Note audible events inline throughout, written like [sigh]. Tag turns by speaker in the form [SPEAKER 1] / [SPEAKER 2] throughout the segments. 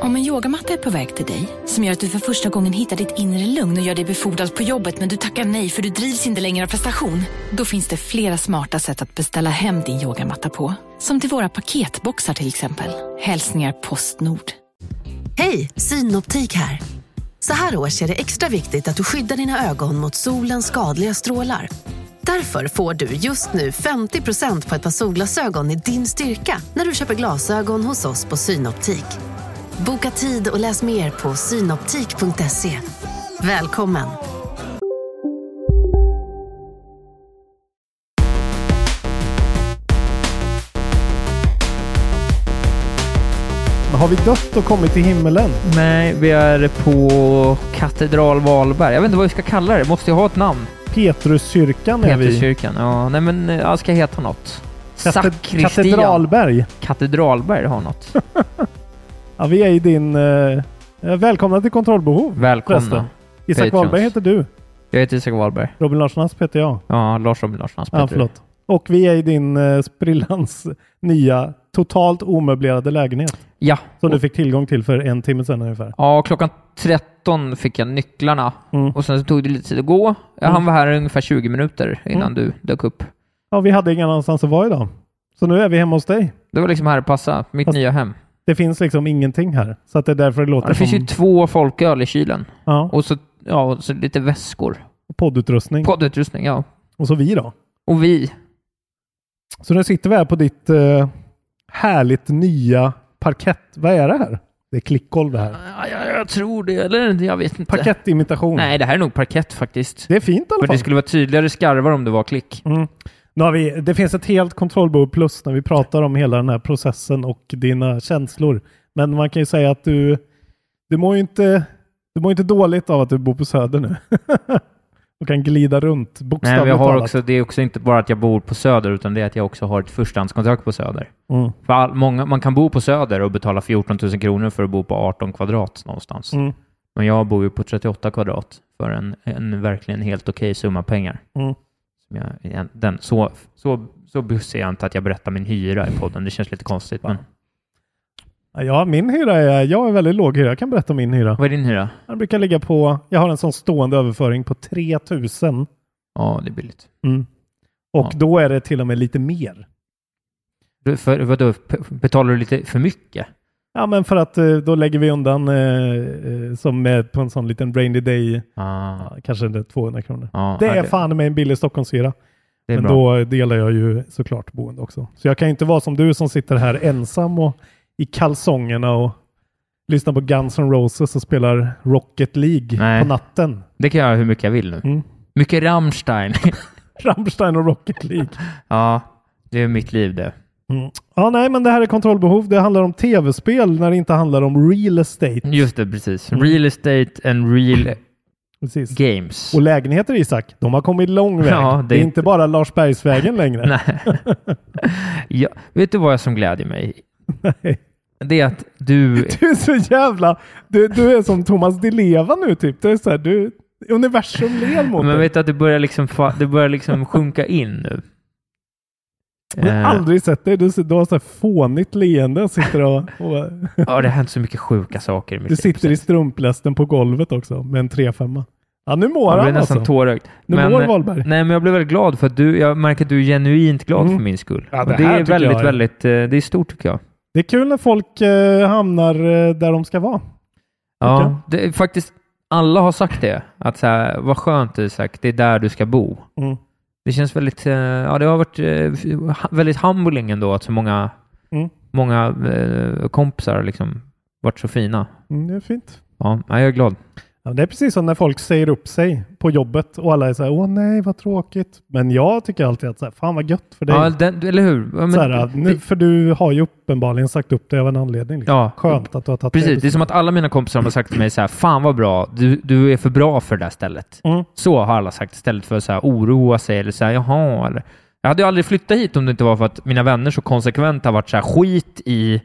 [SPEAKER 1] Om en yogamatta är på väg till dig, som gör att du för första gången hittar ditt inre lugn och gör dig befordrad på jobbet men du tackar nej för du drivs inte längre av prestation. Då finns det flera smarta sätt att beställa hem din yogamatta på. Som till våra paketboxar till exempel. Hälsningar Postnord.
[SPEAKER 2] Hej, Synoptik här. Så här års är det extra viktigt att du skyddar dina ögon mot solens skadliga strålar. Därför får du just nu 50% på ett par solglasögon i din styrka när du köper glasögon hos oss på Synoptik. Boka tid och läs mer på synoptik.se. Välkommen!
[SPEAKER 3] Har vi dött och kommit till himmelen?
[SPEAKER 4] Nej, vi är på Katedral Valberg. Jag vet inte vad vi ska kalla det. Måste jag ha ett namn?
[SPEAKER 3] Petruskyrkan är vi.
[SPEAKER 4] Peterskyrkan. Ja, nej men eh, jag ska heta något.
[SPEAKER 3] Kate-
[SPEAKER 4] Sakristian.
[SPEAKER 3] Katedralberg.
[SPEAKER 4] Katedralberg
[SPEAKER 3] [laughs]
[SPEAKER 4] har något.
[SPEAKER 3] Ja, vi är i din... Eh, välkomna till Kontrollbehov. Förresten.
[SPEAKER 4] Välkomna.
[SPEAKER 3] Isak
[SPEAKER 4] Patreons.
[SPEAKER 3] Wahlberg heter du.
[SPEAKER 4] Jag heter Isak Wahlberg.
[SPEAKER 3] Robin Larsson Asp heter jag.
[SPEAKER 4] Ja, Lars Robin Larsson.
[SPEAKER 3] Ja,
[SPEAKER 4] Peter.
[SPEAKER 3] förlåt. Och vi är i din eh, sprillans [laughs] nya, totalt omöblerade lägenhet.
[SPEAKER 4] Ja.
[SPEAKER 3] Som du fick tillgång till för en timme sedan ungefär.
[SPEAKER 4] ja, klockan 13 fick jag nycklarna
[SPEAKER 3] Mm.
[SPEAKER 4] och sen så tog det lite tid att gå. Jag
[SPEAKER 3] Mm.
[SPEAKER 4] hann vara här ungefär 20 minuter innan du dök upp.
[SPEAKER 3] Ja, vi hade ingen annanstans att vara idag. Så nu är vi hemma hos dig.
[SPEAKER 4] Det var liksom här att passa, mitt
[SPEAKER 3] Fast-
[SPEAKER 4] nya hem.
[SPEAKER 3] Det finns liksom ingenting här. Så att det är därför det låter
[SPEAKER 4] Ja, det finns
[SPEAKER 3] som...
[SPEAKER 4] ju två folköl i kylen
[SPEAKER 3] Ja,
[SPEAKER 4] och så, ja, och så lite väskor.
[SPEAKER 3] poddutrustning.
[SPEAKER 4] Poddutrustning, ja.
[SPEAKER 3] och så vi då.
[SPEAKER 4] Och vi.
[SPEAKER 3] Så nu sitter vi här på ditt eh, härligt nya parkett. Vad är det här? Det är klickgolv det här.
[SPEAKER 4] Ja, jag, jag tror det, eller jag vet inte.
[SPEAKER 3] Parkettimitation.
[SPEAKER 4] Nej, det här är nog parkett faktiskt.
[SPEAKER 3] Det är fint i alla
[SPEAKER 4] Men
[SPEAKER 3] fall.
[SPEAKER 4] det skulle vara tydligare skarvar om det var klick.
[SPEAKER 3] Mm. Nu har vi, det finns ett helt kontrollbehov plus när vi pratar om hela den här processen och dina känslor. Men man kan ju säga att du, du mår ju inte, du mår inte dåligt av att du bor på Söder nu. [laughs] och kan glida runt
[SPEAKER 4] Nej, men
[SPEAKER 3] bokstavligt
[SPEAKER 4] jag har
[SPEAKER 3] talat.
[SPEAKER 4] också, det är också inte bara att jag bor på Söder, utan det är att jag också har ett förstahandskontrakt på Söder.
[SPEAKER 3] Mm.
[SPEAKER 4] För all, många, man kan bo på Söder och betala 14 000 kronor för att bo på 18 kvadrat någonstans.
[SPEAKER 3] Mm.
[SPEAKER 4] Men jag bor ju på 38 kvadrat för en, en verkligen helt okej summa pengar.
[SPEAKER 3] Mm.
[SPEAKER 4] Som jag, igen- den, så, så, så bussig är jag inte att jag berättar min hyra i podden. Det känns lite konstigt. Men,
[SPEAKER 3] Ja, min hyra är, jag är väldigt låg hyra. Jag kan berätta om min hyra.
[SPEAKER 4] vad är din hyra?
[SPEAKER 3] Den brukar ligga på, jag har en sån stående överföring på 3000.
[SPEAKER 4] Ja, det är billigt.
[SPEAKER 3] Mm. Och
[SPEAKER 4] Ja.
[SPEAKER 3] då är det till och med lite mer.
[SPEAKER 4] Du, för, vadå, p- betalar du lite för mycket?
[SPEAKER 3] Ja, men för att eh, då lägger vi undan eh, eh, som är på en sån liten rainy day,
[SPEAKER 4] Ah,
[SPEAKER 3] ja, kanske det är 200 kronor.
[SPEAKER 4] ja,
[SPEAKER 3] Det
[SPEAKER 4] ja,
[SPEAKER 3] är fan med en billig Stockholmshyra.
[SPEAKER 4] det är
[SPEAKER 3] Men
[SPEAKER 4] bra.
[SPEAKER 3] då delar jag ju såklart boende också. Så jag kan ju inte vara som du som sitter här ensam och i kalsongerna och lyssnar på Guns N' Roses och spelar Rocket League
[SPEAKER 4] Nej.
[SPEAKER 3] på natten. [laughs]
[SPEAKER 4] Det kan jag göra hur mycket jag vill nu.
[SPEAKER 3] Mm.
[SPEAKER 4] Mycket Rammstein.
[SPEAKER 3] [laughs] Rammstein och Rocket League.
[SPEAKER 4] ja, det är mitt liv det.
[SPEAKER 3] Mm. Ja, nej, men det här är kontrollbehov. Det handlar om tv-spel när det inte handlar om real estate.
[SPEAKER 4] Just det, precis.
[SPEAKER 3] Mm.
[SPEAKER 4] Real estate and
[SPEAKER 3] [laughs]
[SPEAKER 4] real
[SPEAKER 3] Precis.
[SPEAKER 4] games.
[SPEAKER 3] Och lägenheter, Isak, de har kommit lång väg.
[SPEAKER 4] Ja,
[SPEAKER 3] det, är inte bara
[SPEAKER 4] [laughs]
[SPEAKER 3] Larsbergsvägen längre.
[SPEAKER 4] Nej. ja, vet du vad jag som glädjer mig?
[SPEAKER 3] Nej.
[SPEAKER 4] Det är att
[SPEAKER 3] [laughs]
[SPEAKER 4] du...
[SPEAKER 3] Du är så jävla... Du, du är som Thomas Di Leva nu, typ. Det är så här, du, universum ler mot
[SPEAKER 4] Men
[SPEAKER 3] dig.
[SPEAKER 4] vet du att det börjar liksom, fa- det börjar liksom sjunka in nu?
[SPEAKER 3] Jag har
[SPEAKER 4] Eh,
[SPEAKER 3] aldrig sett dig. Du, ser- du har så här fånigt leende. och Sitter och,
[SPEAKER 4] [laughs]
[SPEAKER 3] och,
[SPEAKER 4] Eh, ja, det har hänt så mycket sjuka saker i mitt
[SPEAKER 3] du
[SPEAKER 4] liv.
[SPEAKER 3] sitter i strumplästen på golvet också med en 3-5. Ja, nu mår
[SPEAKER 4] Jag
[SPEAKER 3] han
[SPEAKER 4] blev nästan
[SPEAKER 3] alltså.
[SPEAKER 4] tårögd.
[SPEAKER 3] Nu
[SPEAKER 4] Men-
[SPEAKER 3] mår Wahlberg.
[SPEAKER 4] [laughs] Nej, men jag blev väldigt glad för att du, jag märker att du är genuint glad
[SPEAKER 3] Mm.
[SPEAKER 4] för min skull.
[SPEAKER 3] Ja, det
[SPEAKER 4] Och det,
[SPEAKER 3] här
[SPEAKER 4] är
[SPEAKER 3] tycker
[SPEAKER 4] väldigt,
[SPEAKER 3] jag är-
[SPEAKER 4] väldigt, eh, det är stort tycker jag.
[SPEAKER 3] Det är kul när folk eh, hamnar eh, där de ska vara.
[SPEAKER 4] Ja, det är faktiskt, alla har sagt det. Att så här, vad skönt Isak, det är där du ska bo.
[SPEAKER 3] Mm.
[SPEAKER 4] Det känns väldigt, eh, ja det har varit eh, ha- väldigt humbling ändå att så många,
[SPEAKER 3] Mm.
[SPEAKER 4] många eh, kompisar liksom varit så fina.
[SPEAKER 3] Mm, det är fint.
[SPEAKER 4] Ja, nej, jag är glad.
[SPEAKER 3] Ja, det är precis som när folk säger upp sig på jobbet och alla är så här, åh nej vad tråkigt. Men jag tycker alltid att så här, fan vad gött för dig.
[SPEAKER 4] Ja, den, eller hur? Ja, men-
[SPEAKER 3] så här, nu, för du har ju uppenbarligen sagt upp dig av en anledning. Liksom.
[SPEAKER 4] Ja.
[SPEAKER 3] Skönt att du har tagit
[SPEAKER 4] Precis, det är
[SPEAKER 3] beslutet.
[SPEAKER 4] som att alla mina kompisar har sagt till mig så här, fan vad bra, du, du är för bra för det där stället.
[SPEAKER 3] Mm.
[SPEAKER 4] Så har alla sagt istället för att så här, oroa sig eller så här, jaha. Eller. Jag hade ju aldrig flyttat hit om det inte var för att mina vänner så konsekvent har varit så här, skit i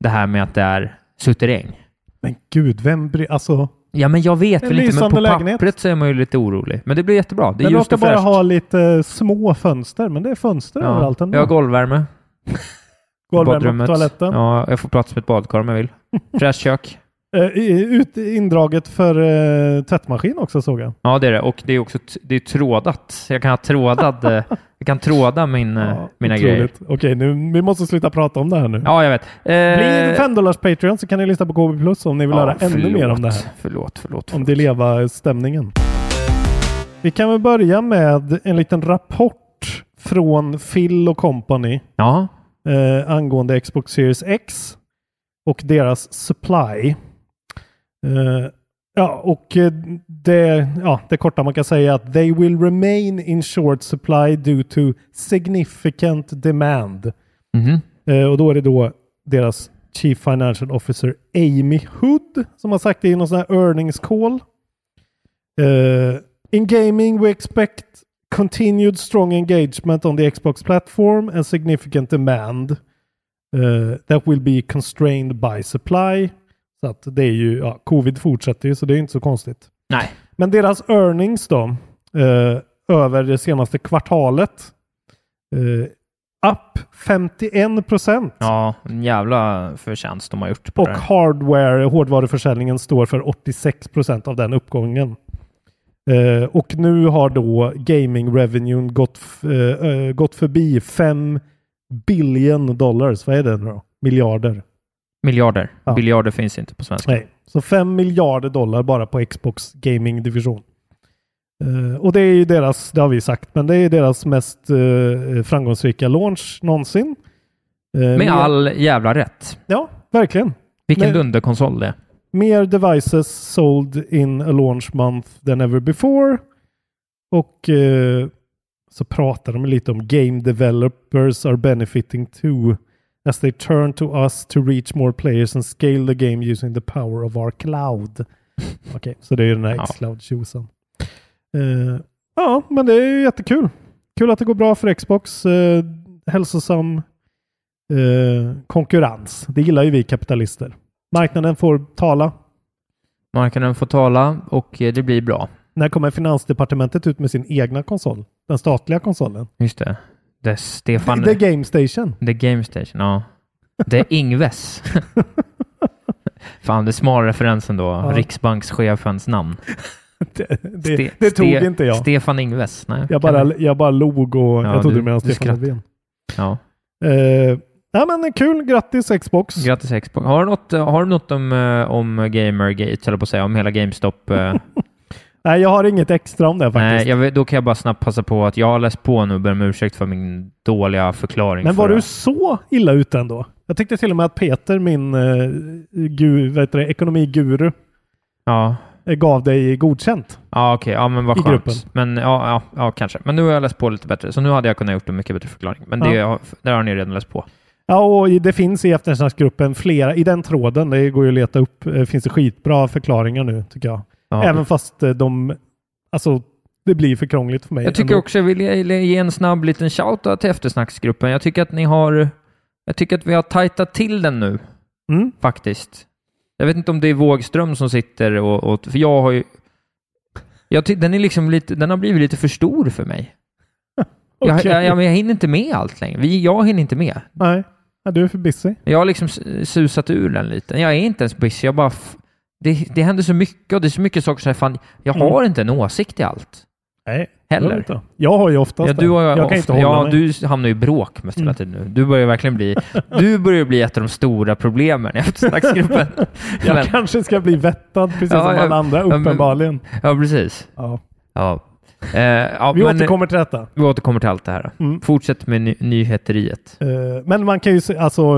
[SPEAKER 4] det här med att det är suterräng.
[SPEAKER 3] Men gud, vem bryr Alltså,
[SPEAKER 4] Ja, men jag vet
[SPEAKER 3] En
[SPEAKER 4] väl inte, men på
[SPEAKER 3] lysande lägenhet.
[SPEAKER 4] pappret så är man ju lite orolig. Men det blir jättebra. Det är
[SPEAKER 3] den
[SPEAKER 4] ljust
[SPEAKER 3] råkar
[SPEAKER 4] och
[SPEAKER 3] bara
[SPEAKER 4] fräscht.
[SPEAKER 3] ha lite små fönster, men det är fönster
[SPEAKER 4] ja.
[SPEAKER 3] överallt ändå.
[SPEAKER 4] Jag har golvvärme.
[SPEAKER 3] Golvvärme på
[SPEAKER 4] badrummet.
[SPEAKER 3] toaletten.
[SPEAKER 4] Ja, jag får plats med ett badkar om
[SPEAKER 3] [laughs]
[SPEAKER 4] jag vill. Fräscht kök.
[SPEAKER 3] Eh, i- ut, indraget för eh, tvättmaskin också såg jag.
[SPEAKER 4] Ja, det är det. Och det är också t- det är trådat. Så Jag kan ha trådad, eh, jag kan tråda min, eh,
[SPEAKER 3] Ja,
[SPEAKER 4] mina
[SPEAKER 3] otroligt.
[SPEAKER 4] grejer.
[SPEAKER 3] Okej, nu, vi måste sluta prata om det här nu.
[SPEAKER 4] Ja, jag vet.
[SPEAKER 3] Bli
[SPEAKER 4] Eh,
[SPEAKER 3] 5 dollars Patreon så kan ni lyssna på KB Plus om ni vill
[SPEAKER 4] ja,
[SPEAKER 3] höra ännu mer om det här.
[SPEAKER 4] Förlåt, förlåt.
[SPEAKER 3] Om
[SPEAKER 4] förlåt.
[SPEAKER 3] det leva stämningen. Vi kan väl börja med en liten rapport från Phil och Company
[SPEAKER 4] Ja,
[SPEAKER 3] eh, angående Xbox Series X och deras supply. Eh, ja, och eh, det, ja, det korta man kan säga är att they will remain in short supply due to significant demand.
[SPEAKER 4] Mhm.
[SPEAKER 3] Eh, och då är det då deras Chief Financial Officer Amy Hood som har sagt det i någon sån här earnings call. Eh, in gaming we expect continued strong engagement on the Xbox platform and significant demand eh, that will be constrained by supply. Så att det är ju, ja, covid fortsätter ju så det är inte så konstigt.
[SPEAKER 4] nej.
[SPEAKER 3] Men deras earnings då, eh, över det senaste kvartalet, eh, up 51 procent.
[SPEAKER 4] Ja, en jävla förtjänst de har gjort på
[SPEAKER 3] Och
[SPEAKER 4] det här.
[SPEAKER 3] hardware, hårdvaruförsäljningen står för 86 procent av den uppgången. Eh, och nu har då gaming revenuen gått, f- eh, eh, gått förbi 5 billion dollars. Vad är det nu då? Miljarder.
[SPEAKER 4] Miljarder.
[SPEAKER 3] Ja.
[SPEAKER 4] Miljarder finns inte på svenska.
[SPEAKER 3] Nej, så 5 miljarder dollar bara på Xbox gaming division. Eh, och det är ju deras, det har vi sagt, men det är ju deras mest eh, framgångsrika launch någonsin. Eh,
[SPEAKER 4] Med
[SPEAKER 3] mer-
[SPEAKER 4] all jävla rätt.
[SPEAKER 3] Ja, verkligen.
[SPEAKER 4] Vilken
[SPEAKER 3] Men-
[SPEAKER 4] dunderkonsol det är.
[SPEAKER 3] Mer devices sold in a launch month than ever before. Och eh, så pratar de lite om game developers are benefiting too as they turn to us to reach more players and scale the game using the power of our cloud. Okej, så det är ju den här
[SPEAKER 4] Ja.
[SPEAKER 3] xcloud tjosan eh, Ja, men det är ju jättekul. Kul att det går bra för Xbox. Eh, hälsosam eh, konkurrens. Det gillar ju vi kapitalister. Marknaden får tala.
[SPEAKER 4] Marknaden får tala och eh, det blir bra.
[SPEAKER 3] När kommer Finansdepartementet ut med sin egna konsol? Den statliga konsolen?
[SPEAKER 4] Just det. Det är Stefan...
[SPEAKER 3] The Game
[SPEAKER 4] [laughs]
[SPEAKER 3] Station.
[SPEAKER 4] The Game Station, ja. Det är
[SPEAKER 3] [laughs]
[SPEAKER 4] Ingves. Fan, det är smal referens ändå. Riksbankschefens namn.
[SPEAKER 3] Det, det,
[SPEAKER 4] Ste-
[SPEAKER 3] det tog
[SPEAKER 4] Ste-
[SPEAKER 3] inte jag.
[SPEAKER 4] Stefan Ingves. Nej,
[SPEAKER 3] Jag
[SPEAKER 4] kan
[SPEAKER 3] bara,
[SPEAKER 4] du-
[SPEAKER 3] jag bara log och jag trodde
[SPEAKER 4] du-
[SPEAKER 3] du menade
[SPEAKER 4] du
[SPEAKER 3] Stefan
[SPEAKER 4] skrattar.
[SPEAKER 3] Löfven.
[SPEAKER 4] Ja.
[SPEAKER 3] Eh, ja, men kul. Grattis Xbox.
[SPEAKER 4] Grattis Xbox. Har du något, har du något om, eh, om Gamergate, eller på att säga, om hela
[SPEAKER 3] [laughs]
[SPEAKER 4] GameStop? eh?
[SPEAKER 3] Nej, jag har inget extra om det faktiskt.
[SPEAKER 4] Nej, jag, vet- då kan jag bara snabbt passa på att jag har läst på nu och ber om ursäkt för min dåliga förklaring.
[SPEAKER 3] men var
[SPEAKER 4] förra-
[SPEAKER 3] du så illa ute ändå? Jag tyckte till och med att Peter, min eh, gu, vad heter det, ekonomiguru,
[SPEAKER 4] Ja,
[SPEAKER 3] eh, gav dig godkänt.
[SPEAKER 4] ja okej. Ja, men vad
[SPEAKER 3] I
[SPEAKER 4] skönt.
[SPEAKER 3] gruppen.
[SPEAKER 4] Men ja, ja, ja, kanske. Men nu har jag läst på lite bättre, så nu hade jag kunnat gjort en mycket bättre förklaring. Men det, har- där har ni redan läst på.
[SPEAKER 3] Ja, och i- det finns i eftersnacksgruppen flera, i den tråden, det går ju att leta upp, eh, finns det skitbra förklaringar nu tycker jag.
[SPEAKER 4] Ja.
[SPEAKER 3] Även fast eh, de, alltså det blir för krångligt för mig.
[SPEAKER 4] Jag tycker
[SPEAKER 3] ändå.
[SPEAKER 4] också, jag vill ge en snabb liten shoutout till eftersnacksgruppen. Jag tycker att ni har, jag tycker att vi har tajtat till den nu
[SPEAKER 3] Mm.
[SPEAKER 4] faktiskt. Jag vet inte om det är Vågström som sitter och, och för jag har ju, jag ty, den är liksom lite, den har blivit lite för stor för mig. Jag,
[SPEAKER 3] Okej.
[SPEAKER 4] jag, jag, jag hinner inte med allt längre. Vi, jag hinner inte med.
[SPEAKER 3] Nej, ja, du är för busy.
[SPEAKER 4] Jag har liksom s- susat ur den lite. Jag är inte ens busy, jag bara, f- det, det händer så mycket och det är så mycket saker så här, fan, jag
[SPEAKER 3] Mm.
[SPEAKER 4] har inte en åsikt i allt
[SPEAKER 3] Nej,
[SPEAKER 4] heller.
[SPEAKER 3] Jag har ju oftast
[SPEAKER 4] Ja,
[SPEAKER 3] det.
[SPEAKER 4] du har,
[SPEAKER 3] Jag kan
[SPEAKER 4] ofta,
[SPEAKER 3] inte hålla
[SPEAKER 4] ja,
[SPEAKER 3] mig. Mm.
[SPEAKER 4] du hamnar ju i bråk mest hela tiden nu. Du börjar verkligen
[SPEAKER 3] [laughs]
[SPEAKER 4] bli, du börjar bli ett av de stora problemen i eftersnacksgruppen.
[SPEAKER 3] Jag
[SPEAKER 4] Men-
[SPEAKER 3] kanske ska bli vettad precis
[SPEAKER 4] Ja,
[SPEAKER 3] som
[SPEAKER 4] jag-
[SPEAKER 3] alla andra
[SPEAKER 4] ja, men-
[SPEAKER 3] uppenbarligen.
[SPEAKER 4] Ja, precis.
[SPEAKER 3] Ja.
[SPEAKER 4] Ja. Eh, ja,
[SPEAKER 3] Vi
[SPEAKER 4] men,
[SPEAKER 3] återkommer till detta.
[SPEAKER 4] vi återkommer till allt det här.
[SPEAKER 3] Mm.
[SPEAKER 4] Fortsätt med ny- nyheteriet.
[SPEAKER 3] Eh, Men man kan ju se, alltså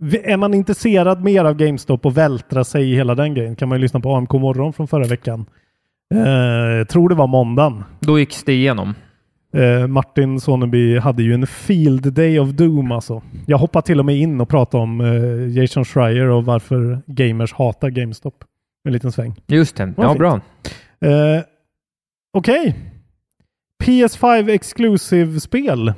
[SPEAKER 3] vi- är man intresserad mer av GameStop och vältra sig i hela den grejen kan man ju lyssna på AMK morgon från förra veckan. Eh, tror det var måndagen.
[SPEAKER 4] Då gick det igenom.
[SPEAKER 3] Eh, Martin Soneby hade ju en field day of doom alltså. Jag hoppade till och med in och pratade om eh, Jason Schreier och varför gamers hatar GameStop. En liten sväng.
[SPEAKER 4] Just det.
[SPEAKER 3] Vad
[SPEAKER 4] Ja,
[SPEAKER 3] fint.
[SPEAKER 4] bra.
[SPEAKER 3] Eh, Okej. PS5 exclusive spel.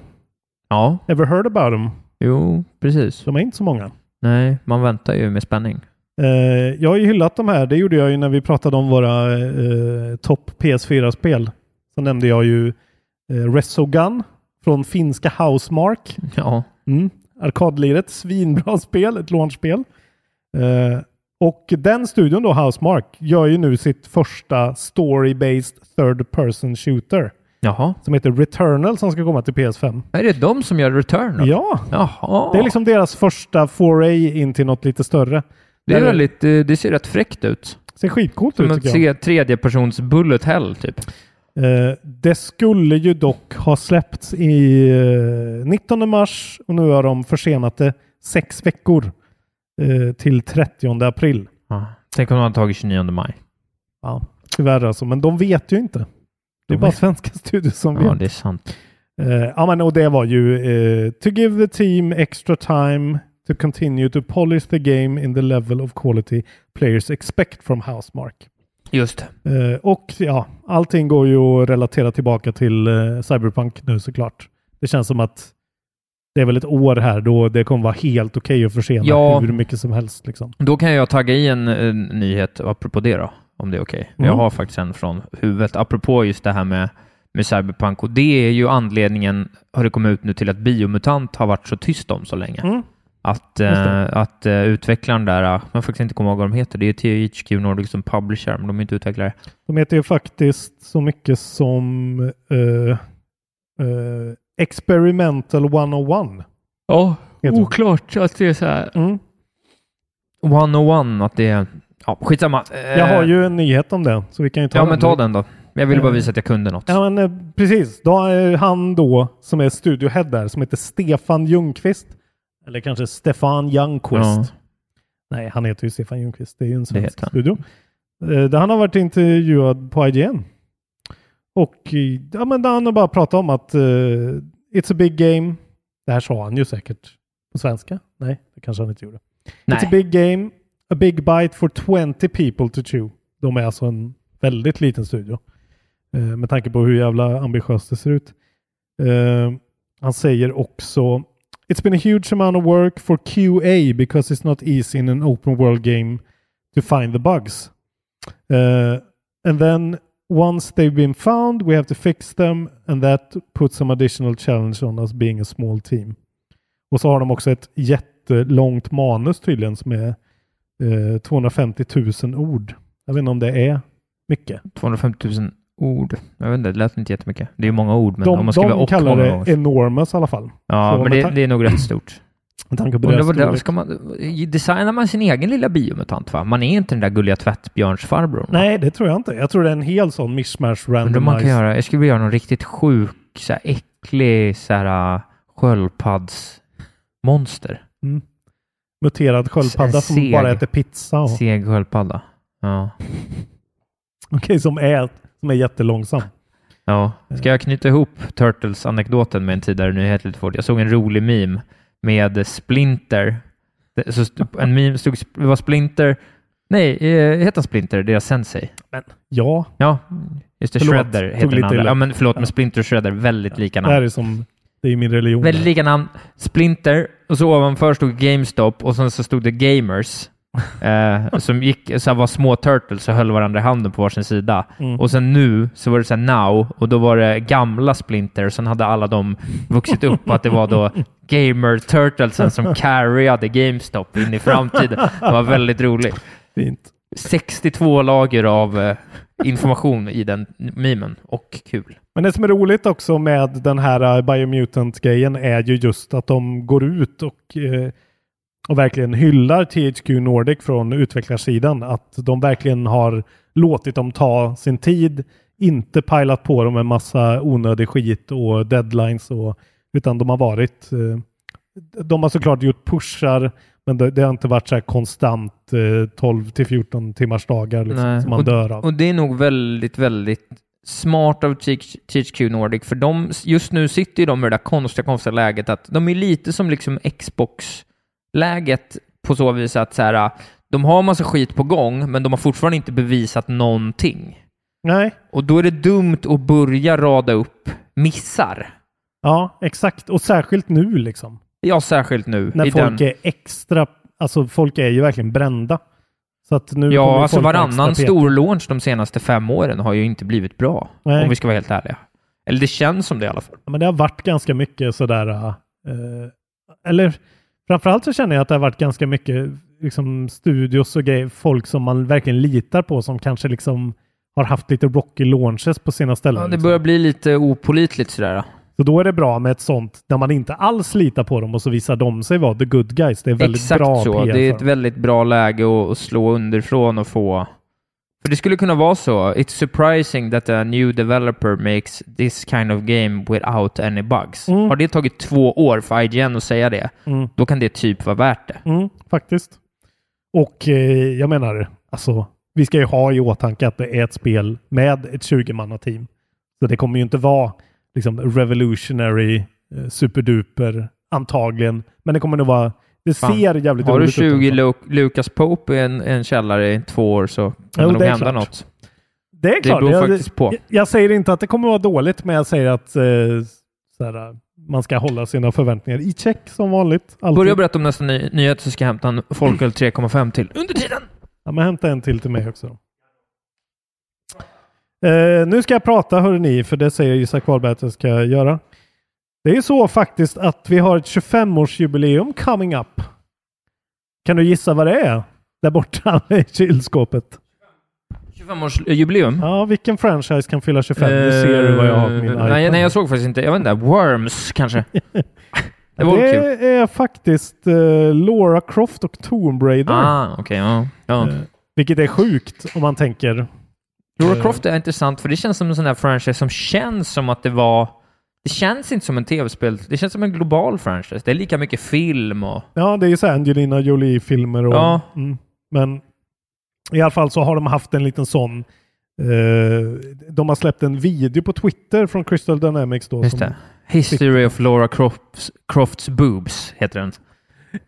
[SPEAKER 4] Ja,
[SPEAKER 3] Ever heard about them?
[SPEAKER 4] jo, precis.
[SPEAKER 3] De är inte så många.
[SPEAKER 4] Nej, man väntar ju med spänning.
[SPEAKER 3] Eh, jag har ju hyllat de här. Det gjorde jag ju när vi pratade om våra eh, topp PS4-spel. Så nämnde jag ju eh, Resogun från finska Housemark.
[SPEAKER 4] Ja,
[SPEAKER 3] Mm. Arkadliret, svinbra [laughs] spel, ett launchspel. Eh, och den studion då, Housemark, gör ju nu sitt första story-based third person shooter
[SPEAKER 4] jaha.
[SPEAKER 3] som heter Returnal som ska komma till PS5.
[SPEAKER 4] Är det de som gör Return? då?
[SPEAKER 3] Ja,
[SPEAKER 4] Jaha.
[SPEAKER 3] det är liksom deras första foray in till något lite större.
[SPEAKER 4] det, är
[SPEAKER 3] Där-
[SPEAKER 4] väldigt, eh, det ser rätt fräckt ut.
[SPEAKER 3] ser skitcoolt
[SPEAKER 4] Som
[SPEAKER 3] ut
[SPEAKER 4] en
[SPEAKER 3] tycker jag.
[SPEAKER 4] tre, tredjepersons bullet hell, typ.
[SPEAKER 3] Eh, det skulle ju dock ha släppts i eh, 19 mars och nu har de försenat det sex veckor eh, till 30 april.
[SPEAKER 4] Ja. Tänk om de hade tagit 29 maj.
[SPEAKER 3] Ja, tyvärr alltså, men de vet ju inte. Det är
[SPEAKER 4] De
[SPEAKER 3] bara
[SPEAKER 4] vet.
[SPEAKER 3] svenska [laughs] studier som
[SPEAKER 4] Ja,
[SPEAKER 3] vet.
[SPEAKER 4] det är sant.
[SPEAKER 3] Eh, ja, men och det var ju eh, To give the team extra time to continue to polish the game in the level of quality players expect from Housemark.
[SPEAKER 4] Just det.
[SPEAKER 3] Eh, och ja, allting går ju att relatera tillbaka till eh, Cyberpunk nu såklart. Det känns som att det är väl ett år här då det kommer vara helt okej att försena
[SPEAKER 4] Ja.
[SPEAKER 3] hur mycket som helst. Liksom.
[SPEAKER 4] Då kan jag tagga i en, en nyhet apropå det då, om det är okej. Jag
[SPEAKER 3] Mm.
[SPEAKER 4] har faktiskt en från huvudet, apropå just det här med, med Cyberpunk. Och det är ju anledningen, har det kommit ut nu, till att Biomutant har varit så tyst om så länge.
[SPEAKER 3] Mm.
[SPEAKER 4] Att,
[SPEAKER 3] Just
[SPEAKER 4] eh,
[SPEAKER 3] det.
[SPEAKER 4] att eh, utvecklaren där, eh, man faktiskt inte kommer ihåg vad de heter, det är THQ Nordic som publisher, men de är inte utvecklare.
[SPEAKER 3] De heter ju faktiskt så mycket som eh, eh, Experimental 101.
[SPEAKER 4] Ja,
[SPEAKER 3] Heter de.
[SPEAKER 4] oklart att det är så här.
[SPEAKER 3] Mm.
[SPEAKER 4] 101, att det är... Ja, skitsamma. Eh,
[SPEAKER 3] Jag har ju en nyhet om det, så vi kan ju ta
[SPEAKER 4] Ja,
[SPEAKER 3] den.
[SPEAKER 4] men ta den då. Jag ville bara
[SPEAKER 3] Eh,
[SPEAKER 4] visa att jag kunde något.
[SPEAKER 3] Ja, men eh, precis. Då är han då, som är studiohead där, som heter Stefan Ljungqvist. Eller kanske Stefan Youngqvist.
[SPEAKER 4] Ja.
[SPEAKER 3] Nej, han heter ju Stefan Ljungqvist. Det är ju en
[SPEAKER 4] heter
[SPEAKER 3] svensk
[SPEAKER 4] han.
[SPEAKER 3] studio. Eh, Där han har varit intervjuad på IGN. Och eh, ja, men där han har bara pratat om att eh, it's a big game. Det här sa han ju säkert på svenska. Nej, det kanske han inte gjorde. It's a
[SPEAKER 4] Nej,
[SPEAKER 3] big game, a big bite for 20 people to chew. De är alltså en väldigt liten studio. Eh, med tanke på hur jävla ambitiöst det ser ut. Eh, han säger också It's been a huge amount of work for QA because it's not easy in an open world game to find the bugs. Eh, and then once they've been found we have to fix them and that puts some additional challenge on us being a small team. Och så har de också ett jättelångt manus tydligen som är eh, 250 000 ord. Jag vet inte om det är mycket.
[SPEAKER 4] 250 000 ord. Jag vet inte, det lät inte jättemycket. Det är ju många ord, men om
[SPEAKER 3] De,
[SPEAKER 4] man skriver
[SPEAKER 3] de
[SPEAKER 4] och många
[SPEAKER 3] kallar
[SPEAKER 4] gånger.
[SPEAKER 3] det enormous i alla fall.
[SPEAKER 4] Ja,
[SPEAKER 3] så med
[SPEAKER 4] men det,
[SPEAKER 3] tan-
[SPEAKER 4] det är nog rätt
[SPEAKER 3] [clears throat]
[SPEAKER 4] stort.
[SPEAKER 3] Med tanke på
[SPEAKER 4] Undrar
[SPEAKER 3] deras
[SPEAKER 4] vad det,
[SPEAKER 3] storlek.
[SPEAKER 4] ska man, designar man sin egen lilla biomutant, va? Man är inte den där gulliga tvättbjörnsfarbrorn. va?
[SPEAKER 3] Nej, det tror jag inte. Jag tror det är en hel sån mishmash
[SPEAKER 4] Undrar om man kan
[SPEAKER 3] randomized.
[SPEAKER 4] göra, jag skulle vilja göra någon riktigt sjuk, så här äcklig, så här äh, sköldpaddsmonster.
[SPEAKER 3] Muterad sköldpadda
[SPEAKER 4] En
[SPEAKER 3] som
[SPEAKER 4] seg.
[SPEAKER 3] bara äter pizza. Och, [laughs] Okej,
[SPEAKER 4] Seg sköldpadda. Ja.
[SPEAKER 3] som, är, som är jättelångsam.
[SPEAKER 4] Ja.
[SPEAKER 3] Eh.
[SPEAKER 4] Ska jag knyta ihop Turtles-anekdoten med en tidigare nyhet lite fort? Jag såg en rolig meme med Splinter. Det, så st- en meme stod, det var Splinter, nej, eh, heter han Splinter, deras sensei?
[SPEAKER 3] Ja,
[SPEAKER 4] Ja, just det,
[SPEAKER 3] Förlåt,
[SPEAKER 4] Shredder
[SPEAKER 3] tog
[SPEAKER 4] heter den
[SPEAKER 3] lite
[SPEAKER 4] andra.
[SPEAKER 3] illa.
[SPEAKER 4] Ja, men förlåt, men Splinter och Shredder, väldigt lika
[SPEAKER 3] det här
[SPEAKER 4] namn.
[SPEAKER 3] är som det är min religion.
[SPEAKER 4] Väldigt lika namn. Splinter, och så ovanför stod GameStop och sen så stod det Gamers. eh, som gick, så här var små turtles och höll varandra i handen på varsin sida.
[SPEAKER 3] Mm.
[SPEAKER 4] Och sen nu så var det så här now och då var det gamla Splinter och sen hade alla de vuxit upp och att det var då Gamer Turtlesen som carryade GameStop in i framtiden. Det var väldigt roligt.
[SPEAKER 3] Fint.
[SPEAKER 4] 62 lager av eh, information i den memen och kul.
[SPEAKER 3] Men det som är roligt också med den här eh, Biomutant-grejen är ju just att de går ut och, eh, och verkligen hyllar THQ Nordic från utvecklarsidan. Att de verkligen har låtit dem ta sin tid, inte pilat på dem en massa onödig skit och deadlines och utan de har varit eh, de har såklart gjort pushar Men det, det har inte varit så här konstant eh, 12 till 14 timmars dagar liksom,
[SPEAKER 4] Nej.
[SPEAKER 3] som man dör av.
[SPEAKER 4] Och det är nog väldigt, väldigt smart av Teach- THQ Nordic, för de, just nu sitter ju de i det där konstiga, konstiga läget att de är lite som liksom Xbox-läget på så vis att så här, de har massa skit på gång, men de har fortfarande inte bevisat någonting.
[SPEAKER 3] Nej,
[SPEAKER 4] Och då är det dumt att börja rada upp missar.
[SPEAKER 3] ja exakt. Och särskilt nu liksom.
[SPEAKER 4] Ja, särskilt nu.
[SPEAKER 3] När
[SPEAKER 4] i
[SPEAKER 3] folk
[SPEAKER 4] den.
[SPEAKER 3] är extra, alltså folk är ju verkligen brända. Så att nu kommer ju
[SPEAKER 4] Ja, alltså
[SPEAKER 3] folk vara
[SPEAKER 4] varannan
[SPEAKER 3] extra
[SPEAKER 4] stor launch de senaste fem åren har ju inte blivit bra,
[SPEAKER 3] Nej.
[SPEAKER 4] om vi ska vara helt ärliga. Eller det känns som det i alla fall.
[SPEAKER 3] Ja, Men det har varit ganska mycket sådär, eh, eller framförallt så känner jag att det har varit ganska mycket liksom, studios och grejer, folk som man verkligen litar på som kanske liksom har haft lite rocky launches på sina ställen.
[SPEAKER 4] Ja, det
[SPEAKER 3] liksom.
[SPEAKER 4] börjar bli lite opolitligt sådär.
[SPEAKER 3] Så då är det bra med ett sånt där man inte alls litar på dem och så visar de sig vara the good guys. Det är väldigt
[SPEAKER 4] Exakt
[SPEAKER 3] bra
[SPEAKER 4] så.
[SPEAKER 3] PR
[SPEAKER 4] Det är
[SPEAKER 3] för
[SPEAKER 4] ett
[SPEAKER 3] dem.
[SPEAKER 4] väldigt bra läge att, att slå underifrån och få... För det skulle kunna vara så. It's surprising that a new developer makes this kind of game without any bugs.
[SPEAKER 3] Mm.
[SPEAKER 4] Har det tagit två år för IGN att säga det,
[SPEAKER 3] Mm.
[SPEAKER 4] då kan det typ vara värt det.
[SPEAKER 3] Mm, faktiskt. Och eh, jag menar, alltså, vi ska ju ha i åtanke att det är ett spel med ett 20-mannateam. Så det kommer ju inte vara liksom, revolutionary, eh, superduper, antagligen. Men det kommer nog vara, det
[SPEAKER 4] Fan.
[SPEAKER 3] ser jävligt
[SPEAKER 4] Har du
[SPEAKER 3] roligt ut
[SPEAKER 4] 20
[SPEAKER 3] alltså.
[SPEAKER 4] Lu- Lucas Pope i en, en källare i två år så kan
[SPEAKER 3] Jo,
[SPEAKER 4] det nog
[SPEAKER 3] det är
[SPEAKER 4] hända
[SPEAKER 3] klart.
[SPEAKER 4] något.
[SPEAKER 3] Det är klart.
[SPEAKER 4] beror
[SPEAKER 3] jag,
[SPEAKER 4] faktiskt på.
[SPEAKER 3] Jag, jag säger inte att det kommer vara dåligt, men jag säger att eh, så här, man ska hålla sina förväntningar i check som vanligt. alltid.
[SPEAKER 4] Börja berätta om nästa ny- nyhet så ska jag hämta en
[SPEAKER 3] [clears throat]
[SPEAKER 4] Folköl 3,5 till. Under tiden!
[SPEAKER 3] Ja, men hämta en till till mig också. då. Eh, nu ska jag prata hörni, för det säger Isak Wahlberg att jag ska göra. Det är ju så faktiskt att vi har ett 25-årsjubileum coming up. Kan du gissa vad det är? Där borta [laughs] i kylskåpet.
[SPEAKER 4] eh, 25-årsjubileum.
[SPEAKER 3] Ja, vilken franchise kan fylla 25? Nu ser du vad jag har på min
[SPEAKER 4] Eh,
[SPEAKER 3] iPad.
[SPEAKER 4] nej, nej, jag såg faktiskt inte. Jag vet inte. Worms
[SPEAKER 3] [laughs]
[SPEAKER 4] kanske? det var
[SPEAKER 3] det
[SPEAKER 4] kul.
[SPEAKER 3] är faktiskt eh, Laura Croft och Tomb Raider.
[SPEAKER 4] Ah, okej. ja. ja.
[SPEAKER 3] Eh, vilket är sjukt om man tänker.
[SPEAKER 4] Laura
[SPEAKER 3] eh.
[SPEAKER 4] Croft är intressant, för det känns som en sån här franchise som känns som att det var... Det känns inte som en tv-spel. Det känns som en global franchise. Det är lika mycket film och...
[SPEAKER 3] Ja, det är ju så här Angelina Jolie-filmer. Och,
[SPEAKER 4] Ja.
[SPEAKER 3] mm, men i alla fall så har de haft en liten sån. Eh, de har släppt en video på Twitter från Crystal Dynamics. Då,
[SPEAKER 4] Just
[SPEAKER 3] som
[SPEAKER 4] det. History of Laura Crofts, Crofts boobs heter den.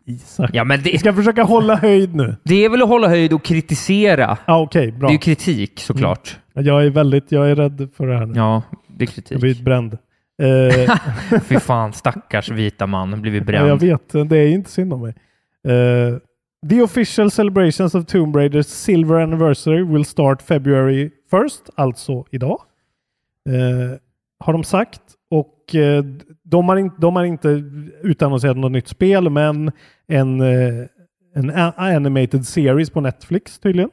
[SPEAKER 3] Isak.
[SPEAKER 4] Ja, men
[SPEAKER 3] Vi
[SPEAKER 4] det,
[SPEAKER 3] ska försöka hålla höjd nu.
[SPEAKER 4] det är väl att hålla höjd och kritisera.
[SPEAKER 3] Ja, Okej, bra. Mm.
[SPEAKER 4] Det är ju kritik såklart.
[SPEAKER 3] Jag är väldigt, jag är rädd för det här nu.
[SPEAKER 4] Ja, det är
[SPEAKER 3] Jag blir
[SPEAKER 4] kritik. [laughs]
[SPEAKER 3] bränd. Eh,
[SPEAKER 4] Fy fan, stackars vita man. Blivit
[SPEAKER 3] Ja, jag
[SPEAKER 4] bränd.
[SPEAKER 3] vet, det är inte synd om mig. Eh, the official celebrations of Tomb Raiders silver anniversary will start February 1st, alltså idag. Eh, har de sagt. Och eh, de, har in, de har inte utannonserat något nytt spel, men en, eh, en a- animated series på Netflix tydligen.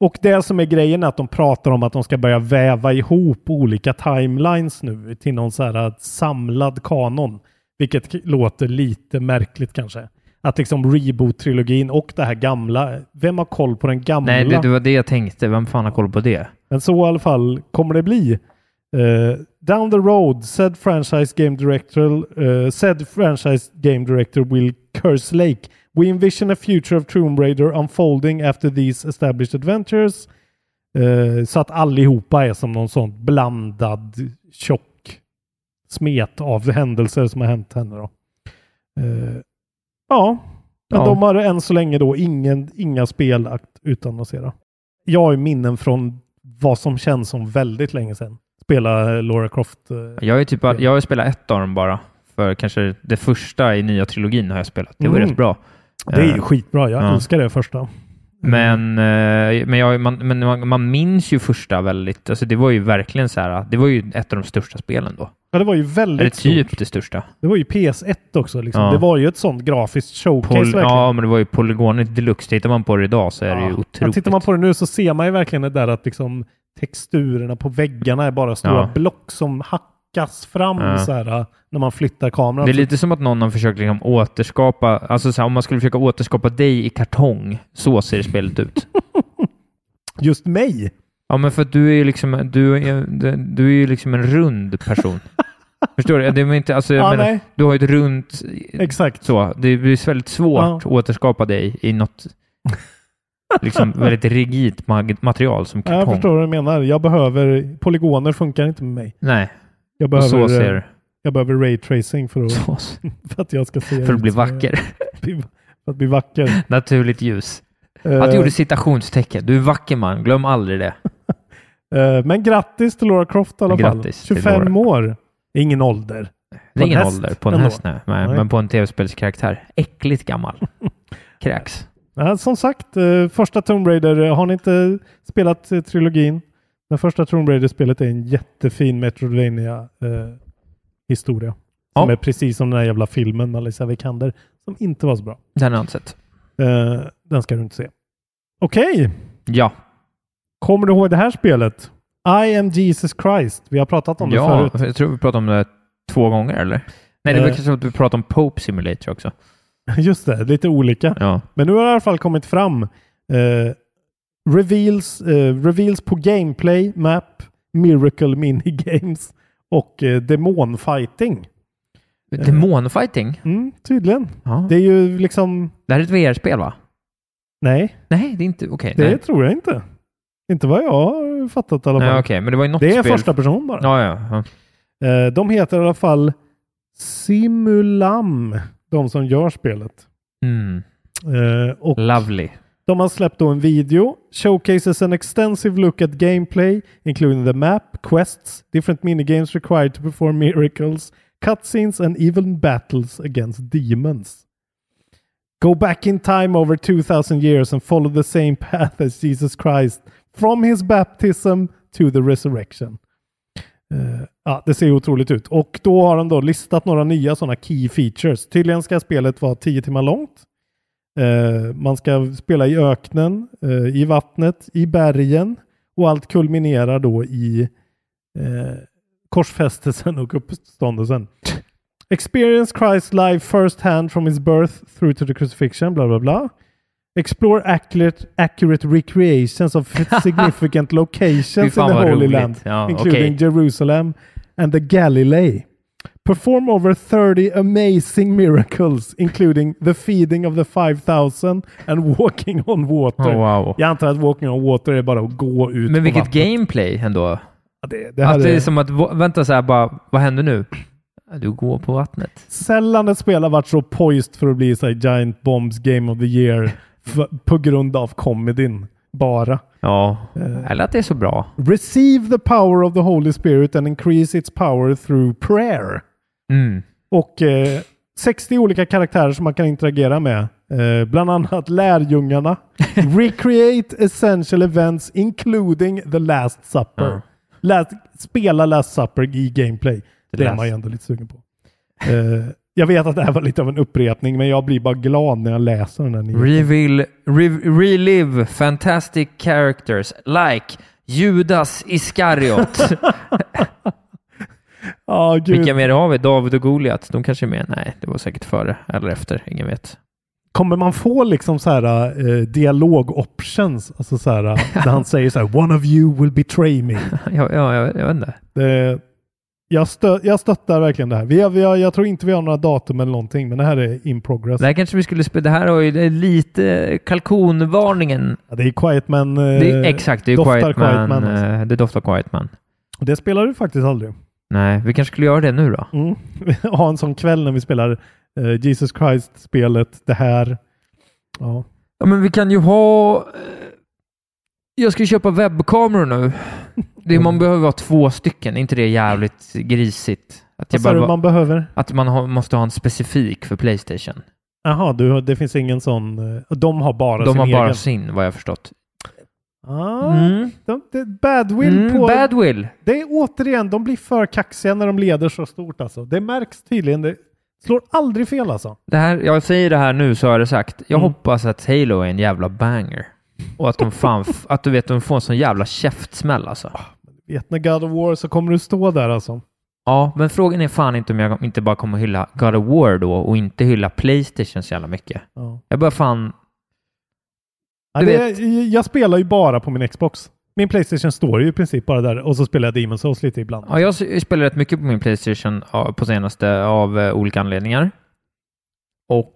[SPEAKER 3] Och det som är grejen är att de pratar om att de ska börja väva ihop olika timelines nu till någon så här samlad kanon. Vilket k- låter lite märkligt kanske. Att liksom reboot-trilogin och det här gamla. Vem har koll på den gamla?
[SPEAKER 4] Nej, det, det var det jag tänkte. Vem fan har koll på det?
[SPEAKER 3] Men så i alla fall kommer det bli. Eh, down the road, said franchise game director, eh, said franchise game director Will Kerslake. We envision a future of Tomb Raider unfolding after these established adventures. Eh, så att allihopa är som någon sån blandad tjock smet av händelser som har hänt henne. Då. Eh, ja, men
[SPEAKER 4] Ja.
[SPEAKER 3] de har än så länge då ingen, inga spel att utannonsera. Jag har ju minnen från vad som känns som väldigt länge sedan. Spela eh, Laura Croft. eh,
[SPEAKER 4] Jag, är typ, jag har spelat ett av dem bara. För kanske det första i nya trilogin har jag spelat. Det var
[SPEAKER 3] Mm.
[SPEAKER 4] rätt bra.
[SPEAKER 3] Det är
[SPEAKER 4] Eh,
[SPEAKER 3] ju skitbra. Jag
[SPEAKER 4] ja.
[SPEAKER 3] älskar det första.
[SPEAKER 4] Men, eh, men, jag, man, men man, man minns ju första väldigt. Alltså det var ju verkligen så här. Det var ju ett av de största spelen då.
[SPEAKER 3] Ja, det var ju
[SPEAKER 4] Eller
[SPEAKER 3] väldigt
[SPEAKER 4] typ
[SPEAKER 3] stort.
[SPEAKER 4] det största.
[SPEAKER 3] Det var ju PS1 också. Liksom.
[SPEAKER 4] Ja.
[SPEAKER 3] Det var ju ett sånt grafiskt showcase.
[SPEAKER 4] Pol-
[SPEAKER 3] verkligen.
[SPEAKER 4] ja, men det var ju polygonet deluxe. Tittar man på det idag så är det ju
[SPEAKER 3] Ja.
[SPEAKER 4] otroligt.
[SPEAKER 3] Men Tittar man på det nu så ser man ju verkligen det där att liksom texturerna på väggarna är bara stora
[SPEAKER 4] Ja.
[SPEAKER 3] block som hackas fram
[SPEAKER 4] Ja.
[SPEAKER 3] så här, eh, när man flyttar kameran.
[SPEAKER 4] det är lite som att någon har försökt liksom återskapa, alltså så här, om man skulle försöka återskapa dig i kartong, så ser spelet ut.
[SPEAKER 3] Just mig! [laughs]
[SPEAKER 4] Ja, men för att du är ju liksom, du är, du är ju liksom en rund person. Förstår du? Det är inte, alltså, jag
[SPEAKER 3] Ja,
[SPEAKER 4] menar,
[SPEAKER 3] nej.
[SPEAKER 4] du har ju ett runt...
[SPEAKER 3] Exakt.
[SPEAKER 4] Så, det blir väldigt svårt
[SPEAKER 3] Ja.
[SPEAKER 4] att återskapa dig
[SPEAKER 3] [laughs]
[SPEAKER 4] i något liksom, väldigt rigidt mag- material som
[SPEAKER 3] Ja, jag
[SPEAKER 4] kartong.
[SPEAKER 3] förstår vad du menar. Jag behöver... Polygoner funkar inte med mig.
[SPEAKER 4] Nej,
[SPEAKER 3] Jag
[SPEAKER 4] och så
[SPEAKER 3] behöver, eh,
[SPEAKER 4] ser
[SPEAKER 3] jag behöver ray tracing för att,
[SPEAKER 4] så, ser-
[SPEAKER 3] [laughs] för att jag ska se
[SPEAKER 4] för att
[SPEAKER 3] ut
[SPEAKER 4] bli
[SPEAKER 3] som jag-
[SPEAKER 4] vacker.
[SPEAKER 3] [laughs] För att bli vacker.
[SPEAKER 4] [laughs] Naturligt ljus. [laughs] Att
[SPEAKER 3] Eh,
[SPEAKER 4] du gjorde citationstecken. Du är en vacker man, glöm aldrig det.
[SPEAKER 3] eh, men grattis till Laura Croft i alla fall.
[SPEAKER 4] Grattis till
[SPEAKER 3] 25
[SPEAKER 4] Laura.
[SPEAKER 3] år. Ingen ålder.
[SPEAKER 4] Det är
[SPEAKER 3] en
[SPEAKER 4] ingen
[SPEAKER 3] häst
[SPEAKER 4] ålder på en
[SPEAKER 3] ändå.
[SPEAKER 4] häst, nej. Men,
[SPEAKER 3] Nej.
[SPEAKER 4] men på en tv-spelskaraktär. Äckligt gammal.
[SPEAKER 3] [laughs]
[SPEAKER 4] Kräks.
[SPEAKER 3] Ja, som sagt, eh, första Tomb Raider, eh, har ni inte spelat eh, trilogin? Det första Tomb Raider-spelet är en jättefin metroidvania eh, historia Som
[SPEAKER 4] Ja.
[SPEAKER 3] är precis som den här jävla filmen med Alicia Vikander, som inte var så bra.
[SPEAKER 4] Den har jag inte sett.
[SPEAKER 3] Eh, den ska du inte se. Okej,
[SPEAKER 4] Ja.
[SPEAKER 3] kommer du ihåg det här spelet? I am Jesus Christ. Vi har pratat om det
[SPEAKER 4] ja
[SPEAKER 3] förut.
[SPEAKER 4] jag tror vi pratade om det två gånger, eller? Nej, det var
[SPEAKER 3] Eh.
[SPEAKER 4] kanske att vi pratade om Pope Simulator också.
[SPEAKER 3] [laughs] Just det, lite olika.
[SPEAKER 4] Ja.
[SPEAKER 3] Men nu har det i alla fall kommit fram eh, reveals, eh, reveals på gameplay, map, miracle minigames och eh, demonfighting.
[SPEAKER 4] Eh. Demonfighting?
[SPEAKER 3] Mm, tydligen.
[SPEAKER 4] Ja.
[SPEAKER 3] Det är ju liksom...
[SPEAKER 4] Det här är ett VR-spel, va?
[SPEAKER 3] Nej,
[SPEAKER 4] Nej, det är inte... Okej.
[SPEAKER 3] det
[SPEAKER 4] nej.
[SPEAKER 3] tror jag inte. Inte vad jag har fattat i alla fall.
[SPEAKER 4] Nej, okej, men det var ju något
[SPEAKER 3] Det är
[SPEAKER 4] spel.
[SPEAKER 3] första person bara.
[SPEAKER 4] Ja, ja. ja.
[SPEAKER 3] Eh, de heter i alla fall Simulam, de som gör spelet.
[SPEAKER 4] Mm.
[SPEAKER 3] Eh, och
[SPEAKER 4] Lovely.
[SPEAKER 3] De har släppt då en video. Showcases an extensive look at gameplay, including the map, quests, different minigames required to perform miracles, cutscenes and even battles against demons. Go back in time over 2000 years and follow the same path as Jesus Christ from his baptism to the resurrection. Eh, ja, det ser otroligt ut. Och då har de då listat några nya sådana key features. Tydligen ska spelet vara 10 timmar långt. Eh, man ska spela i öknen, eh, i vattnet, i bergen och allt kulminerar då i eh, korsfästelsen och uppståndelsen. Experience Christ live first hand from his birth through to the crucifixion, bla bla bla. Explore accurate, accurate recreations
[SPEAKER 4] [laughs]
[SPEAKER 3] of significant
[SPEAKER 4] Fy
[SPEAKER 3] locations in
[SPEAKER 4] fan
[SPEAKER 3] the
[SPEAKER 4] vad
[SPEAKER 3] Holy
[SPEAKER 4] roligt.
[SPEAKER 3] Land,
[SPEAKER 4] Ja,
[SPEAKER 3] including
[SPEAKER 4] okej.
[SPEAKER 3] Jerusalem and the Galilee. Perform over 30 amazing miracles, including the feeding of the 5000 and walking on water.
[SPEAKER 4] Oh, wow.
[SPEAKER 3] Jag antar att walking on water är bara att gå ut
[SPEAKER 4] Men
[SPEAKER 3] på
[SPEAKER 4] vilket
[SPEAKER 3] vattnet.
[SPEAKER 4] gameplay ändå.
[SPEAKER 3] Ja, Det, det här
[SPEAKER 4] Att det
[SPEAKER 3] är
[SPEAKER 4] är som att, va- vänta så här bara, vad händer nu? Du går på vattnet.
[SPEAKER 3] Sällan ett spel har varit så poised för att bli så här, Giant Bombs Game of the
[SPEAKER 4] [laughs]
[SPEAKER 3] Year f- på grund av comedyn bara.
[SPEAKER 4] Ja,
[SPEAKER 3] Eh.
[SPEAKER 4] eller att det är så bra.
[SPEAKER 3] Receive the power of the Holy Spirit and increase its power through prayer.
[SPEAKER 4] Mm.
[SPEAKER 3] Och eh, 60 olika karaktärer som man kan interagera med. Eh, bland annat
[SPEAKER 4] [laughs]
[SPEAKER 3] lärjungarna. Recreate essential events including the last supper.
[SPEAKER 4] Ja.
[SPEAKER 3] Last, spela last supper i gameplay. Det, är
[SPEAKER 4] last-
[SPEAKER 3] man ju ändå lite sugen på. Eh, jag vet att det här var lite av en upprepning, men jag blir bara glad när jag läser den här nyheten.
[SPEAKER 4] Reveal, rev, relive fantastic characters like Judas Iskariot.
[SPEAKER 3] [laughs] Ja, gud.
[SPEAKER 4] Vilka mer har vi? David och Goliat? De kanske är med? Nej, det var säkert före eller efter. Ingen vet. [laughs]
[SPEAKER 3] Kommer man få liksom så här eh, dialog options? Alltså så här,
[SPEAKER 4] [laughs]
[SPEAKER 3] när han säger så här, one of you will betray me.
[SPEAKER 4] Ja, ja, jag, jag vet inte.
[SPEAKER 3] Det, jag, stö, jag stöttar verkligen det här. Vi har, vi har, jag tror inte vi har några datum eller någonting, men det här är in progress.
[SPEAKER 4] Det här kanske vi skulle spela. Det här har ju det är lite kalkonvarningen.
[SPEAKER 3] Ja, Det är Quiet Man. eh,
[SPEAKER 4] Det är, exakt, det är
[SPEAKER 3] doftar
[SPEAKER 4] Quiet
[SPEAKER 3] Quiet
[SPEAKER 4] Man.
[SPEAKER 3] Man, alltså.
[SPEAKER 4] eh, Det doftar Quiet Man.
[SPEAKER 3] och det spelar du faktiskt aldrig.
[SPEAKER 4] Nej, vi kanske skulle göra det nu då.
[SPEAKER 3] Mm. [laughs] ha en sån kväll när vi spelar eh, Jesus Christ-spelet, det här. Ja.
[SPEAKER 4] Ja, men vi kan ju ha... eh, Jag ska ju köpa
[SPEAKER 3] [laughs]
[SPEAKER 4] webbkameror nu. Det, man behöver vara två stycken, inte det jävligt grisigt? Att, jag
[SPEAKER 3] Vad sa
[SPEAKER 4] bara,
[SPEAKER 3] du man behöver?
[SPEAKER 4] att man har, måste ha en specifik för Playstation.
[SPEAKER 3] Jaha, du, har- det finns ingen sån. eh, De har bara
[SPEAKER 4] De
[SPEAKER 3] sin
[SPEAKER 4] har bara
[SPEAKER 3] egen.
[SPEAKER 4] sin, vad jag har förstått.
[SPEAKER 3] Ah,
[SPEAKER 4] Mm.
[SPEAKER 3] de, det, badwill
[SPEAKER 4] Mm,
[SPEAKER 3] på...
[SPEAKER 4] Badwill.
[SPEAKER 3] Det är återigen, de blir för kaxiga när de leder så stort alltså. Det märks tydligen. Det slår aldrig fel alltså.
[SPEAKER 4] Det här, jag säger det här nu så har jag det sagt. Jag
[SPEAKER 3] Mm.
[SPEAKER 4] hoppas att Halo är en jävla banger. Och att de fan, f- att du vet, de får en sån jävla käftsmäll alltså.
[SPEAKER 3] vet när God of War så kommer du stå där alltså.
[SPEAKER 4] Ja, men frågan är fan inte om jag inte bara kommer hylla God of War då och inte hylla Playstation så jävla mycket.
[SPEAKER 3] Ja.
[SPEAKER 4] Jag börjar fan...
[SPEAKER 3] Ja,
[SPEAKER 4] Du
[SPEAKER 3] det, jag spelar ju bara på min Xbox. Min Playstation står ju i princip bara där och så spelar jag Demon's Souls lite ibland.
[SPEAKER 4] Ja, jag s- spelar rätt mycket på min Playstation ja, på senaste av eh, olika anledningar. Och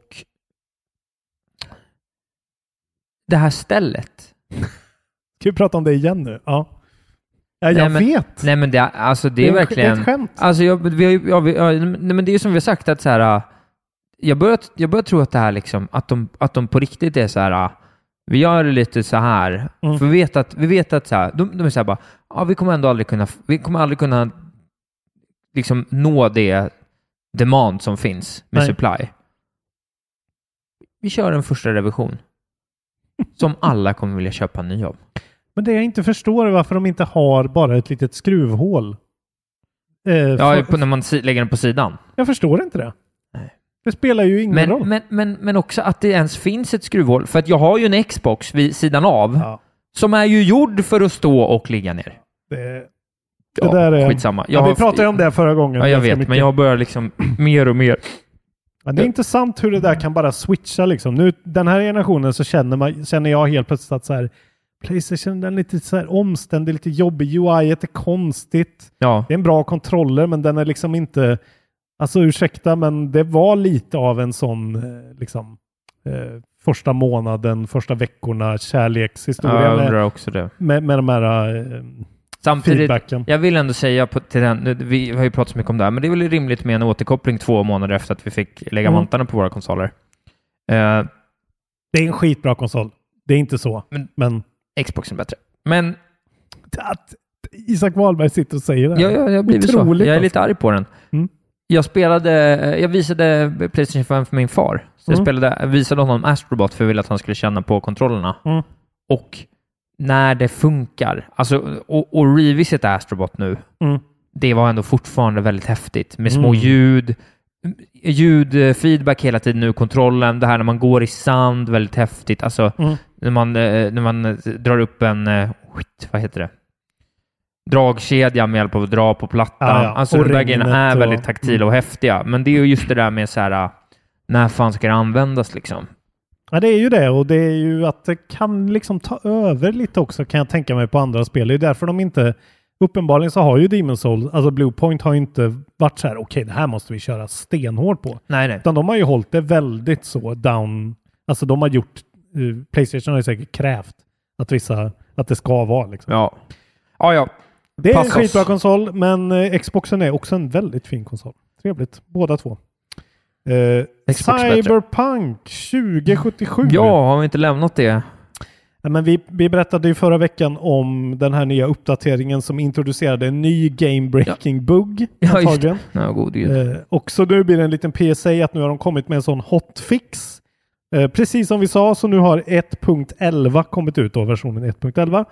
[SPEAKER 4] det här stället.
[SPEAKER 3] Ska vi prata om det igen nu? Ja. Ja, jag
[SPEAKER 4] men-
[SPEAKER 3] vet!
[SPEAKER 4] Nej, men det, alltså, det är
[SPEAKER 3] en-
[SPEAKER 4] verkligen...
[SPEAKER 3] ett skämt.
[SPEAKER 4] Alltså, jag, vi har, ju- ja, vi, ja, nej, men det är ju som vi har sagt, att så här, äh, jag, börjar, jag börjar tro att det här liksom, att de, att de på riktigt är så här, äh, vi gör det lite så här,
[SPEAKER 3] Mm.
[SPEAKER 4] för vi vet att, vi vet att så här, de, de är så här bara, ja, vi kommer ändå aldrig kunna, vi kommer aldrig kunna liksom nå det demand som finns med
[SPEAKER 3] Nej.
[SPEAKER 4] supply. Vi kör en första revision som alla kommer vilja köpa en ny av.
[SPEAKER 3] Men det jag inte förstår är varför de inte har bara ett litet skruvhål. Eh,
[SPEAKER 4] Ja,
[SPEAKER 3] för,
[SPEAKER 4] på- när man si- lägger den på sidan.
[SPEAKER 3] Jag förstår inte det.
[SPEAKER 4] Nej.
[SPEAKER 3] Det spelar ju ingen roll.
[SPEAKER 4] Men, men, men, men också att det ens finns ett skruvhål. För att jag har ju en Xbox vid sidan av
[SPEAKER 3] Ja,
[SPEAKER 4] som är ju gjord för att stå och ligga ner.
[SPEAKER 3] det, det
[SPEAKER 4] Ja,
[SPEAKER 3] där är...
[SPEAKER 4] skitsamma. Jag
[SPEAKER 3] ja, vi
[SPEAKER 4] har-
[SPEAKER 3] pratade ju om det förra gången.
[SPEAKER 4] Ja, jag
[SPEAKER 3] ganska
[SPEAKER 4] vet,
[SPEAKER 3] mycket.
[SPEAKER 4] men jag börjar liksom [clears throat] mer och mer.
[SPEAKER 3] Men det är intressant hur det där kan bara switcha liksom. Nu, den här generationen så känner, man, känner jag helt plötsligt att så här, Playstation den är lite så här omständig, lite jobbig. UI är konstigt.
[SPEAKER 4] Ja,
[SPEAKER 3] Det är en bra kontroller, men den är liksom inte... Alltså ursäkta, men det var lite av en sån eh, liksom, eh, första månaden, första veckorna kärlekshistoria
[SPEAKER 4] jag
[SPEAKER 3] med,
[SPEAKER 4] undrar också det.
[SPEAKER 3] med, med de här eh,
[SPEAKER 4] Samtidigt,
[SPEAKER 3] feedbacken.
[SPEAKER 4] jag vill ändå säga på, till den, nu- vi har ju pratat så mycket om det här, men det är väl rimligt med en återkoppling två månader efter att vi fick lägga
[SPEAKER 3] Mm.
[SPEAKER 4] vantarna på våra konsoler. Eh,
[SPEAKER 3] Det är en skitbra konsol. Det är inte så,
[SPEAKER 4] Men-
[SPEAKER 3] men
[SPEAKER 4] Xboxen är bättre. Men
[SPEAKER 3] att Isak Wahlberg sitter och säger det här.
[SPEAKER 4] Ja, ja, jag har blivit så.
[SPEAKER 3] Otroligt,
[SPEAKER 4] Jag är
[SPEAKER 3] alltså.
[SPEAKER 4] lite arg på den.
[SPEAKER 3] Mm.
[SPEAKER 4] Jag spelade, eh, jag visade Playstation 5 för min far. Så jag
[SPEAKER 3] Mm.
[SPEAKER 4] spelade, visade honom Astrobot för jag ville att han skulle känna på kontrollerna.
[SPEAKER 3] Mm.
[SPEAKER 4] Och när det funkar, alltså, och, och revisita Astrobot nu,
[SPEAKER 3] Mm.
[SPEAKER 4] det var ändå fortfarande väldigt häftigt med små
[SPEAKER 3] Mm.
[SPEAKER 4] ljud, ljud, eh, feedback hela tiden nu, kontrollen, det här när man går i sand, väldigt häftigt. Alltså
[SPEAKER 3] Mm.
[SPEAKER 4] när, man, eh, när man eh, drar upp en, eh, skit, vad heter det? dragkedja med hjälp av att dra på plattan.
[SPEAKER 3] Ah, Ja, ja.
[SPEAKER 4] Alltså
[SPEAKER 3] Och
[SPEAKER 4] de där grejerna
[SPEAKER 3] regnet
[SPEAKER 4] är
[SPEAKER 3] och- Mm.
[SPEAKER 4] väldigt taktila och häftiga. Men det är ju just det där med så här, eh, när fan ska det användas liksom?
[SPEAKER 3] Ja, det är ju det och det är ju att det kan liksom ta över lite också kan jag tänka mig på andra spel. Det är därför de inte, uppenbarligen så har ju Demon's Souls, alltså Bluepoint har ju inte varit så här, okej det här måste vi köra stenhårt på.
[SPEAKER 4] Nej, nej.
[SPEAKER 3] Utan de har ju hållit det väldigt så down, alltså de har gjort, eh, Playstation har ju säkert krävt att vissa, att det ska vara liksom.
[SPEAKER 4] Ja. Ja, ja.
[SPEAKER 3] det är
[SPEAKER 4] pass
[SPEAKER 3] en
[SPEAKER 4] oss.
[SPEAKER 3] skitbra konsol, men eh, Xboxen är också en väldigt fin konsol. Trevligt, båda två. Eh,
[SPEAKER 4] Xbox bättre.
[SPEAKER 3] Cyberpunk 2077.
[SPEAKER 4] Ja, har vi inte lämnat det?
[SPEAKER 3] Ja, Men vi, vi berättade ju förra veckan om den här nya uppdateringen som introducerade en ny game-breaking bugg.
[SPEAKER 4] Ja, just det.
[SPEAKER 3] antagligen.
[SPEAKER 4] Nej, god gud.
[SPEAKER 3] Eh, och så nu blir det en liten PSA att nu har de kommit med en sån hotfix. Eh, precis som vi sa så nu har 1.11 kommit ut då, versionen 1.11.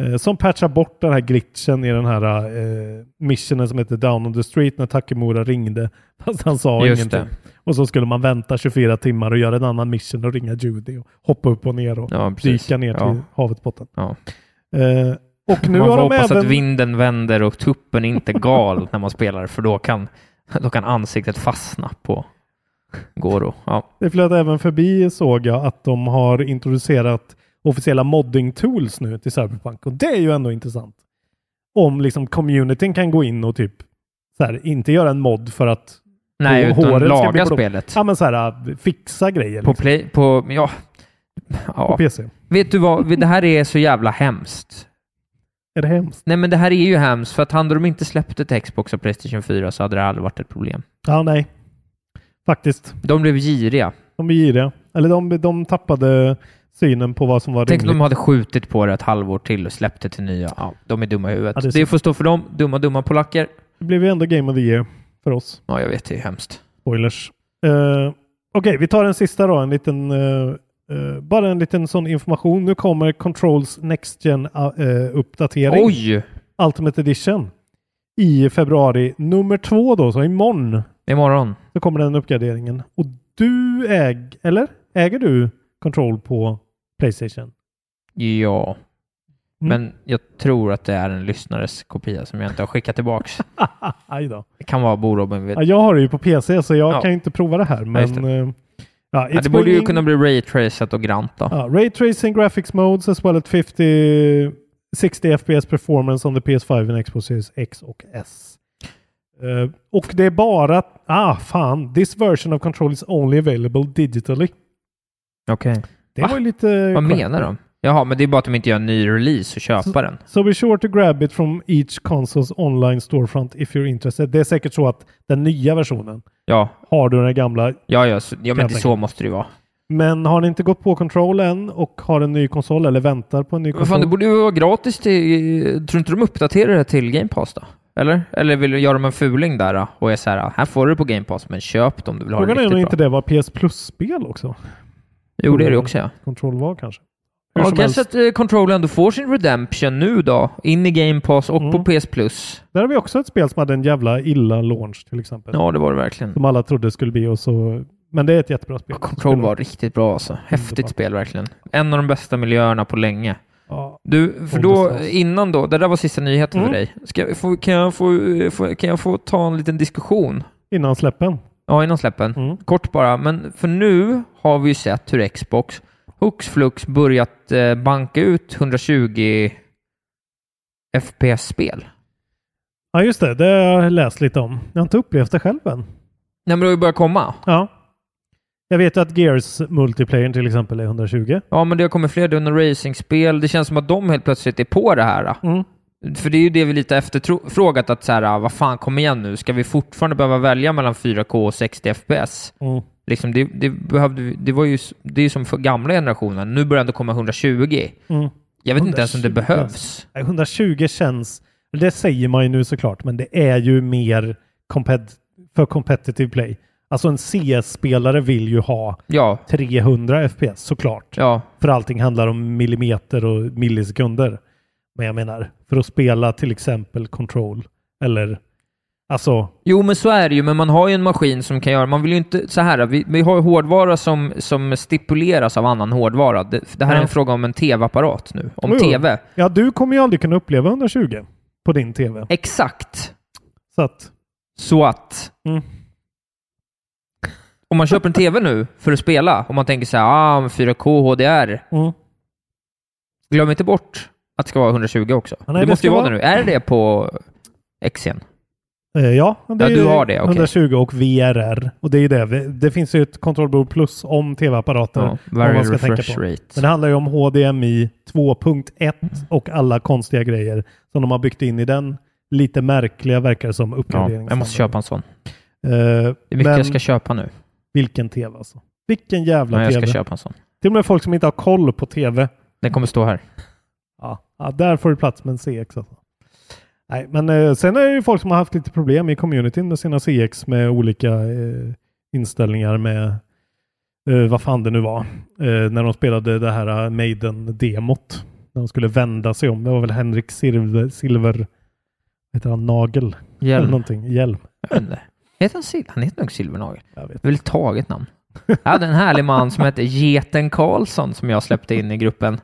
[SPEAKER 3] Eh, som patchar bort den här glitchen i den här eh, missionen som heter Down on the Street när Takemura ringde. [laughs] Fast han sa
[SPEAKER 4] Just
[SPEAKER 3] ingenting.
[SPEAKER 4] det.
[SPEAKER 3] Och så skulle man vänta 24 timmar och göra en annan mission och ringa Judy och hoppa upp och ner och
[SPEAKER 4] Ja, precis.
[SPEAKER 3] dyka ner till
[SPEAKER 4] Ja.
[SPEAKER 3] havets botten.
[SPEAKER 4] Ja.
[SPEAKER 3] Eh, och nu
[SPEAKER 4] man
[SPEAKER 3] har
[SPEAKER 4] får
[SPEAKER 3] de
[SPEAKER 4] hoppas
[SPEAKER 3] även...
[SPEAKER 4] att vinden vänder och tuppen inte gal när man spelar, för då kan, då kan ansiktet fastna på Goro. Ja.
[SPEAKER 3] Det flöt även förbi såg jag att de har introducerat officiella modding tools nu till Cyberpunk och det är ju ändå intressant. Om liksom communityn kan gå in och typ så här, inte göra en mod för att
[SPEAKER 4] Nej,
[SPEAKER 3] Och
[SPEAKER 4] utan
[SPEAKER 3] håret ska bli
[SPEAKER 4] laga
[SPEAKER 3] blå.
[SPEAKER 4] spelet.
[SPEAKER 3] ja, men så här, äh, fixa grejer
[SPEAKER 4] På
[SPEAKER 3] liksom,
[SPEAKER 4] play, på, ja.
[SPEAKER 3] på
[SPEAKER 4] ja.
[SPEAKER 3] PC.
[SPEAKER 4] Vet du vad, det här är så jävla hemskt.
[SPEAKER 3] Är det hemskt?
[SPEAKER 4] Nej, men det här är ju hemskt, för att hade de inte släppt ett Xbox och Playstation 4 så hade det aldrig varit ett problem.
[SPEAKER 3] Ja, nej. Faktiskt.
[SPEAKER 4] De blev giriga.
[SPEAKER 3] De är giriga. Eller de, de tappade synen på vad som var
[SPEAKER 4] Tänk om
[SPEAKER 3] rimligt.
[SPEAKER 4] de hade skjutit på det ett halvår till och släppt det till nya. Ja, de är dumma i huvudet.
[SPEAKER 3] Ja, det är
[SPEAKER 4] det
[SPEAKER 3] sant.
[SPEAKER 4] får stå för dem. Dumma, dumma polacker.
[SPEAKER 3] Det blev ju ändå Game of the Year för oss.
[SPEAKER 4] Ja, jag vet, det är hemskt.
[SPEAKER 3] Spoilers. Eh, Okej, vi tar den sista då. En liten, eh, eh, bara en liten sån information. Nu kommer Controls Next Gen eh, uppdatering.
[SPEAKER 4] Oj!
[SPEAKER 3] Ultimate Edition. I februari nummer två då, så imorgon
[SPEAKER 4] Imorgon.
[SPEAKER 3] så kommer den uppgraderingen. Och du äg, eller? Äger du Control på Playstation?
[SPEAKER 4] Ja.
[SPEAKER 3] Mm.
[SPEAKER 4] Men jag tror att det är en lyssnares kopia som jag inte har
[SPEAKER 3] [laughs]
[SPEAKER 4] skickat tillbaks.
[SPEAKER 3] Aj då.
[SPEAKER 4] Det kan vara Bo Robin. Vet.
[SPEAKER 3] Ja, jag har det ju på PC så jag
[SPEAKER 4] Ja.
[SPEAKER 3] kan ju inte prova det här. Men,
[SPEAKER 4] just
[SPEAKER 3] eh, ja,
[SPEAKER 4] Ja,
[SPEAKER 3] it's
[SPEAKER 4] det borde ju
[SPEAKER 3] going-
[SPEAKER 4] kunna bli raytracat och grant då.
[SPEAKER 3] Ja, Ray Tracing Graphics Modes as well at 50 60 FPS performance on the PS5 and Xbox Series X och S. Eh, och det är bara... Ah, fan. This version of control is only available digitally.
[SPEAKER 4] Okej.
[SPEAKER 3] Det
[SPEAKER 4] Va?
[SPEAKER 3] var ju lite...
[SPEAKER 4] Vad menar de? Jaha, men det är bara att de inte gör en ny release och köpa den.
[SPEAKER 3] So be sure to grab it from each consoles online storefront if you're interested. Det är säkert så att den nya versionen
[SPEAKER 4] Ja,
[SPEAKER 3] har du den gamla.
[SPEAKER 4] ja, ja, så, ja men
[SPEAKER 3] jag
[SPEAKER 4] så måste det ju vara.
[SPEAKER 3] Men har ni inte gått på Control än och har en ny konsol eller väntar på en ny
[SPEAKER 4] Men fan, det
[SPEAKER 3] konsol?
[SPEAKER 4] borde ju vara gratis till... Tror inte de uppdaterar det till Game Pass då? Eller? Eller vill göra de en fuling där då? och är så här, här får du det på Game Pass, men köp det om du vill ha det
[SPEAKER 3] Frågan är
[SPEAKER 4] riktigt
[SPEAKER 3] om
[SPEAKER 4] bra.
[SPEAKER 3] inte det var PS Plus-spel också.
[SPEAKER 4] Jo, det är det också ja.
[SPEAKER 3] Control var kanske. Hur
[SPEAKER 4] Ja,
[SPEAKER 3] som helst,
[SPEAKER 4] kanske att eh, Control ändå får sin Redemption nu då. In i Game Pass och
[SPEAKER 3] Mm.
[SPEAKER 4] på PS Plus.
[SPEAKER 3] där har vi också ett spel som hade en jävla illa launch till exempel.
[SPEAKER 4] Ja, det var det verkligen.
[SPEAKER 3] Som alla trodde skulle bli och så... Men det är ett jättebra spel.
[SPEAKER 4] Control var riktigt bra alltså. Häftigt
[SPEAKER 3] Underbart.
[SPEAKER 4] spel verkligen. En av de bästa miljöerna på länge.
[SPEAKER 3] Ja.
[SPEAKER 4] Du, för
[SPEAKER 3] Om det
[SPEAKER 4] då,
[SPEAKER 3] stas.
[SPEAKER 4] innan då, det där var sista nyheten
[SPEAKER 3] Mm.
[SPEAKER 4] för dig. Ska, få, kan, jag få, få, kan jag få ta en liten diskussion?
[SPEAKER 3] Innan släppen.
[SPEAKER 4] Ja, innan släppen.
[SPEAKER 3] Mm.
[SPEAKER 4] Kort bara, men för nu har vi ju sett hur Xbox hux flux börjat eh, banka ut 120 FPS-spel.
[SPEAKER 3] Ja, just det. Det har jag läst lite om. Jag har inte upplevt det själv än.
[SPEAKER 4] Nej, men det har ju börjat komma.
[SPEAKER 3] Ja. Jag vet att Gears multiplayern till exempel är 120.
[SPEAKER 4] Ja, men det har kommit fler Dune Racing-spel. Det känns som att de helt plötsligt är på det här.
[SPEAKER 3] Mm.
[SPEAKER 4] För det är ju det vi lite efterfrågat, att så här, ah, vad fan, kom igen nu. Ska vi fortfarande behöva välja mellan 4K och 60 FPS? Liksom det, det, behövde, vi- det, var ju, s- det är ju som för gamla generationen. Nu börjar det komma 120.
[SPEAKER 3] Mm.
[SPEAKER 4] Jag vet inte ens om det
[SPEAKER 3] 120.
[SPEAKER 4] behövs.
[SPEAKER 3] Nej, 120 känns... Det säger man ju nu såklart, men det är ju mer compet- för competitive play. Alltså en CS-spelare vill ju ha
[SPEAKER 4] Ja,
[SPEAKER 3] 300 FPS såklart.
[SPEAKER 4] ja,
[SPEAKER 3] För allting handlar om millimeter och millisekunder. Men jag menar, för att spela till exempel Control eller... Alltså,
[SPEAKER 4] Jo, men så är det ju, men man har ju en maskin som kan göra... Man vill ju inte... Så här, vi, vi har ju hårdvara som, som stipuleras av annan hårdvara. Det, det här är
[SPEAKER 3] Nej.
[SPEAKER 4] en fråga om en tv-apparat nu. Om
[SPEAKER 3] Jo, jo.
[SPEAKER 4] tv.
[SPEAKER 3] ja du kommer ju aldrig kunna uppleva 120 på din TV.
[SPEAKER 4] Exakt.
[SPEAKER 3] Så att,
[SPEAKER 4] Så att...
[SPEAKER 3] Mm.
[SPEAKER 4] Om man köper en tv nu för att spela, om man tänker så här, ah, men 4K HDR.
[SPEAKER 3] mm.
[SPEAKER 4] Glöm inte bort att det ska vara 120 också.
[SPEAKER 3] Ja, nej,
[SPEAKER 4] det
[SPEAKER 3] det
[SPEAKER 4] måste ju
[SPEAKER 3] ska
[SPEAKER 4] vara det
[SPEAKER 3] vara-
[SPEAKER 4] nu. Är det på Xen?
[SPEAKER 3] Eh, Ja, det
[SPEAKER 4] Ja,
[SPEAKER 3] är
[SPEAKER 4] du har det, okej.
[SPEAKER 3] 120 och VRR. Och det är ju det. Vi- Det finns ju ett kontrollbord plus om tv-apparater.
[SPEAKER 4] Ja,
[SPEAKER 3] vad man
[SPEAKER 4] variable
[SPEAKER 3] ska tänka
[SPEAKER 4] refresh
[SPEAKER 3] på.
[SPEAKER 4] rate.
[SPEAKER 3] Men det handlar ju om HDMI 2.1 och alla konstiga grejer som de har byggt in i den. Lite märkliga verkar det som
[SPEAKER 4] Ja,
[SPEAKER 3] uppgraderingsstandarden.
[SPEAKER 4] jag måste köpa en sån.
[SPEAKER 3] Eh,
[SPEAKER 4] Det är mycket
[SPEAKER 3] liksom. men
[SPEAKER 4] jag ska köpa nu.
[SPEAKER 3] vilken tv alltså. Vilken jävla
[SPEAKER 4] Men jag ska
[SPEAKER 3] tv.
[SPEAKER 4] köpa en sån.
[SPEAKER 3] Till och med folk som inte har koll på tv.
[SPEAKER 4] Den kommer stå här.
[SPEAKER 3] [laughs] Ja, ja där får du plats med en CX alltså. Nej, men eh, sen är det ju folk som har haft lite problem i communityn med sina CX med olika eh, inställningar med eh, vad fan det nu var. Eh, när de spelade det här eh, Maiden-demot. När de skulle vända sig om. Det var väl Henrik Silver... Silver vad heter han? Nagel? Eller
[SPEAKER 4] Hjälm.
[SPEAKER 3] någonting. Hjelm.
[SPEAKER 4] Jag vet inte. Heter han, Sil- han heter nog Silvernagel.
[SPEAKER 3] Jag vet.
[SPEAKER 4] Det är väl ett taget namn. Jag hade en härlig man som hette Geten Karlsson som jag släppte in i gruppen.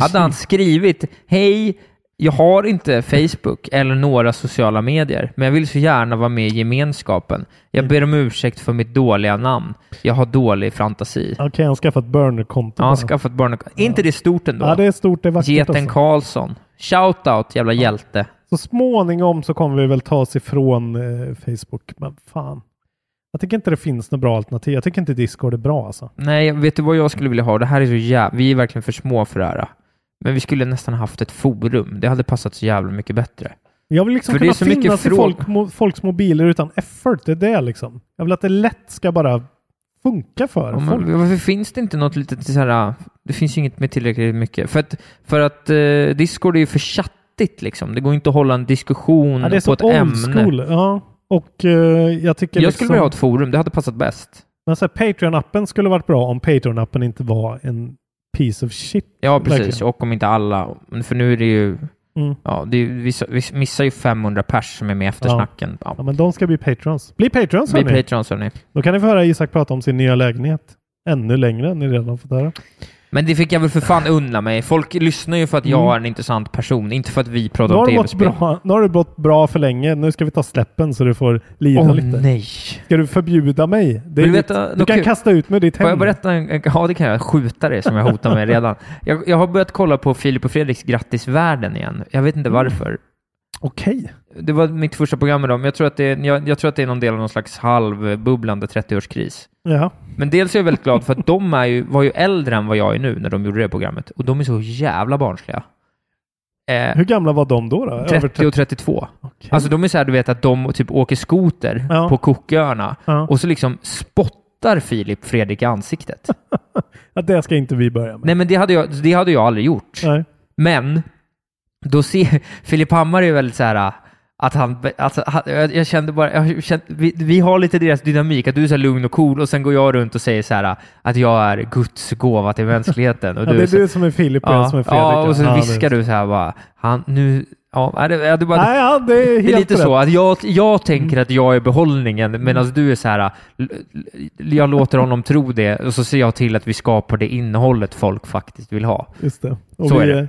[SPEAKER 4] Hade han skrivit Hej, jag har inte Facebook eller några sociala medier, men jag vill så gärna vara med i gemenskapen. Jag ber om ursäkt för mitt dåliga namn. Jag har dålig fantasi.
[SPEAKER 3] Okej, han skaffat burner-konto.
[SPEAKER 4] Ja, han har
[SPEAKER 3] bara.
[SPEAKER 4] skaffat barn. Är inte det stort ändå?
[SPEAKER 3] ja, det är stort. Det är vackert.
[SPEAKER 4] Geten
[SPEAKER 3] Alltså.
[SPEAKER 4] Karlsson. Shoutout, jävla hjälte.
[SPEAKER 3] Så småningom så kommer vi väl ta oss ifrån eh, Facebook. Men fan. Jag tycker inte det finns något bra alternativ. Jag tycker inte Discord är bra alltså.
[SPEAKER 4] Nej, vet du vad jag skulle vilja ha? Det här är så jävla... Vi är verkligen för små för det här. Men vi skulle nästan haft ett forum. Det hade passat så jävla mycket bättre.
[SPEAKER 3] Jag vill liksom
[SPEAKER 4] För det
[SPEAKER 3] kunna
[SPEAKER 4] är så mycket
[SPEAKER 3] finnas i
[SPEAKER 4] fråg-
[SPEAKER 3] folk, mo, folks mobiler utan effort. Det är det liksom. Jag vill att det lätt ska bara funka för
[SPEAKER 4] Ja,
[SPEAKER 3] folk.
[SPEAKER 4] men varför finns det inte något litet så här... ah, Det finns ju inget med tillräckligt mycket. För att, för att eh, Discord är ju för chattigt liksom. Det går inte att hålla en diskussion
[SPEAKER 3] Ja, det är
[SPEAKER 4] på
[SPEAKER 3] så
[SPEAKER 4] ett ämne.
[SPEAKER 3] old school. Ja. Och eh, jag tycker
[SPEAKER 4] Jag
[SPEAKER 3] liksom,
[SPEAKER 4] skulle vilja ha ett forum. Det hade passat bäst.
[SPEAKER 3] men så här, Patreon-appen skulle varit bra om Patreon-appen inte var en piece of shit.
[SPEAKER 4] Ja, precis.
[SPEAKER 3] Verkligen.
[SPEAKER 4] Och om inte alla. Men För nu är det ju...
[SPEAKER 3] Mm.
[SPEAKER 4] Ja, det är, ju- vi, vi missar ju 500 pers som är med i eftersnacken. Ja.
[SPEAKER 3] Ja, men de ska bli patrons. Bli patrons
[SPEAKER 4] Vi
[SPEAKER 3] hörni!
[SPEAKER 4] är Patreons, hörni.
[SPEAKER 3] Då kan ni få höra Isak prata om sin nya lägenhet ännu längre än ni redan har fått höra.
[SPEAKER 4] Men det fick jag väl för fan unna mig. Folk lyssnar ju för att jag
[SPEAKER 3] Mm.
[SPEAKER 4] är en intressant person, inte för att vi
[SPEAKER 3] Nu
[SPEAKER 4] pratar om
[SPEAKER 3] har, det gått
[SPEAKER 4] tv-spel.
[SPEAKER 3] bra, nu har det gått bra för länge. Nu ska vi ta släppen så du får lida
[SPEAKER 4] Åh
[SPEAKER 3] lite.
[SPEAKER 4] nej!
[SPEAKER 3] Ska du förbjuda mig? Det är
[SPEAKER 4] Vill du
[SPEAKER 3] ditt,
[SPEAKER 4] veta
[SPEAKER 3] du
[SPEAKER 4] något
[SPEAKER 3] kan
[SPEAKER 4] kul?
[SPEAKER 3] kasta ut mig i ditt hem.
[SPEAKER 4] Får jag berätta? en- en- Ja, det kan jag. Skjuta dig som jag hotar
[SPEAKER 3] [laughs]
[SPEAKER 4] med redan. Jag, jag har börjat kolla på Filip och Fredriks Grattis Världen igen. Jag vet
[SPEAKER 3] Mm.
[SPEAKER 4] inte varför.
[SPEAKER 3] Okej.
[SPEAKER 4] Det var mitt första program idag, men jag tror att det är, jag, jag tror att det är någon del av någon slags halvbubblande 30-årskris.
[SPEAKER 3] Ja.
[SPEAKER 4] Men dels är jag väldigt glad för att de är ju, var ju äldre än vad jag är nu när de gjorde det programmet. Och de är så jävla barnsliga. Eh,
[SPEAKER 3] Hur gamla var de då? då?
[SPEAKER 4] 30 och 32.
[SPEAKER 3] Okej.
[SPEAKER 4] Alltså de är så här, du vet att de typ åker skoter
[SPEAKER 3] Ja.
[SPEAKER 4] på Cooköarna
[SPEAKER 3] Ja.
[SPEAKER 4] och så liksom spottar Filip Fredrik i ansiktet.
[SPEAKER 3] ja, det ska inte vi börja med.
[SPEAKER 4] Nej men det hade jag, det hade jag aldrig gjort.
[SPEAKER 3] Nej.
[SPEAKER 4] Men då ser [laughs] Filip Hammar är ju väldigt så här att han, alltså, han- jag jag kände bara, jag kände, vi, vi har lite deras dynamik, att du är så här lugn och cool och sen går jag runt och säger så här att jag är Guds gåva till mänskligheten. Och
[SPEAKER 3] Ja,
[SPEAKER 4] du
[SPEAKER 3] det är
[SPEAKER 4] så,
[SPEAKER 3] du som är Filip och jag som är Fredrik.
[SPEAKER 4] ja, och så
[SPEAKER 3] det-
[SPEAKER 4] viskar du så här bara, han nu, ja, är det, är det bara,
[SPEAKER 3] Nej, ja, det är helt
[SPEAKER 4] det är lite
[SPEAKER 3] rätt.
[SPEAKER 4] så att jag, jag tänker att jag är behållningen medan du är så här, l- l- jag låter honom tro det och så ser jag till att vi skapar det innehållet folk faktiskt vill ha.
[SPEAKER 3] Just det. Och
[SPEAKER 4] Så
[SPEAKER 3] vi,
[SPEAKER 4] är
[SPEAKER 3] är
[SPEAKER 4] det.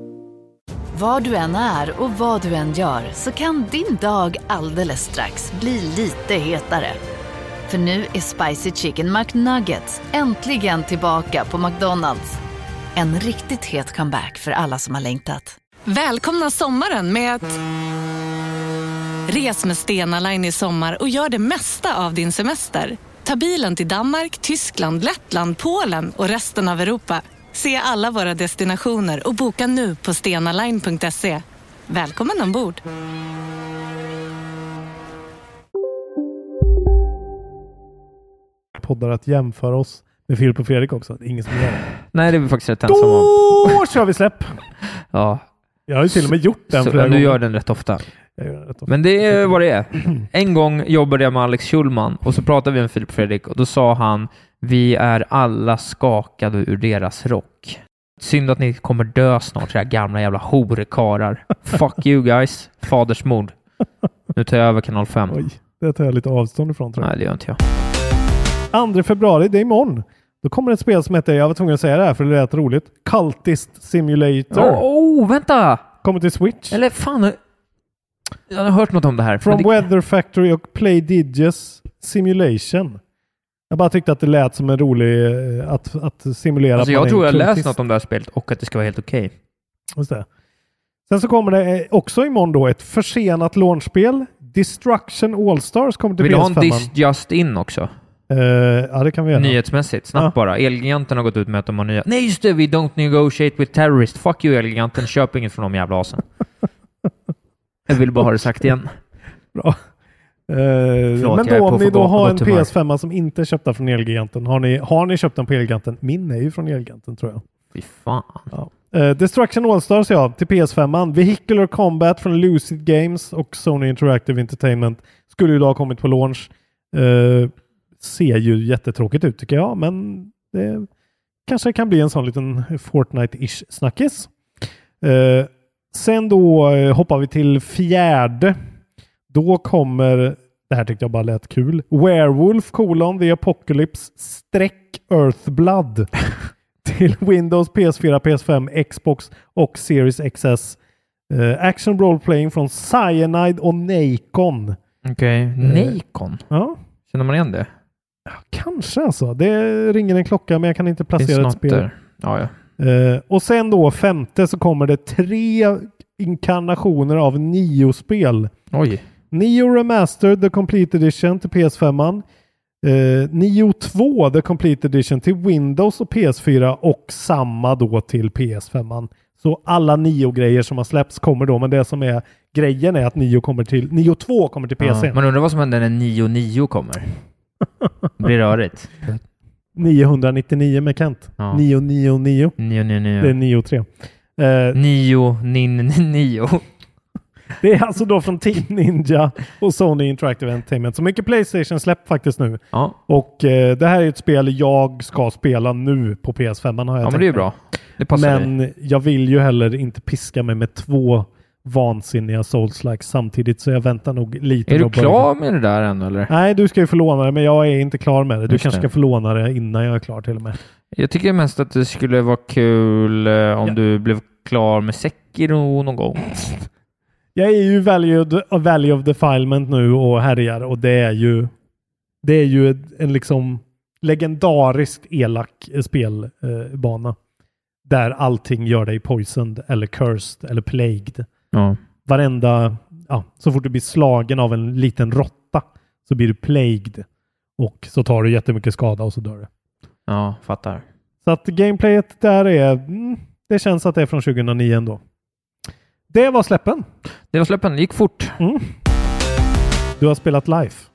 [SPEAKER 5] Var du än är och vad du än gör så kan din dag alldeles strax bli lite hetare. För nu är Spicy Chicken McNuggets äntligen tillbaka på McDonalds. En riktigt het comeback för alla som har längtat.
[SPEAKER 6] Välkomna sommaren med att... Res med Stena Line i sommar och gör det mesta av din semester. Ta bilen till Danmark, Tyskland, Lettland, Polen och resten av Europa. Se alla våra destinationer och boka nu på stenaline.se. Välkommen ombord!
[SPEAKER 3] poddar att jämföra oss med Filip och Fredrik också. Det är ingen som gör det.
[SPEAKER 4] [laughs] Nej, det är vi faktiskt rätt ensamma om.
[SPEAKER 3] Då kör vi släpp!
[SPEAKER 4] Ja,
[SPEAKER 3] Jag har ju till och med gjort den
[SPEAKER 4] så,
[SPEAKER 3] flera
[SPEAKER 4] du
[SPEAKER 3] gånger.
[SPEAKER 4] gör den rätt ofta.
[SPEAKER 3] Jag gör den rätt ofta.
[SPEAKER 4] Men det är vad det är. En gång jobbade jag med Alex Schulman och så pratade vi om Filip och Fredrik och då sa han vi är alla skakade ur deras rock. Synd att ni kommer dö snart, era gamla jävla horekarar. Fuck you guys. Fadersmord. Nu tar jag över kanal 5.
[SPEAKER 3] Oj, det tar jag lite avstånd ifrån tror jag.
[SPEAKER 4] Nej, det gör inte jag.
[SPEAKER 3] 2 februari, det är imorgon. Då kommer ett spel som heter, jag var tvungen att säga det här för det lät roligt, Cultist Simulator.
[SPEAKER 4] Åh, oh, vänta!
[SPEAKER 3] Kommer till Switch.
[SPEAKER 4] Eller fan, jag har hört något om det här.
[SPEAKER 3] From
[SPEAKER 4] Men det,
[SPEAKER 3] Weather Factory och Play Digis Simulation. Jag bara tyckte att det lät som en rolig eh, att, att simulera.
[SPEAKER 4] alltså,
[SPEAKER 3] att man är
[SPEAKER 4] jag tror jag
[SPEAKER 3] en
[SPEAKER 4] läst
[SPEAKER 3] kultist.
[SPEAKER 4] något om det här spelet och att det ska vara helt okej.
[SPEAKER 3] Just det. Sen så kommer det eh, också imorgon då ett försenat launchspel. Destruction All-Stars kommer till
[SPEAKER 4] Vill du ha en
[SPEAKER 3] PS5.
[SPEAKER 4] diss just in också?
[SPEAKER 3] Eh, ja, det kan vi göra.
[SPEAKER 4] Nyhetsmässigt, snabbt
[SPEAKER 3] Ja.
[SPEAKER 4] bara. Elgiganten har gått ut med att de har nya... Nej just det, we don't negotiate with terrorists. Fuck you Elgiganten, köp inget från de
[SPEAKER 3] [laughs]
[SPEAKER 4] jävla asen. Jag vill bara ha det sagt igen.
[SPEAKER 3] Bra. Eh,
[SPEAKER 4] Förlåt,
[SPEAKER 3] men
[SPEAKER 4] jag
[SPEAKER 3] då
[SPEAKER 4] är
[SPEAKER 3] om
[SPEAKER 4] på
[SPEAKER 3] ni
[SPEAKER 4] för
[SPEAKER 3] då
[SPEAKER 4] gott-
[SPEAKER 3] har en
[SPEAKER 4] gott humör.
[SPEAKER 3] PS5 som inte är köpta från Elgiganten. Har ni, har ni köpt den på Elgiganten? Min är ju från Elgiganten tror jag.
[SPEAKER 4] Fy fan.
[SPEAKER 3] Eh, Destruction All-Stars ja, till PS5. Vehicular Combat från Lucid Games och Sony Interactive Entertainment skulle ju då ha kommit på launch. Eh, ser ju jättetråkigt ut tycker jag, men det kanske kan bli en sån liten Fortnite-ish snackis. Eh, sen då eh, hoppar vi till fjärde. Då kommer, det här tyckte jag bara lät kul, Werewolf colon The Apocalypse streck Earthblood till [laughs] Windows, PS4, PS5, Xbox och Series XS. Eh, action role playing från Cyanide och Nacon.
[SPEAKER 4] Okej. Nikon?
[SPEAKER 3] Ja,
[SPEAKER 4] Känner man igen det?
[SPEAKER 3] kanske alltså. Det ringer en klocka men jag kan inte
[SPEAKER 4] Finns
[SPEAKER 3] placera ett
[SPEAKER 4] något
[SPEAKER 3] spel.
[SPEAKER 4] där? Ja, ja.
[SPEAKER 3] Eh, och sen då femte så kommer det tre inkarnationer av nio spel.
[SPEAKER 4] Oj.
[SPEAKER 3] Nio Remastered The Complete Edition till PS5. Eh, Nio 2 The Complete Edition till Windows och PS4 och samma då till PS5. Så alla nio grejer som har släppts kommer då, men det som är grejen är att Nio, kommer till, Nio 2 kommer till PC.
[SPEAKER 4] Ja. Man undrar vad som händer när
[SPEAKER 3] [laughs]
[SPEAKER 4] 9.9 kommer? Det blir rörigt.
[SPEAKER 3] 999 med Kent.
[SPEAKER 4] Ja.
[SPEAKER 3] 999. Det är
[SPEAKER 4] 999. [laughs]
[SPEAKER 3] Nio 3. Eh,
[SPEAKER 4] 999. Mm.
[SPEAKER 3] Det är alltså då från Team Ninja och Sony Interactive Entertainment. Så mycket Playstation släppt faktiskt nu.
[SPEAKER 4] Ja,
[SPEAKER 3] Och eh, det här är ett spel jag ska spela nu på PS5. Har jag
[SPEAKER 4] ja
[SPEAKER 3] tänkt
[SPEAKER 4] men det är
[SPEAKER 3] mig.
[SPEAKER 4] ju bra. Det passar dig.
[SPEAKER 3] Men jag vill ju heller inte piska mig med två vansinniga souls-like samtidigt, så jag väntar nog lite.
[SPEAKER 4] Är
[SPEAKER 3] med
[SPEAKER 4] du
[SPEAKER 3] att börja.
[SPEAKER 4] klar med det där än eller?
[SPEAKER 3] Nej, du ska ju få låna det, men jag är inte klar med det. Du
[SPEAKER 4] Just
[SPEAKER 3] kanske
[SPEAKER 4] det.
[SPEAKER 3] ska få låna det innan jag är klar till och med.
[SPEAKER 4] Jag tycker mest att det skulle vara kul eh, om
[SPEAKER 3] Ja.
[SPEAKER 4] du blev klar med Sekiro någon gång.
[SPEAKER 3] Jag är ju value, value of defilement nu och härjar och det är ju det är ju ett- en liksom legendariskt elak eh, spelbana. Där allting gör dig poisoned eller cursed eller plagued.
[SPEAKER 4] Ja.
[SPEAKER 3] Varenda, ja, så fort du blir slagen av en liten råtta så blir du plagued och så tar du jättemycket skada och så dör du.
[SPEAKER 4] Ja, fattar.
[SPEAKER 3] Så att gameplayet där är, mm, det känns att det är från 2009 ändå. Det var släppen.
[SPEAKER 4] Det var släppen. Det gick fort.
[SPEAKER 3] Du har spelat Life.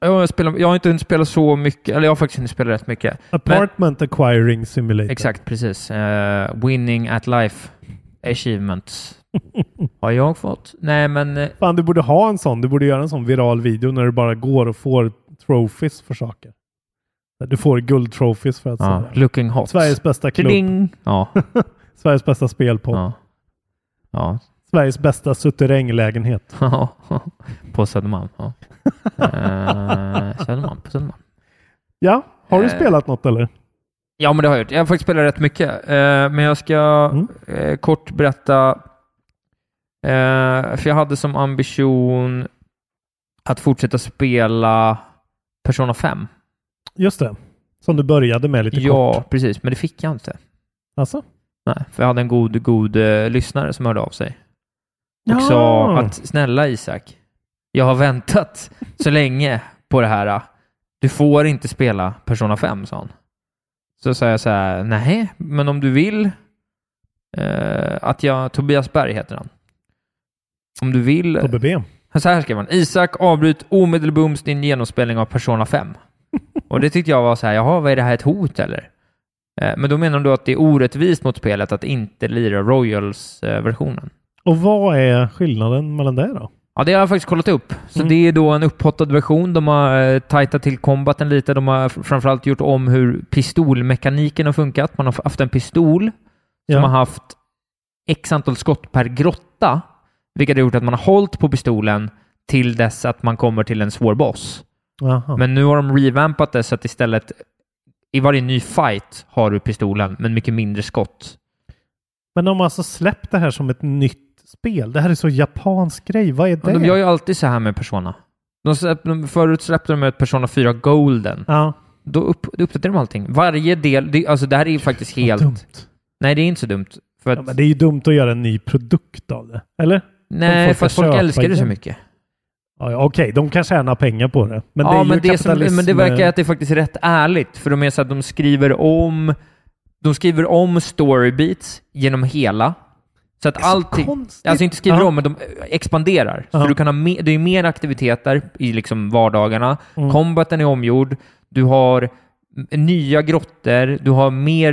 [SPEAKER 4] Jag har, spelat, jag har inte hunnit spela så mycket, eller jag har faktiskt hunnit spela rätt mycket.
[SPEAKER 3] Apartment Acquiring Simulator.
[SPEAKER 4] Exakt, precis. Eh, winning at life [laughs] achievements. har jag fått? Nej, men eh,
[SPEAKER 3] Fan, du borde ha en sån. Du borde göra en sån viral video när du bara går och får trophies för saker. Du får guldtrophies för att
[SPEAKER 4] ja,
[SPEAKER 3] säga.
[SPEAKER 4] looking hot.
[SPEAKER 3] Sveriges bästa klubb.
[SPEAKER 4] Kling. Ja,
[SPEAKER 3] Sveriges bästa spelpodd.
[SPEAKER 4] ja. Ja,
[SPEAKER 3] Sveriges bästa suteränglägenhet.
[SPEAKER 4] Ja, [laughs] på Södermalm. [laughs] Ja. Eh, Södermalm, på Södermalm.
[SPEAKER 3] Ja, har du
[SPEAKER 4] Eh.
[SPEAKER 3] spelat något eller?
[SPEAKER 4] Ja, men det har jag gjort. Jag har faktiskt spelat rätt mycket. Eh, men jag ska
[SPEAKER 3] Mm.
[SPEAKER 4] eh, kort berätta. Eh, för jag hade som ambition att fortsätta spela Persona 5.
[SPEAKER 3] Just det. Som du började med lite
[SPEAKER 4] ja,
[SPEAKER 3] kort.
[SPEAKER 4] precis. Men det fick jag inte.
[SPEAKER 3] Alltså?
[SPEAKER 4] Nej, för jag hade en god, god eh, lyssnare som hörde av sig och sa att snälla Isak, jag har väntat så länge på det här. Du får inte spela Persona 5, sa han. Så sa jag så här, nej, men om du vill eh, att jag, Tobias Berg heter han. Om du vill,
[SPEAKER 3] Tobbe B.
[SPEAKER 4] så här skrev han, Isak avbryt omedelbums din genomspelning av Persona 5. Och det tyckte jag var så här, jaha, vad är det här ett hot eller? Eh, Men då menar du att det är orättvist mot spelet att inte lira eh, Royals-versionen?
[SPEAKER 3] Och vad är skillnaden mellan det då?
[SPEAKER 4] Ja, det har jag faktiskt kollat upp. Så
[SPEAKER 3] Mm.
[SPEAKER 4] det är då en upphottad version. De har eh, tajtat till combaten lite. De har fr- framförallt gjort om hur pistolmekaniken har funkat. Man har f- haft en pistol som har haft x antal skott per grotta, vilket har gjort att man har hållit på pistolen till dess att man kommer till en svår boss.
[SPEAKER 3] Jaha.
[SPEAKER 4] Men nu har de revampat det så att istället i varje ny fight har du pistolen, men mycket mindre skott.
[SPEAKER 3] Men de har alltså släppt det här som ett nytt spel. Det här är så japansk grej. Vad är det?
[SPEAKER 4] Men de gör ju alltid så här med Persona. De släpp, de, förut släppte de ett Persona 4 Golden.
[SPEAKER 3] Ja,
[SPEAKER 4] Då upp, då uppdaterar de allting. Varje del, det, alltså det här är ju faktiskt
[SPEAKER 3] vad
[SPEAKER 4] helt...
[SPEAKER 3] dumt.
[SPEAKER 4] Nej, det är inte så dumt. För
[SPEAKER 3] Ja,
[SPEAKER 4] att,
[SPEAKER 3] men det är ju dumt att göra en ny produkt av det. Eller?
[SPEAKER 4] nej,
[SPEAKER 3] folk
[SPEAKER 4] för att
[SPEAKER 3] ska
[SPEAKER 4] folk
[SPEAKER 3] köpa
[SPEAKER 4] älskar det så
[SPEAKER 3] igen.
[SPEAKER 4] mycket.
[SPEAKER 3] Ja, ja, Okej, de kan tjäna pengar på det. Men det
[SPEAKER 4] ja,
[SPEAKER 3] är ju
[SPEAKER 4] men, det som,
[SPEAKER 3] kapitalism.
[SPEAKER 4] men det verkar att det är faktiskt rätt ärligt, för de är så att de skriver om de skriver om storybeats genom hela. Så att
[SPEAKER 3] Det är så
[SPEAKER 4] allting...
[SPEAKER 3] konstigt.
[SPEAKER 4] Alltså inte skriver
[SPEAKER 3] Ja.
[SPEAKER 4] om, men de expanderar.
[SPEAKER 3] Ja.
[SPEAKER 4] Så du kan ha mer, det är mer aktiviteter i liksom vardagarna.
[SPEAKER 3] Mm.
[SPEAKER 4] Combaten är omgjord. Du har m- nya grottor. Du har mer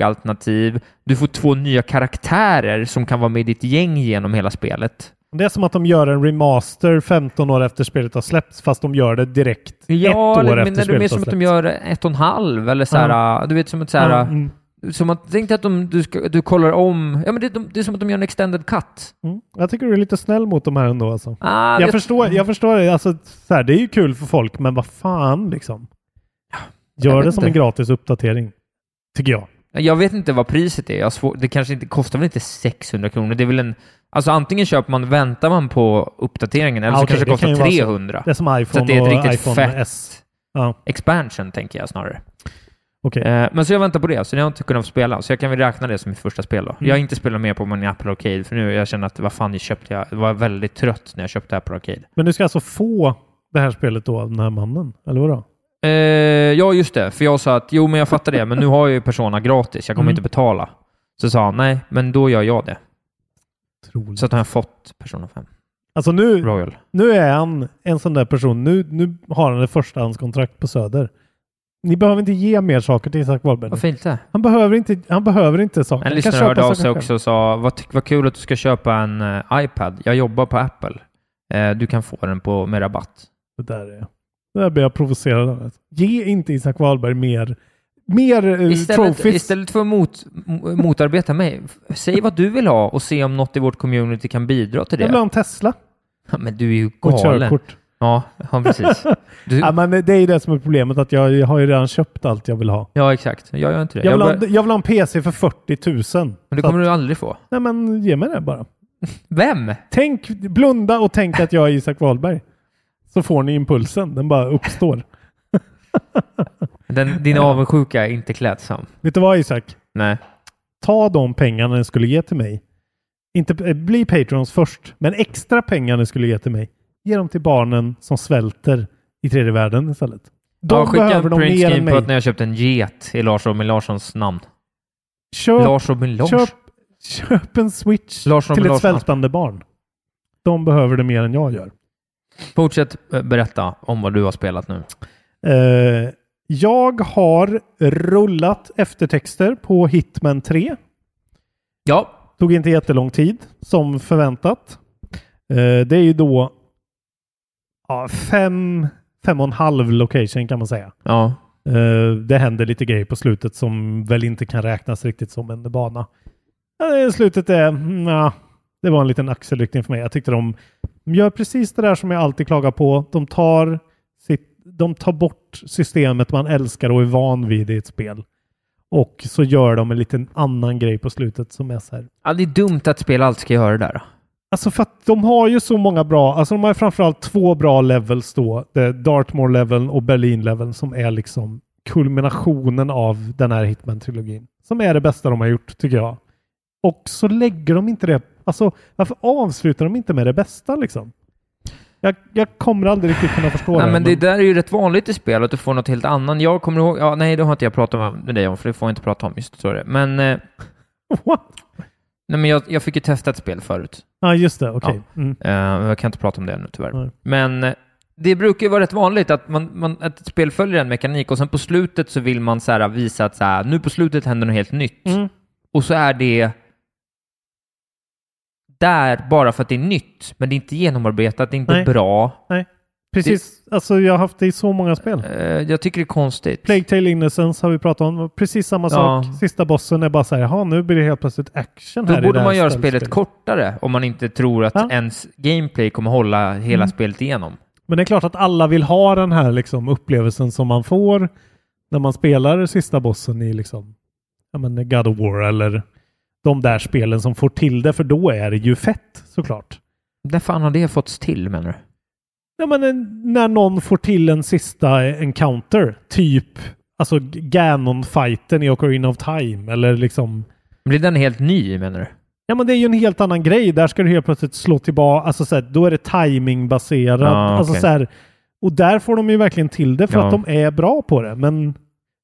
[SPEAKER 4] dialogalternativ. Du får två nya karaktärer som kan vara med i ditt gäng genom hela spelet.
[SPEAKER 3] Det är som att de gör en remaster 15 år efter spelet har släppts, fast de gör det direkt ett
[SPEAKER 4] Ja,
[SPEAKER 3] år
[SPEAKER 4] eller,
[SPEAKER 3] efter
[SPEAKER 4] men
[SPEAKER 3] spelet
[SPEAKER 4] det är mer
[SPEAKER 3] har
[SPEAKER 4] som att
[SPEAKER 3] släppts.
[SPEAKER 4] de gör ett och en halv eller så här, äh, du vet som ett så här, äh,
[SPEAKER 3] Ja, mm.
[SPEAKER 4] som att, tänk dig att de, du, ska, du kollar om, ja men det, de, det är som att de gör en extended cut.
[SPEAKER 3] Mm. Jag tycker du är lite snäll mot de här ändå. Alltså.
[SPEAKER 4] Ah,
[SPEAKER 3] Jag
[SPEAKER 4] vet-
[SPEAKER 3] förstår, jag förstår det. Alltså, så här, det är ju kul för folk, men vad fan liksom. Gör
[SPEAKER 4] vet
[SPEAKER 3] det som
[SPEAKER 4] inte.
[SPEAKER 3] en gratis uppdatering, tycker jag.
[SPEAKER 4] jag vet inte vad priset är, jag har svår, det kanske inte, kostar väl inte 600 kronor, det är väl en, alltså antingen köper man, väntar man på uppdateringen eller
[SPEAKER 3] Ah,
[SPEAKER 4] så
[SPEAKER 3] okej,
[SPEAKER 4] kanske det
[SPEAKER 3] det kan ju
[SPEAKER 4] kostar
[SPEAKER 3] vara så.
[SPEAKER 4] 300.
[SPEAKER 3] Det är som
[SPEAKER 4] Så att
[SPEAKER 3] iPhone
[SPEAKER 4] det är ett
[SPEAKER 3] och
[SPEAKER 4] riktigt
[SPEAKER 3] iPhone
[SPEAKER 4] fett
[SPEAKER 3] S. Ja,
[SPEAKER 4] expansion tänker jag snarare.
[SPEAKER 3] okej.
[SPEAKER 4] Eh, men så jag väntar på det, så jag har inte kunnat spela. Så jag kan väl räkna det som mitt första spel då. Jag
[SPEAKER 3] Mm.
[SPEAKER 4] har inte spelat mer på min Apple Arcade, för nu jag känner att vad fan jag köpte jag? Jag var väldigt trött när jag köpte Apple Arcade.
[SPEAKER 3] Men du ska alltså få det här spelet då av den här mannen, eller vadå?
[SPEAKER 4] Eh, ja, just det. För jag sa att jo, men jag fattar det, men nu har jag ju Persona gratis. Jag kommer
[SPEAKER 3] Mm.
[SPEAKER 4] inte betala. Så sa han nej, men då gör jag det.
[SPEAKER 3] Otroligt.
[SPEAKER 4] Så att han har fått Persona 5
[SPEAKER 3] Alltså nu,
[SPEAKER 4] Royal.
[SPEAKER 3] nu är han en sån där person. Nu, nu har han ett förstahandskontrakt på Söder. Ni behöver inte ge mer saker till Isak Wahlberg. nu.
[SPEAKER 4] Varför inte?
[SPEAKER 3] Han behöver inte, han behöver inte saker.
[SPEAKER 4] En
[SPEAKER 3] Han kan
[SPEAKER 4] lyssnare
[SPEAKER 3] köpa
[SPEAKER 4] hörde av
[SPEAKER 3] saker
[SPEAKER 4] sig
[SPEAKER 3] själv.
[SPEAKER 4] också och sa vad, ty- vad kul att du ska köpa en eh, iPad. Jag jobbar på Apple. Eh, du kan få den på, med rabatt.
[SPEAKER 3] Det där, är, det där blir jag provocerad av. Alltså, Ge inte Isak Wahlberg mer, mer uh,
[SPEAKER 4] Istället,
[SPEAKER 3] trophies.
[SPEAKER 4] istället för att mot, mo- motarbeta mig, f- säg vad du vill ha och se om något i vårt community kan bidra till
[SPEAKER 3] Jag vill ha
[SPEAKER 4] det.
[SPEAKER 3] en Tesla
[SPEAKER 4] Ja, men du är ju
[SPEAKER 3] och ett
[SPEAKER 4] galen.
[SPEAKER 3] körkort.
[SPEAKER 4] Ja, ja, precis.
[SPEAKER 3] [laughs]
[SPEAKER 4] Du,
[SPEAKER 3] Ja, men det är ju det som är problemet, att jag, jag har ju redan köpt allt jag vill ha.
[SPEAKER 4] ja, exakt. Jag gör inte det.
[SPEAKER 3] Jag vill,
[SPEAKER 4] Jag
[SPEAKER 3] ha,
[SPEAKER 4] bara,
[SPEAKER 3] en- jag vill ha en PC för 40 000.
[SPEAKER 4] men det
[SPEAKER 3] Så
[SPEAKER 4] kommer
[SPEAKER 3] att,
[SPEAKER 4] du aldrig få.
[SPEAKER 3] nej, men ge mig det bara.
[SPEAKER 4] Vem?
[SPEAKER 3] Tänk, blunda och tänk att jag är Isak Wahlberg. Så får ni impulsen. Den bara uppstår.
[SPEAKER 4] Den, din avundsjuka är inte klädsam.
[SPEAKER 3] Vet du vad Isak?
[SPEAKER 4] Nej.
[SPEAKER 3] Ta de pengarna ni skulle ge till mig. Inte eh, bli patrons först, men extra pengar ni skulle ge till mig. Ge dem till barnen som svälter i tredje världen istället. De
[SPEAKER 4] ja, skicka
[SPEAKER 3] behöver de
[SPEAKER 4] en
[SPEAKER 3] mer än
[SPEAKER 4] printscreen
[SPEAKER 3] mig.
[SPEAKER 4] på att när jag köpte en get i Lars Robin Larssons namn.
[SPEAKER 3] Köp,
[SPEAKER 4] Lars Robin Lars?
[SPEAKER 3] köp, köp en switch
[SPEAKER 4] Lars Robin
[SPEAKER 3] till ett
[SPEAKER 4] Larsson.
[SPEAKER 3] svältande barn. De behöver det mer än jag gör.
[SPEAKER 4] Fortsätt eh, berätta om vad du har spelat nu.
[SPEAKER 3] Eh, jag har rullat eftertexter på Hitman 3.
[SPEAKER 4] Ja,
[SPEAKER 3] Tog inte jättelång tid, som förväntat. Eh, det är ju då ja, fem, fem och en halv location kan man säga.
[SPEAKER 4] ja.
[SPEAKER 3] Eh, det händer lite grejer på slutet som väl inte kan räknas riktigt som en bana. Eh, slutet är, mm, ja, det var en liten axelryckning för mig. Jag tyckte de, de gör precis det där som jag alltid klagar på. De tar, sitt, de tar bort systemet man älskar och är van vid i ett spel. Och så gör de en liten annan grej på slutet som är så här,
[SPEAKER 4] ja. Det är dumt att spel alltid ska göra det där.
[SPEAKER 3] Alltså för att de har ju så många bra, alltså de har ju framförallt två bra levels då. Det är Dartmoor-leveln och Berlin-leveln som är liksom kulminationen av den här Hitman-trilogin. Som är det bästa de har gjort tycker jag. Och så lägger de inte det, alltså varför avslutar de inte med det bästa liksom? Jag, jag kommer aldrig riktigt kunna förstå
[SPEAKER 4] Nej,
[SPEAKER 3] det.
[SPEAKER 4] men det där är ju rätt vanligt i spel, att du får något helt annat. Jag kommer ihåg, ja, nej, det har inte jag pratat med dig om, för det får jag inte prata om, just så är det. Men, eh,
[SPEAKER 3] [laughs] What?
[SPEAKER 4] nej, men jag, jag fick ju testa ett spel förut.
[SPEAKER 3] Ja, just det. Okej. Mm.
[SPEAKER 4] Eh, jag kan inte prata om det nu tyvärr.
[SPEAKER 3] Nej.
[SPEAKER 4] Men eh, det brukar ju vara rätt vanligt att, man, man, att ett spel följer en mekanik och sen på slutet så vill man så här, visa att så här, nu på slutet händer något helt nytt.
[SPEAKER 3] Mm.
[SPEAKER 4] Och så är det där bara för att det är nytt, men det är inte genomarbetat, det är inte
[SPEAKER 3] Nej.
[SPEAKER 4] bra.
[SPEAKER 3] Precis, alltså jag har haft det i så många spel.
[SPEAKER 4] Eh, jag tycker det är konstigt.
[SPEAKER 3] Plague Tale Innocence har vi pratat om. Precis samma
[SPEAKER 4] Ja.
[SPEAKER 3] sak. Sista bossen är bara så här, jaha, nu blir det helt plötsligt action här
[SPEAKER 4] Då
[SPEAKER 3] i det
[SPEAKER 4] borde
[SPEAKER 3] här
[SPEAKER 4] man göra
[SPEAKER 3] ställspelet."
[SPEAKER 4] spelet kortare om man inte tror att
[SPEAKER 3] Ja. Mm.
[SPEAKER 4] ens gameplay kommer hålla hela spelet igenom.
[SPEAKER 3] Men det är klart att alla vill ha den här liksom, upplevelsen som man får när man spelar sista bossen i liksom, ja, men God of War eller de där spelen som får till det, för då är det ju fett såklart.
[SPEAKER 4] När fan har det fåtts till menar du?
[SPEAKER 3] Ja, men en, när någon får till en sista encounter, typ alltså G- Ganon-fighten i Ocarina of Time eller liksom
[SPEAKER 4] Blir den helt ny menar du?
[SPEAKER 3] Ja men det är ju en helt annan grej. Där ska du helt plötsligt slå tillbaka. Alltså så här, då är det timingbaserat.
[SPEAKER 4] Ja,
[SPEAKER 3] alltså,
[SPEAKER 4] okej.
[SPEAKER 3] så här, och där får de ju verkligen till det för
[SPEAKER 4] Ja.
[SPEAKER 3] att de är bra på det. Men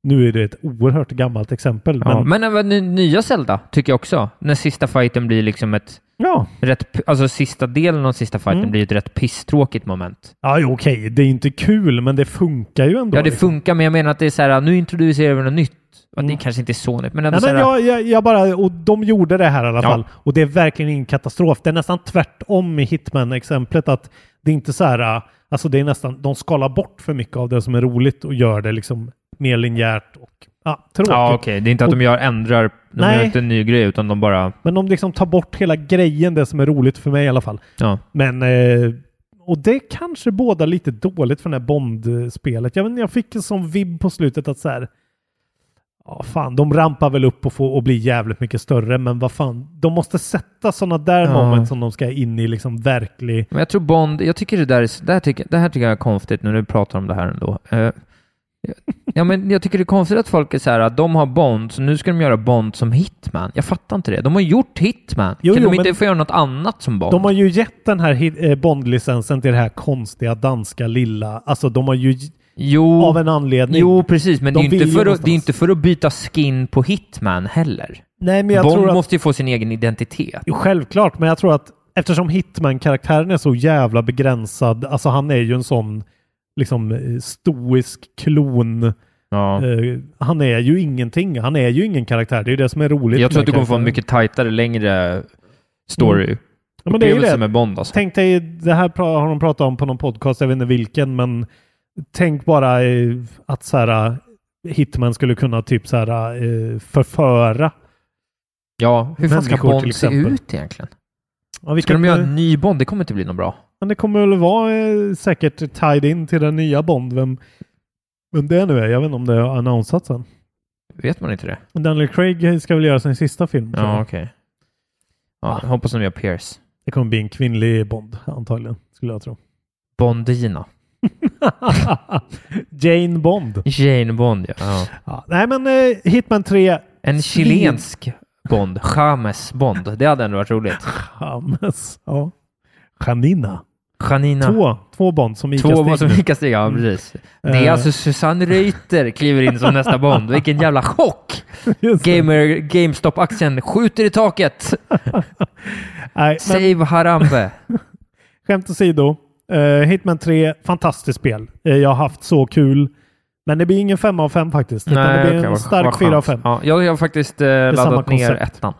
[SPEAKER 3] nu är det ett oerhört gammalt exempel.
[SPEAKER 4] Ja.
[SPEAKER 3] men,
[SPEAKER 4] Men även ny- nya Zelda tycker jag också. När sista fighten blir liksom ett
[SPEAKER 3] ja.
[SPEAKER 4] rätt, p- alltså sista delen av sista fighten
[SPEAKER 3] Mm.
[SPEAKER 4] blir ett rätt pisstråkigt moment.
[SPEAKER 3] ja jo, okej, det är inte kul men det funkar ju ändå.
[SPEAKER 4] ja, det
[SPEAKER 3] liksom.
[SPEAKER 4] funkar, men jag menar att det är så här, nu introducerar vi något nytt. Ja, Det
[SPEAKER 3] Mm.
[SPEAKER 4] kanske inte är så nytt, men ändå
[SPEAKER 3] Nej,
[SPEAKER 4] så
[SPEAKER 3] men
[SPEAKER 4] här,
[SPEAKER 3] jag, jag, jag bara, och de gjorde det här i alla
[SPEAKER 4] Ja.
[SPEAKER 3] fall. Och det är verkligen ingen katastrof. Det är nästan tvärtom i Hitman-exemplet. att Det är inte så här, äh, alltså det är nästan, de skalar bort för mycket av det som är roligt och gör det liksom mer linjärt och ja, tråkigt.
[SPEAKER 4] Ja, okej. Det är inte att de gör, ändrar, de gör
[SPEAKER 3] Nej.
[SPEAKER 4] inte en ny grej, utan de bara...
[SPEAKER 3] Men de liksom tar bort hela grejen, det som är roligt för mig i alla fall.
[SPEAKER 4] Ja.
[SPEAKER 3] Men, eh, och det kanske båda lite dåligt för det här Bond-spelet. Jag, vet inte, jag fick en sån vibb på slutet att så här, ja fan, de rampar väl upp och, får, och blir jävligt mycket större, men vad fan, de måste sätta sådana där
[SPEAKER 4] Ja.
[SPEAKER 3] moment som de ska in i liksom verklig...
[SPEAKER 4] Men jag tror Bond, jag tycker det där är, s- det här tycker, det här tycker jag är konstigt när du pratar om det här ändå. Eh, ja, men jag tycker det är konstigt att folk är så här, att de har Bond, så nu ska de göra Bond som Hitman. Jag fattar inte det. De har gjort Hitman.
[SPEAKER 3] Jo,
[SPEAKER 4] kan
[SPEAKER 3] jo,
[SPEAKER 4] de inte
[SPEAKER 3] men-
[SPEAKER 4] få göra något annat som Bond?
[SPEAKER 3] De har ju gett den här hit- eh, Bond-licensen till det här konstiga danska lilla, alltså de har ju
[SPEAKER 4] jo,
[SPEAKER 3] av en anledning.
[SPEAKER 4] jo, precis, men
[SPEAKER 3] De
[SPEAKER 4] det är, ju
[SPEAKER 3] vill ju
[SPEAKER 4] inte för att, det är
[SPEAKER 3] någonstans.
[SPEAKER 4] inte för att byta skin på Hitman heller.
[SPEAKER 3] Nej, men jag
[SPEAKER 4] Bond
[SPEAKER 3] tror att...
[SPEAKER 4] måste ju få sin egen identitet.
[SPEAKER 3] Jo, självklart, men jag tror att eftersom Hitman-karaktären är så jävla begränsad, alltså han är ju en sån liksom eh, stoisk klon
[SPEAKER 4] Ja.
[SPEAKER 3] Eh, han är ju ingenting. Han är ju ingen karaktär. Det är ju det som är roligt.
[SPEAKER 4] Jag tror att
[SPEAKER 3] med
[SPEAKER 4] du kommer få en
[SPEAKER 3] karaktären.
[SPEAKER 4] mycket tajtare, längre story.
[SPEAKER 3] Mm. ja, men det är ju det.
[SPEAKER 4] med Bond alltså.
[SPEAKER 3] Tänk dig, det här pra- har de pratat om på någon podcast, jag vet inte vilken, men tänk bara eh, att så här, eh, Hitman skulle kunna typ så här, eh, förföra.
[SPEAKER 4] Ja, hur fan ska
[SPEAKER 3] Människor,
[SPEAKER 4] Bond
[SPEAKER 3] till
[SPEAKER 4] se
[SPEAKER 3] exempel.
[SPEAKER 4] ut egentligen?
[SPEAKER 3] Ja, vilket,
[SPEAKER 4] Ska de göra
[SPEAKER 3] eh,
[SPEAKER 4] en ny Bond? Det kommer inte bli något bra.
[SPEAKER 3] men det kommer väl vara eh, säkert tied in till den nya Bond, vem, vem det nu är. Jag vet inte om det har annonsats än.
[SPEAKER 4] Vet man inte det?
[SPEAKER 3] Men Daniel Craig ska väl göra sin sista film. tror jag.
[SPEAKER 4] Ja, okej. Ja, jag hoppas de gör Pierce.
[SPEAKER 3] Det kommer bli en kvinnlig Bond, antagligen, skulle
[SPEAKER 4] [laughs]
[SPEAKER 3] jag tro.
[SPEAKER 4] Bondina.
[SPEAKER 3] Jane Bond.
[SPEAKER 4] Jane Bond, ja. ja.
[SPEAKER 3] Ja, nej, men eh, Hitman 3,
[SPEAKER 4] En chilensk Bond. James Bond. Det hade ändå varit roligt.
[SPEAKER 3] James. Ja. Janina.
[SPEAKER 4] Janina.
[SPEAKER 3] Två, två Bond som ICA
[SPEAKER 4] Två
[SPEAKER 3] Två
[SPEAKER 4] Bond som gick stiga, ja precis. Det är
[SPEAKER 3] Eh.
[SPEAKER 4] alltså Susanne Reuter kliver in som nästa Bond. Vilken jävla chock! Gamer, GameStop-aktien skjuter i taket.
[SPEAKER 3] [laughs] Nej, men
[SPEAKER 4] Save Harambe.
[SPEAKER 3] skämt åsido. Uh, Hitman 3, fantastiskt spel. Eh, jag har haft så kul. Men det blir ingen fem av fem faktiskt. utan det blir
[SPEAKER 4] okej,
[SPEAKER 3] en
[SPEAKER 4] vad- vad
[SPEAKER 3] stark fyra av
[SPEAKER 4] skönt.
[SPEAKER 3] fem.
[SPEAKER 4] Ja, jag jag har faktiskt eh,
[SPEAKER 3] samma
[SPEAKER 4] laddat ner
[SPEAKER 3] koncept.
[SPEAKER 4] ettan.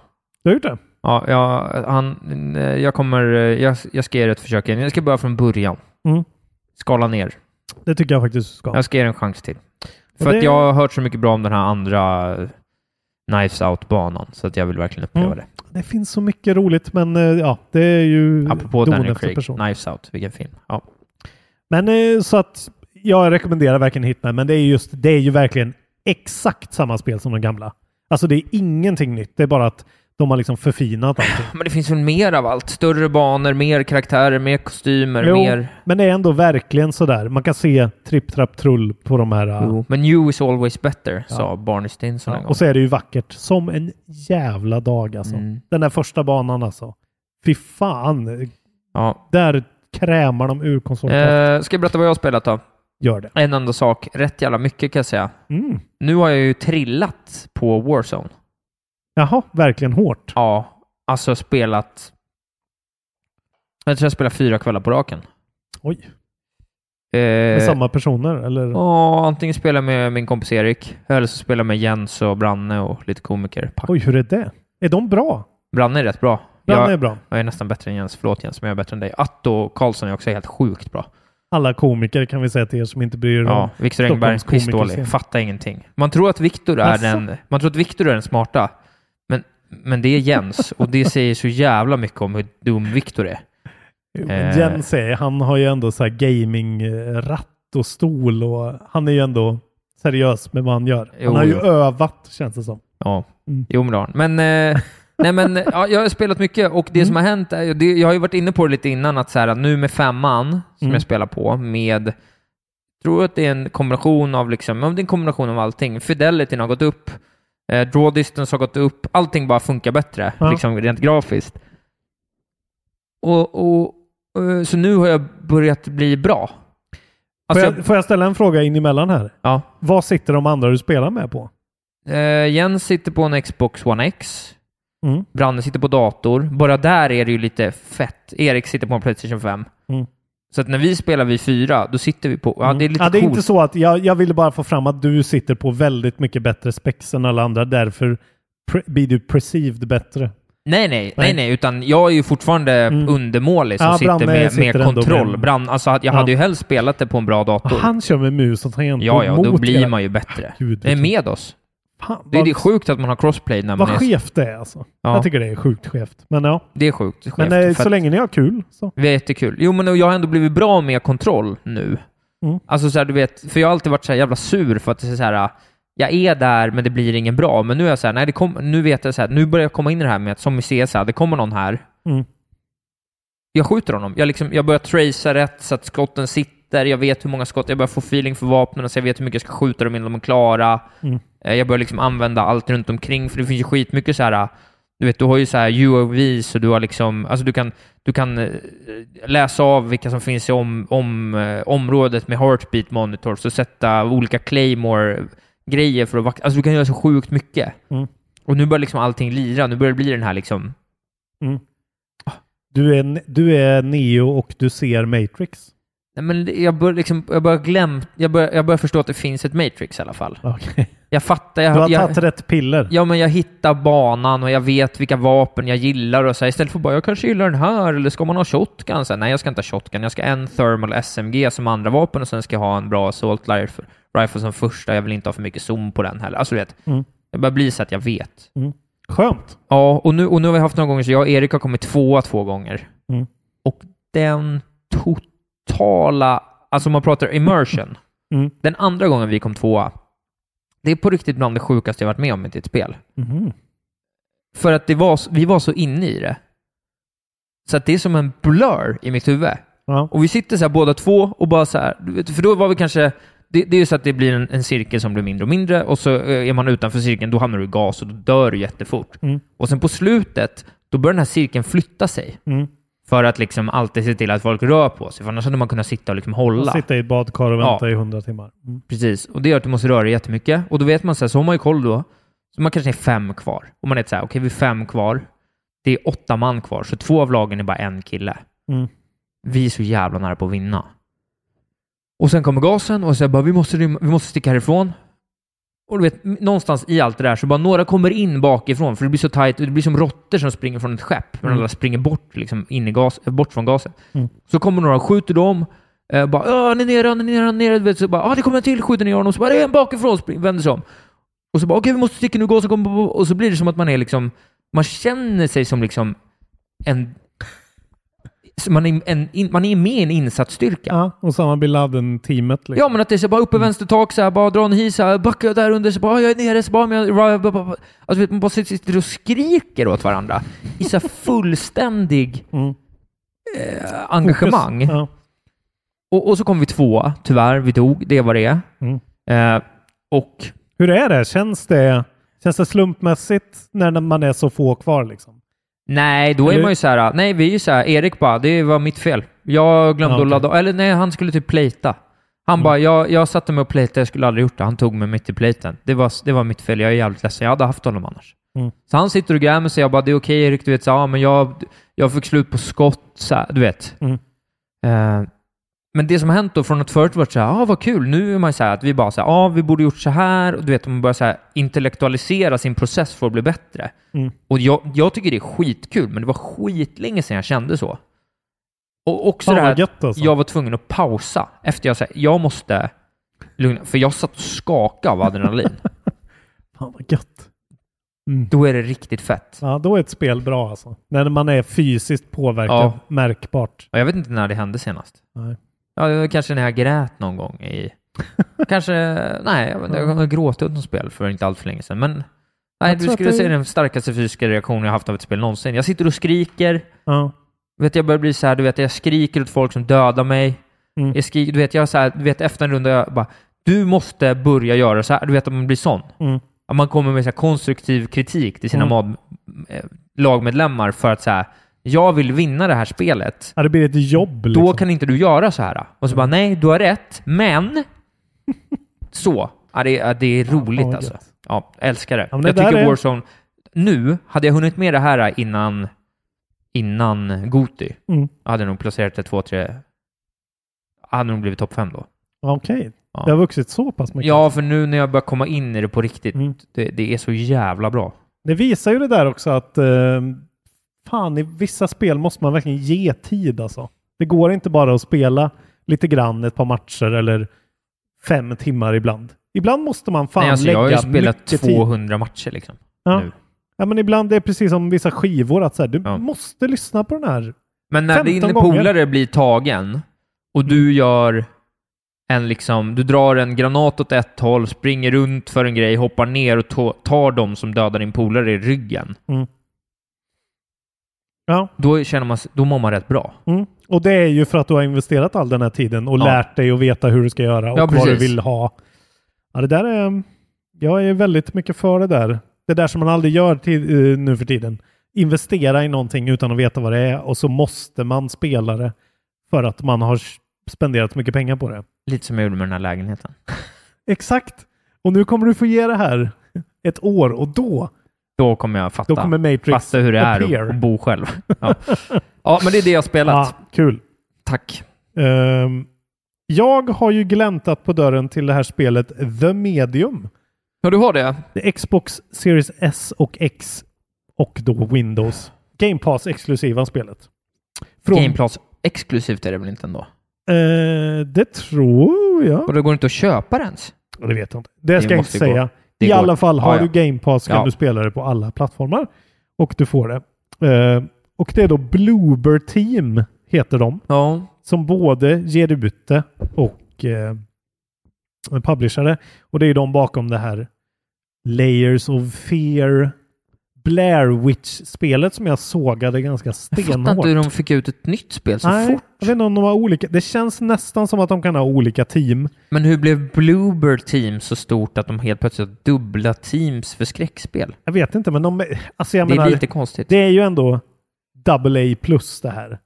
[SPEAKER 3] Du har gjort det?
[SPEAKER 4] Ja, jag, han, eh, jag, kommer, eh, jag, jag ska ge er ett försök igen. Jag ska börja från början.
[SPEAKER 3] Mm.
[SPEAKER 4] Skala ner.
[SPEAKER 3] Det tycker jag faktiskt du ska.
[SPEAKER 4] Jag ska ge er en chans till. För
[SPEAKER 3] det-
[SPEAKER 4] att jag har hört så mycket bra om den här andra eh, Knives Out-banan, så att jag vill verkligen uppleva
[SPEAKER 3] Mm.
[SPEAKER 4] det.
[SPEAKER 3] Det finns så mycket roligt, men eh, ja, det är ju
[SPEAKER 4] Apropå
[SPEAKER 3] don
[SPEAKER 4] Daniel
[SPEAKER 3] efter
[SPEAKER 4] Craig,
[SPEAKER 3] person.
[SPEAKER 4] Knives Out, vilken film. Ja.
[SPEAKER 3] Men eh, så att jag rekommenderar verkligen Hitman, men det är, just, det är ju verkligen exakt samma spel som de gamla. Alltså det är ingenting nytt. Det är bara att de har liksom förfinat allting.
[SPEAKER 4] Men det finns väl mer av allt? Större banor, mer karaktärer, mer kostymer,
[SPEAKER 3] Jo,
[SPEAKER 4] mer...
[SPEAKER 3] men det är ändå verkligen sådär. Man kan se tripp, trapp, trull på de här. äh,
[SPEAKER 4] Jo. Men new is always better, sa Barney Stinson en
[SPEAKER 3] Ja.
[SPEAKER 4] gång.
[SPEAKER 3] Och så är det ju vackert. Som en jävla dag alltså.
[SPEAKER 4] Mm.
[SPEAKER 3] Den där första banan alltså. Fy fan.
[SPEAKER 4] Ja.
[SPEAKER 3] Där krämar de ur konsolen.
[SPEAKER 4] Eh, ska jag berätta vad jag har spelat då?
[SPEAKER 3] Gör det.
[SPEAKER 4] En enda sak. Rätt jävla mycket kan jag säga.
[SPEAKER 3] Mm.
[SPEAKER 4] Nu har jag ju trillat på Warzone.
[SPEAKER 3] Jaha, verkligen hårt.
[SPEAKER 4] Ja, alltså spelat... Jag tror jag spelar fyra kvällar på raken.
[SPEAKER 3] Oj. Med
[SPEAKER 4] Eh,
[SPEAKER 3] samma personer eller?
[SPEAKER 4] ja, antingen spelar jag med min kompis Erik, eller så spelar jag med Jens och Branne och lite komiker. Pack.
[SPEAKER 3] Oj, hur är det? Är de bra?
[SPEAKER 4] Branne är rätt bra.
[SPEAKER 3] Den
[SPEAKER 4] jag,
[SPEAKER 3] är bra.
[SPEAKER 4] jag är nästan bättre än Jens. Förlåt Jens, men jag är bättre än dig. Atto Karlsson är också helt sjukt bra.
[SPEAKER 3] Alla komiker kan vi säga till er som inte bryr er om.
[SPEAKER 4] Ja, Viktor Engberg,
[SPEAKER 3] Stockholms komikerscen.
[SPEAKER 4] pissdålig. Fattar ingenting. Man tror att Viktor är,
[SPEAKER 3] Asså?
[SPEAKER 4] den, man tror att Victor är den smarta, men, men det är Jens. Och det säger så jävla mycket om hur dum Viktor är.
[SPEAKER 3] Jo, men
[SPEAKER 4] Eh.
[SPEAKER 3] Jens är, han har ju ändå så här gaming-ratt och stol och han är ju ändå seriös med vad han gör.
[SPEAKER 4] Jo,
[SPEAKER 3] han har ju
[SPEAKER 4] jo. Alltså
[SPEAKER 3] övat känns det som.
[SPEAKER 4] Ja,
[SPEAKER 3] Mm.
[SPEAKER 4] jo men det har han. Men, eh,
[SPEAKER 3] [laughs]
[SPEAKER 4] nej, men ja, jag har spelat mycket och det
[SPEAKER 3] Mm.
[SPEAKER 4] som har hänt, är, ju- det, jag har ju varit inne på det lite innan, att så här, nu med femman som
[SPEAKER 3] Mm.
[SPEAKER 4] jag spelar på med tror att det är en kombination av liksom, ja, men det är en kombination av allting. Fidelityn har gått upp, eh, draw distance har gått upp, allting bara funkar bättre,
[SPEAKER 3] Ja.
[SPEAKER 4] liksom rent grafiskt. Och, och, eh, så nu har jag börjat bli bra. Alltså,
[SPEAKER 3] får, jag, får jag ställa en fråga in emellan här?
[SPEAKER 4] ja.
[SPEAKER 3] Vad sitter de andra du spelar med på?
[SPEAKER 4] Eh, Jens sitter på en Xbox One X.
[SPEAKER 3] Mm.
[SPEAKER 4] Branne sitter på dator. Bara där är det ju lite fett. Erik sitter på en Playstation 5.
[SPEAKER 3] Mm.
[SPEAKER 4] Så att när vi spelar vi fyra, då sitter vi på... Ja,
[SPEAKER 3] Mm.
[SPEAKER 4] det är lite
[SPEAKER 3] ja, det är
[SPEAKER 4] coolt.
[SPEAKER 3] inte så att jag, jag ville bara få fram att du sitter på väldigt mycket bättre specs än alla andra. Därför pre- blir du perceived bättre.
[SPEAKER 4] Nej, nej,
[SPEAKER 3] Nej. Mm.
[SPEAKER 4] nej, nej, utan jag är ju fortfarande undermålig som
[SPEAKER 3] Ja, Branne
[SPEAKER 4] sitter med,
[SPEAKER 3] sitter
[SPEAKER 4] med
[SPEAKER 3] ändå
[SPEAKER 4] kontroll.
[SPEAKER 3] med-
[SPEAKER 4] Brand, alltså, jag
[SPEAKER 3] Ja.
[SPEAKER 4] hade ju helst spelat det på en bra dator.
[SPEAKER 3] Han kör med mus och tangentbord
[SPEAKER 4] ja, ja, då
[SPEAKER 3] mot
[SPEAKER 4] blir
[SPEAKER 3] er.
[SPEAKER 4] man ju bättre.
[SPEAKER 3] Gud,
[SPEAKER 4] Det är
[SPEAKER 3] vilken-
[SPEAKER 4] med oss.
[SPEAKER 3] Fan,
[SPEAKER 4] Det är,
[SPEAKER 3] vad-
[SPEAKER 4] det är sjukt att man har crossplay när man
[SPEAKER 3] Vad
[SPEAKER 4] är...
[SPEAKER 3] skevt det är alltså.
[SPEAKER 4] Ja.
[SPEAKER 3] Jag tycker det är sjukt skevt. Men ja,
[SPEAKER 4] Det är sjukt. skevt,
[SPEAKER 3] men eh,
[SPEAKER 4] för
[SPEAKER 3] så
[SPEAKER 4] att-
[SPEAKER 3] länge ni har kul så.
[SPEAKER 4] Det är jättekul. Jo, men jag har ändå blivit bra med kontroll nu.
[SPEAKER 3] Mm.
[SPEAKER 4] Alltså så här, du vet, för jag har alltid varit så här jävla sur för att det är så här, jag är där men det blir ingen bra. Men nu är jag så här, nej, det kom, nu vet jag så här, nu börjar jag komma in i det här med att som i CSA, det kommer någon här.
[SPEAKER 3] Mm.
[SPEAKER 4] Jag skjuter honom. Jag, liksom, jag börjar tracea rätt så att skotten sitter, jag vet hur många skott, jag börjar få feeling för vapnen, så jag vet hur mycket jag ska skjuta dem innan de är klara.
[SPEAKER 3] Mm.
[SPEAKER 4] Eh, Jag börjar liksom använda allt runt omkring för det finns ju skitmycket så här du vet, du har ju så här UAVs och du har liksom, alltså du kan, du kan eh, läsa av vilka som finns i om, om, eh, området med heartbeat monitors och sätta olika claymore-grejer för att vakta. Alltså du kan göra så sjukt mycket.
[SPEAKER 3] Mm.
[SPEAKER 4] Och nu börjar liksom allting lira. Nu börjar det bli den här liksom,
[SPEAKER 3] Du är, du är Neo och du ser Matrix. [laughs]
[SPEAKER 4] Nej, men jag börjar liksom, jag börjar glöm, jag börjar, jag börjar förstå att det finns ett Matrix i alla fall.
[SPEAKER 3] Okej.
[SPEAKER 4] Jag fattar.
[SPEAKER 3] Du
[SPEAKER 4] Jag,
[SPEAKER 3] har
[SPEAKER 4] jag,
[SPEAKER 3] tagit rätt piller.
[SPEAKER 4] Ja, men jag hittar banan och jag vet vilka vapen jag gillar och så här, istället för bara jag kanske gillar den här eller ska man ha shotgun? Så här, nej, jag ska inte ha shotgun. Jag ska ha en thermal SMG som andra vapen och sen ska jag ha en bra assault rifle, rifle som första. Jag vill inte ha för mycket zoom på den heller. Alltså, du vet.
[SPEAKER 3] Mm.
[SPEAKER 4] Det börjar bli så att jag vet.
[SPEAKER 3] Skönt.
[SPEAKER 4] Ja, och nu, och nu har vi haft några gånger så jag och Erik har kommit tvåa två gånger.
[SPEAKER 3] Mm.
[SPEAKER 4] Och den totala, alltså om man pratar immersion,
[SPEAKER 3] Mm.
[SPEAKER 4] den andra gången vi kom tvåa, det är på riktigt bland det sjukaste jag varit med om i ett spel. Mm-hmm.
[SPEAKER 3] Mhm.
[SPEAKER 4] För att det var, s- vi var så inne i det. Så att det är som en blur i mitt huvud.
[SPEAKER 3] Ja.
[SPEAKER 4] Och vi sitter så här båda två och bara så här, du vet, för då var vi kanske, det, det är ju så att det blir en, en cirkel som blir mindre och mindre och så eh, är man utanför cirkeln, då hamnar du i gas och då dör du jättefort.
[SPEAKER 3] Mm.
[SPEAKER 4] Och sen på slutet, då börjar den här cirkeln flytta sig.
[SPEAKER 3] Mm.
[SPEAKER 4] För att liksom alltid se till att folk rör på sig, för annars hade man kunnat sitta och liksom hålla.
[SPEAKER 3] Och Sitta i ett badkar och vänta i hundra timmar. Mm.
[SPEAKER 4] Precis, och det gör att du måste röra dig jättemycket. Och då vet man så här, så har man ju koll då. Så man kanske är fem kvar. Och man är så här, okej vi är fem kvar. Det är åtta man kvar, så två av lagen är bara en kille.
[SPEAKER 3] Mm.
[SPEAKER 4] Vi är så jävla nära på att vinna. Och sen kommer gasen och så här bara, vi måste, rymma- vi måste sticka härifrån. Och du vet, någonstans i allt det där så bara några kommer in bakifrån för det blir så tajt. och Det blir som råttor som springer från ett skepp. Men alla springer bort, liksom, in i gas, bort från gasen. Så kommer några och skjuter dem. Eh, bara ”Åh, ni är nere, ni är nere, ni är nere”. Du vet, Så bara ”Ah, det kommer en till”, skjuter ner honom. Så bara ”Det är en bakifrån”, spring- vänder sig om. Och så bara ”Okej, vi måste sticka nu, gasen kommer på”. Och så blir det som att man är liksom... Man känner sig som liksom en... så Man är, en, in, man är med i en insatsstyrka.
[SPEAKER 3] Ja, och samma Bin Laden-teamet. Liksom.
[SPEAKER 4] Ja, men att det är så bara uppe vänster tak, så här, bara dra en hiss, så här, backa där under, så bara jag är nere, så bara... Men jag, bara, bara, bara. Alltså, vet, man bara sitter och skriker åt varandra
[SPEAKER 3] [laughs]
[SPEAKER 4] i så här fullständig
[SPEAKER 3] Mm.
[SPEAKER 4] eh, engagemang.
[SPEAKER 3] Ja.
[SPEAKER 4] Och, och så kom vi tvåa, tyvärr. Vi dog, det var det
[SPEAKER 3] Mm.
[SPEAKER 4] eh, Och
[SPEAKER 3] Hur är det? Känns det, känns det slumpmässigt när man är så få kvar? Liksom?
[SPEAKER 4] nej, då är
[SPEAKER 3] Eller-
[SPEAKER 4] man ju så här. nej vi är ju så här, Erik bara, det var mitt fel. Jag glömde
[SPEAKER 3] Ja, okej. Mm.
[SPEAKER 4] att ladda, eller nej, han skulle typ plejta. Han bara, jag, jag satte mig och plejtade, jag skulle aldrig gjort det. Han tog mig mitt i plejten. Det var, det var mitt fel, jag är jävligt ledsen. Jag hade haft honom annars.
[SPEAKER 3] Mm.
[SPEAKER 4] Så han sitter och grämer sig, jag bara, det är okej Erik, du vet, så, här, ja, men jag, jag fick slut på skott, så här, du vet.
[SPEAKER 3] Mm.
[SPEAKER 4] Eh, Men det som har hänt då från att förut varit så här, ah, vad kul, nu är man så här att vi bara så här, ah, vi borde gjort så här, och du vet, man börjar så här intellektualisera sin process för att bli bättre.
[SPEAKER 3] Mm.
[SPEAKER 4] Och jag, jag tycker det är skitkul, men det var skitlänge sedan jag kände så. Och också
[SPEAKER 3] Fan
[SPEAKER 4] det här,
[SPEAKER 3] vad gött alltså.
[SPEAKER 4] jag var tvungen att pausa efter jag sa, jag måste lugna, för jag satt och skakade
[SPEAKER 3] [laughs]
[SPEAKER 4] av adrenalin.
[SPEAKER 3] Fan vad gött. Mm.
[SPEAKER 4] då är det riktigt fett.
[SPEAKER 3] Ja, då är ett spel bra alltså. När man är fysiskt påverkad
[SPEAKER 4] Ja.
[SPEAKER 3] märkbart.
[SPEAKER 4] Och jag vet inte när det hände senast.
[SPEAKER 3] Nej.
[SPEAKER 4] Ja, det var kanske när jag grät någon
[SPEAKER 3] [laughs]
[SPEAKER 4] gång i... kanske... Nej, jag, vet inte, jag har gråtit åt något spel för inte allt för länge sedan. Men nej,
[SPEAKER 3] Jag
[SPEAKER 4] du
[SPEAKER 3] tror att
[SPEAKER 4] skulle
[SPEAKER 3] det-
[SPEAKER 4] säga den starkaste fysiska reaktionen jag haft av ett spel någonsin. Jag sitter och skriker.
[SPEAKER 3] Ja.
[SPEAKER 4] Vet, jag börjar bli så här, du vet, jag skriker åt folk som dödar mig.
[SPEAKER 3] Mm.
[SPEAKER 4] Jag skriker, du vet, jag så här, du vet, efter en runda, jag bara, du måste börja göra så här. Du vet att man blir sån.
[SPEAKER 3] Mm.
[SPEAKER 4] Att man kommer med så här konstruktiv kritik till sina
[SPEAKER 3] Mm.
[SPEAKER 4] mad, eh, lagmedlemmar för att så här, jag vill vinna det här spelet.
[SPEAKER 3] ja, det blir ett jobb. Liksom.
[SPEAKER 4] Då kan inte du göra så här. Och så bara, nej, du har rätt, men... [laughs] så. Ja, det, ja, det är roligt
[SPEAKER 3] vad
[SPEAKER 4] alltså.
[SPEAKER 3] gött.
[SPEAKER 4] Ja, jag älskar det.
[SPEAKER 3] Ja, men det
[SPEAKER 4] jag
[SPEAKER 3] där
[SPEAKER 4] tycker
[SPEAKER 3] är-
[SPEAKER 4] Warzone... Nu, hade jag hunnit med det här innan, innan Goti,
[SPEAKER 3] Mm.
[SPEAKER 4] hade jag nog placerat det två, tre... Hade nog blivit topp fem då.
[SPEAKER 3] Ja, Okej,
[SPEAKER 4] Ja.
[SPEAKER 3] det har vuxit så pass mycket.
[SPEAKER 4] Ja, för nu när jag börjar komma in i det på riktigt,
[SPEAKER 3] Mm.
[SPEAKER 4] det, det är så jävla bra.
[SPEAKER 3] Det visar ju det där också att eh, fan, i vissa spel måste man verkligen ge tid alltså. Det går inte bara att spela lite grann ett par matcher eller fem timmar ibland. Ibland måste man fan
[SPEAKER 4] nej, alltså,
[SPEAKER 3] lägga
[SPEAKER 4] jag har ju spelat
[SPEAKER 3] mycket tid.
[SPEAKER 4] 200 matcher liksom.
[SPEAKER 3] Ja.
[SPEAKER 4] nu.
[SPEAKER 3] ja, men ibland det är precis som vissa skivor att så här, du
[SPEAKER 4] Ja.
[SPEAKER 3] måste lyssna på den här.
[SPEAKER 4] Men när
[SPEAKER 3] 15
[SPEAKER 4] din
[SPEAKER 3] gånger. Mm.
[SPEAKER 4] polare blir tagen och du gör en liksom, du drar en granat åt ett håll, springer runt för en grej, hoppar ner och to- tar dem som dödar din polare i ryggen.
[SPEAKER 3] Ja,
[SPEAKER 4] Då känner man, s- då mår man rätt bra.
[SPEAKER 3] mm. och det är ju för att du har investerat all den här tiden och
[SPEAKER 4] Ja.
[SPEAKER 3] lärt dig att veta hur du ska göra och
[SPEAKER 4] Ja,
[SPEAKER 3] vad du
[SPEAKER 4] precis.
[SPEAKER 3] vill ha. Ja, det där är, jag är väldigt mycket för det där. Det där som man aldrig gör till, eh, nu för tiden. Investera i någonting utan att veta vad det är och så måste man spela det för att man har s- spenderat mycket pengar på det.
[SPEAKER 4] Lite som jag gjorde med den här lägenheten.
[SPEAKER 3] Exakt! Och nu kommer du få ge det här [laughs] ett år och då,
[SPEAKER 4] Då kommer jag fatta,
[SPEAKER 3] då kommer Matrix
[SPEAKER 4] fatta hur det är
[SPEAKER 3] appear.
[SPEAKER 4] att- att bo själv. Ja. ja, men det är det jag har spelat.
[SPEAKER 3] Ja, kul.
[SPEAKER 4] Tack.
[SPEAKER 3] Ehm, Jag har ju gläntat på dörren till det här spelet The Medium.
[SPEAKER 4] Ja, du har det?
[SPEAKER 3] Det är Xbox Series S och X och då Windows. Game Pass exklusiva spelet. Från-
[SPEAKER 4] Gameplans exklusivt är det väl inte ändå?
[SPEAKER 3] Eh, det tror jag.
[SPEAKER 4] Och då går det inte att köpa det ens?
[SPEAKER 3] Ja, det vet jag inte. Det, ska jag inte
[SPEAKER 4] måste gå.
[SPEAKER 3] säga.
[SPEAKER 4] Det
[SPEAKER 3] I
[SPEAKER 4] går.
[SPEAKER 3] alla fall, har
[SPEAKER 4] Ja, ja.
[SPEAKER 3] du Game Pass kan
[SPEAKER 4] Ja.
[SPEAKER 3] du spela det på alla plattformar. Och du får det. Eh, och det är då Bloober Team, heter de.
[SPEAKER 4] Ja.
[SPEAKER 3] Som både ger ut det och eh, publishar det. Och det är ju de bakom det här Layers of Fear Blair Witch-spelet som jag sågade ganska
[SPEAKER 4] Jag
[SPEAKER 3] stenhårt.
[SPEAKER 4] fattar inte hur de fick ut ett nytt spel så
[SPEAKER 3] Nej,
[SPEAKER 4] fort.
[SPEAKER 3] jag vet inte om de har olika. Det känns nästan som att de kan ha olika team.
[SPEAKER 4] Men hur blev Bloober Team så stort att de helt plötsligt har dubbla teams för skräckspel?
[SPEAKER 3] Jag vet inte, men de... Alltså jag
[SPEAKER 4] det
[SPEAKER 3] menar,
[SPEAKER 4] är lite konstigt.
[SPEAKER 3] det är ju ändå double A plus det här.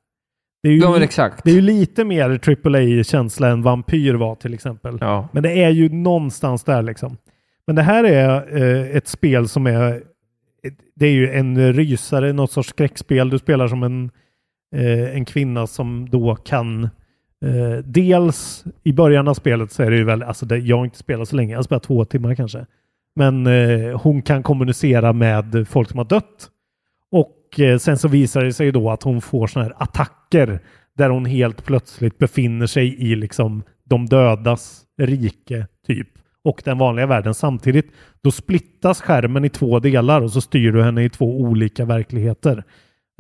[SPEAKER 3] Det är ju,
[SPEAKER 4] ja, men exakt.
[SPEAKER 3] det är ju lite mer triple A-känsla än Vampyr var till exempel.
[SPEAKER 4] Ja.
[SPEAKER 3] Men det är ju någonstans där liksom. Men det här är eh, ett spel som är... Det är ju en rysare, något sorts skräckspel. Du spelar som en, eh, en kvinna som då kan... Eh, dels i början av spelet så är det ju väl... Alltså det, jag har inte spelat så länge, jag har spelat två timmar kanske. Men eh, hon kan kommunicera med folk som har dött. Och eh, sen så visar det sig då att hon får såna här attacker där hon helt plötsligt befinner sig i liksom de dödas rike typ och den vanliga världen samtidigt. Då splittas skärmen i två delar och så styr du henne i två olika verkligheter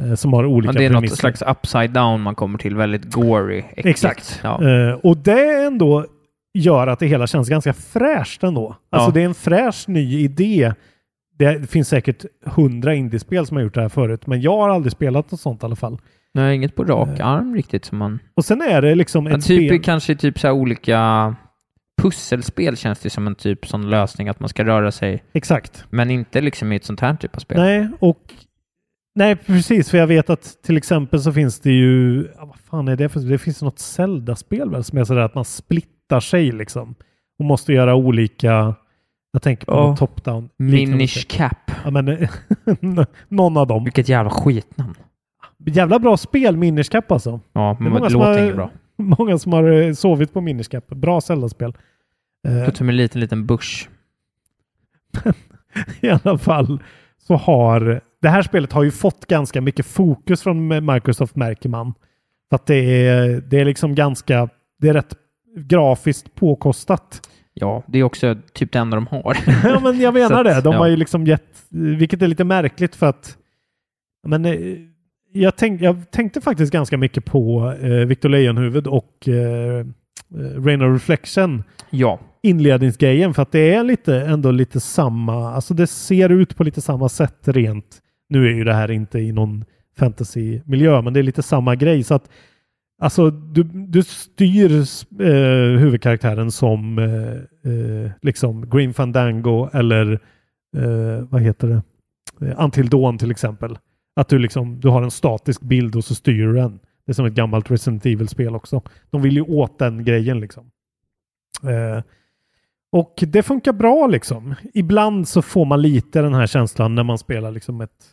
[SPEAKER 3] eh, som har olika
[SPEAKER 4] Ja, det är något
[SPEAKER 3] premisser.
[SPEAKER 4] slags upside down man kommer till. Väldigt gory. äckligt.
[SPEAKER 3] Exakt.
[SPEAKER 4] Ja.
[SPEAKER 3] Eh, och det ändå gör att det hela känns ganska fräscht ändå. Alltså
[SPEAKER 4] Ja.
[SPEAKER 3] det är en fräsch ny idé. Det finns säkert hundra indiespel som har gjort det här förut, men jag har aldrig spelat något sånt i alla fall.
[SPEAKER 4] Nej, inget på rak arm riktigt som man...
[SPEAKER 3] Och sen är det liksom
[SPEAKER 4] Men
[SPEAKER 3] Eh. ett
[SPEAKER 4] typ,
[SPEAKER 3] spel...
[SPEAKER 4] Kanske typ så här olika pusselspel känns det som en typ sån lösning att man ska röra sig,
[SPEAKER 3] Exakt.
[SPEAKER 4] men inte liksom i ett sånt här typ av spel.
[SPEAKER 3] Nej, och... Nej, precis. För jag vet att till exempel så finns det ju... Ja, vad fan är det för... Det finns något Zelda-spel väl som är sådär att man splittar sig liksom. Och måste göra olika... Jag tänker på
[SPEAKER 4] Ja.
[SPEAKER 3] något top-down. typ.
[SPEAKER 4] Minish Cap.
[SPEAKER 3] Ja, men [laughs] någon av dem.
[SPEAKER 4] Vilket jävla skitnamn.
[SPEAKER 3] Jävla bra spel, Minish Cap alltså. [laughs]
[SPEAKER 4] Ja, men
[SPEAKER 3] många
[SPEAKER 4] det
[SPEAKER 3] som
[SPEAKER 4] låter
[SPEAKER 3] har-
[SPEAKER 4] inget bra.
[SPEAKER 3] Många som har eh, sovit på Minish Cap. Bra Zelda-spel.
[SPEAKER 4] Det
[SPEAKER 3] Eh, [laughs]
[SPEAKER 4] låter som en liten, liten bush.
[SPEAKER 3] I alla fall så har det här spelet har ju fått ganska mycket fokus från Microsoft märker man. För att det är, det är liksom ganska, det är rätt grafiskt påkostat.
[SPEAKER 4] Ja, det är också typ det enda de har.
[SPEAKER 3] ja, men jag menar
[SPEAKER 4] Så att,
[SPEAKER 3] det. De
[SPEAKER 4] ja.
[SPEAKER 3] har ju liksom gett, vilket är lite märkligt för att men, eh, jag, tänk, jag tänkte faktiskt ganska mycket på eh, Victor Leijonhufvud och eh, eh, Rain of Reflection
[SPEAKER 4] ja,
[SPEAKER 3] inledningsgrejen för att det är lite, ändå lite samma, alltså det ser ut på lite samma sätt rent. Nu är ju det här inte i någon fantasymiljö, men det är lite samma grej så att alltså du, du styr eh, huvudkaraktären som eh, eh, liksom Green Fandango eller eh, vad heter det? Eh, Until Dawn till exempel. Att du liksom, du har en statisk bild och så styr du den. Det är som ett gammalt Resident Evil-spel också. De vill ju åt den grejen liksom. Eh, och det funkar bra liksom. Ibland så får man lite den här känslan när man spelar liksom ett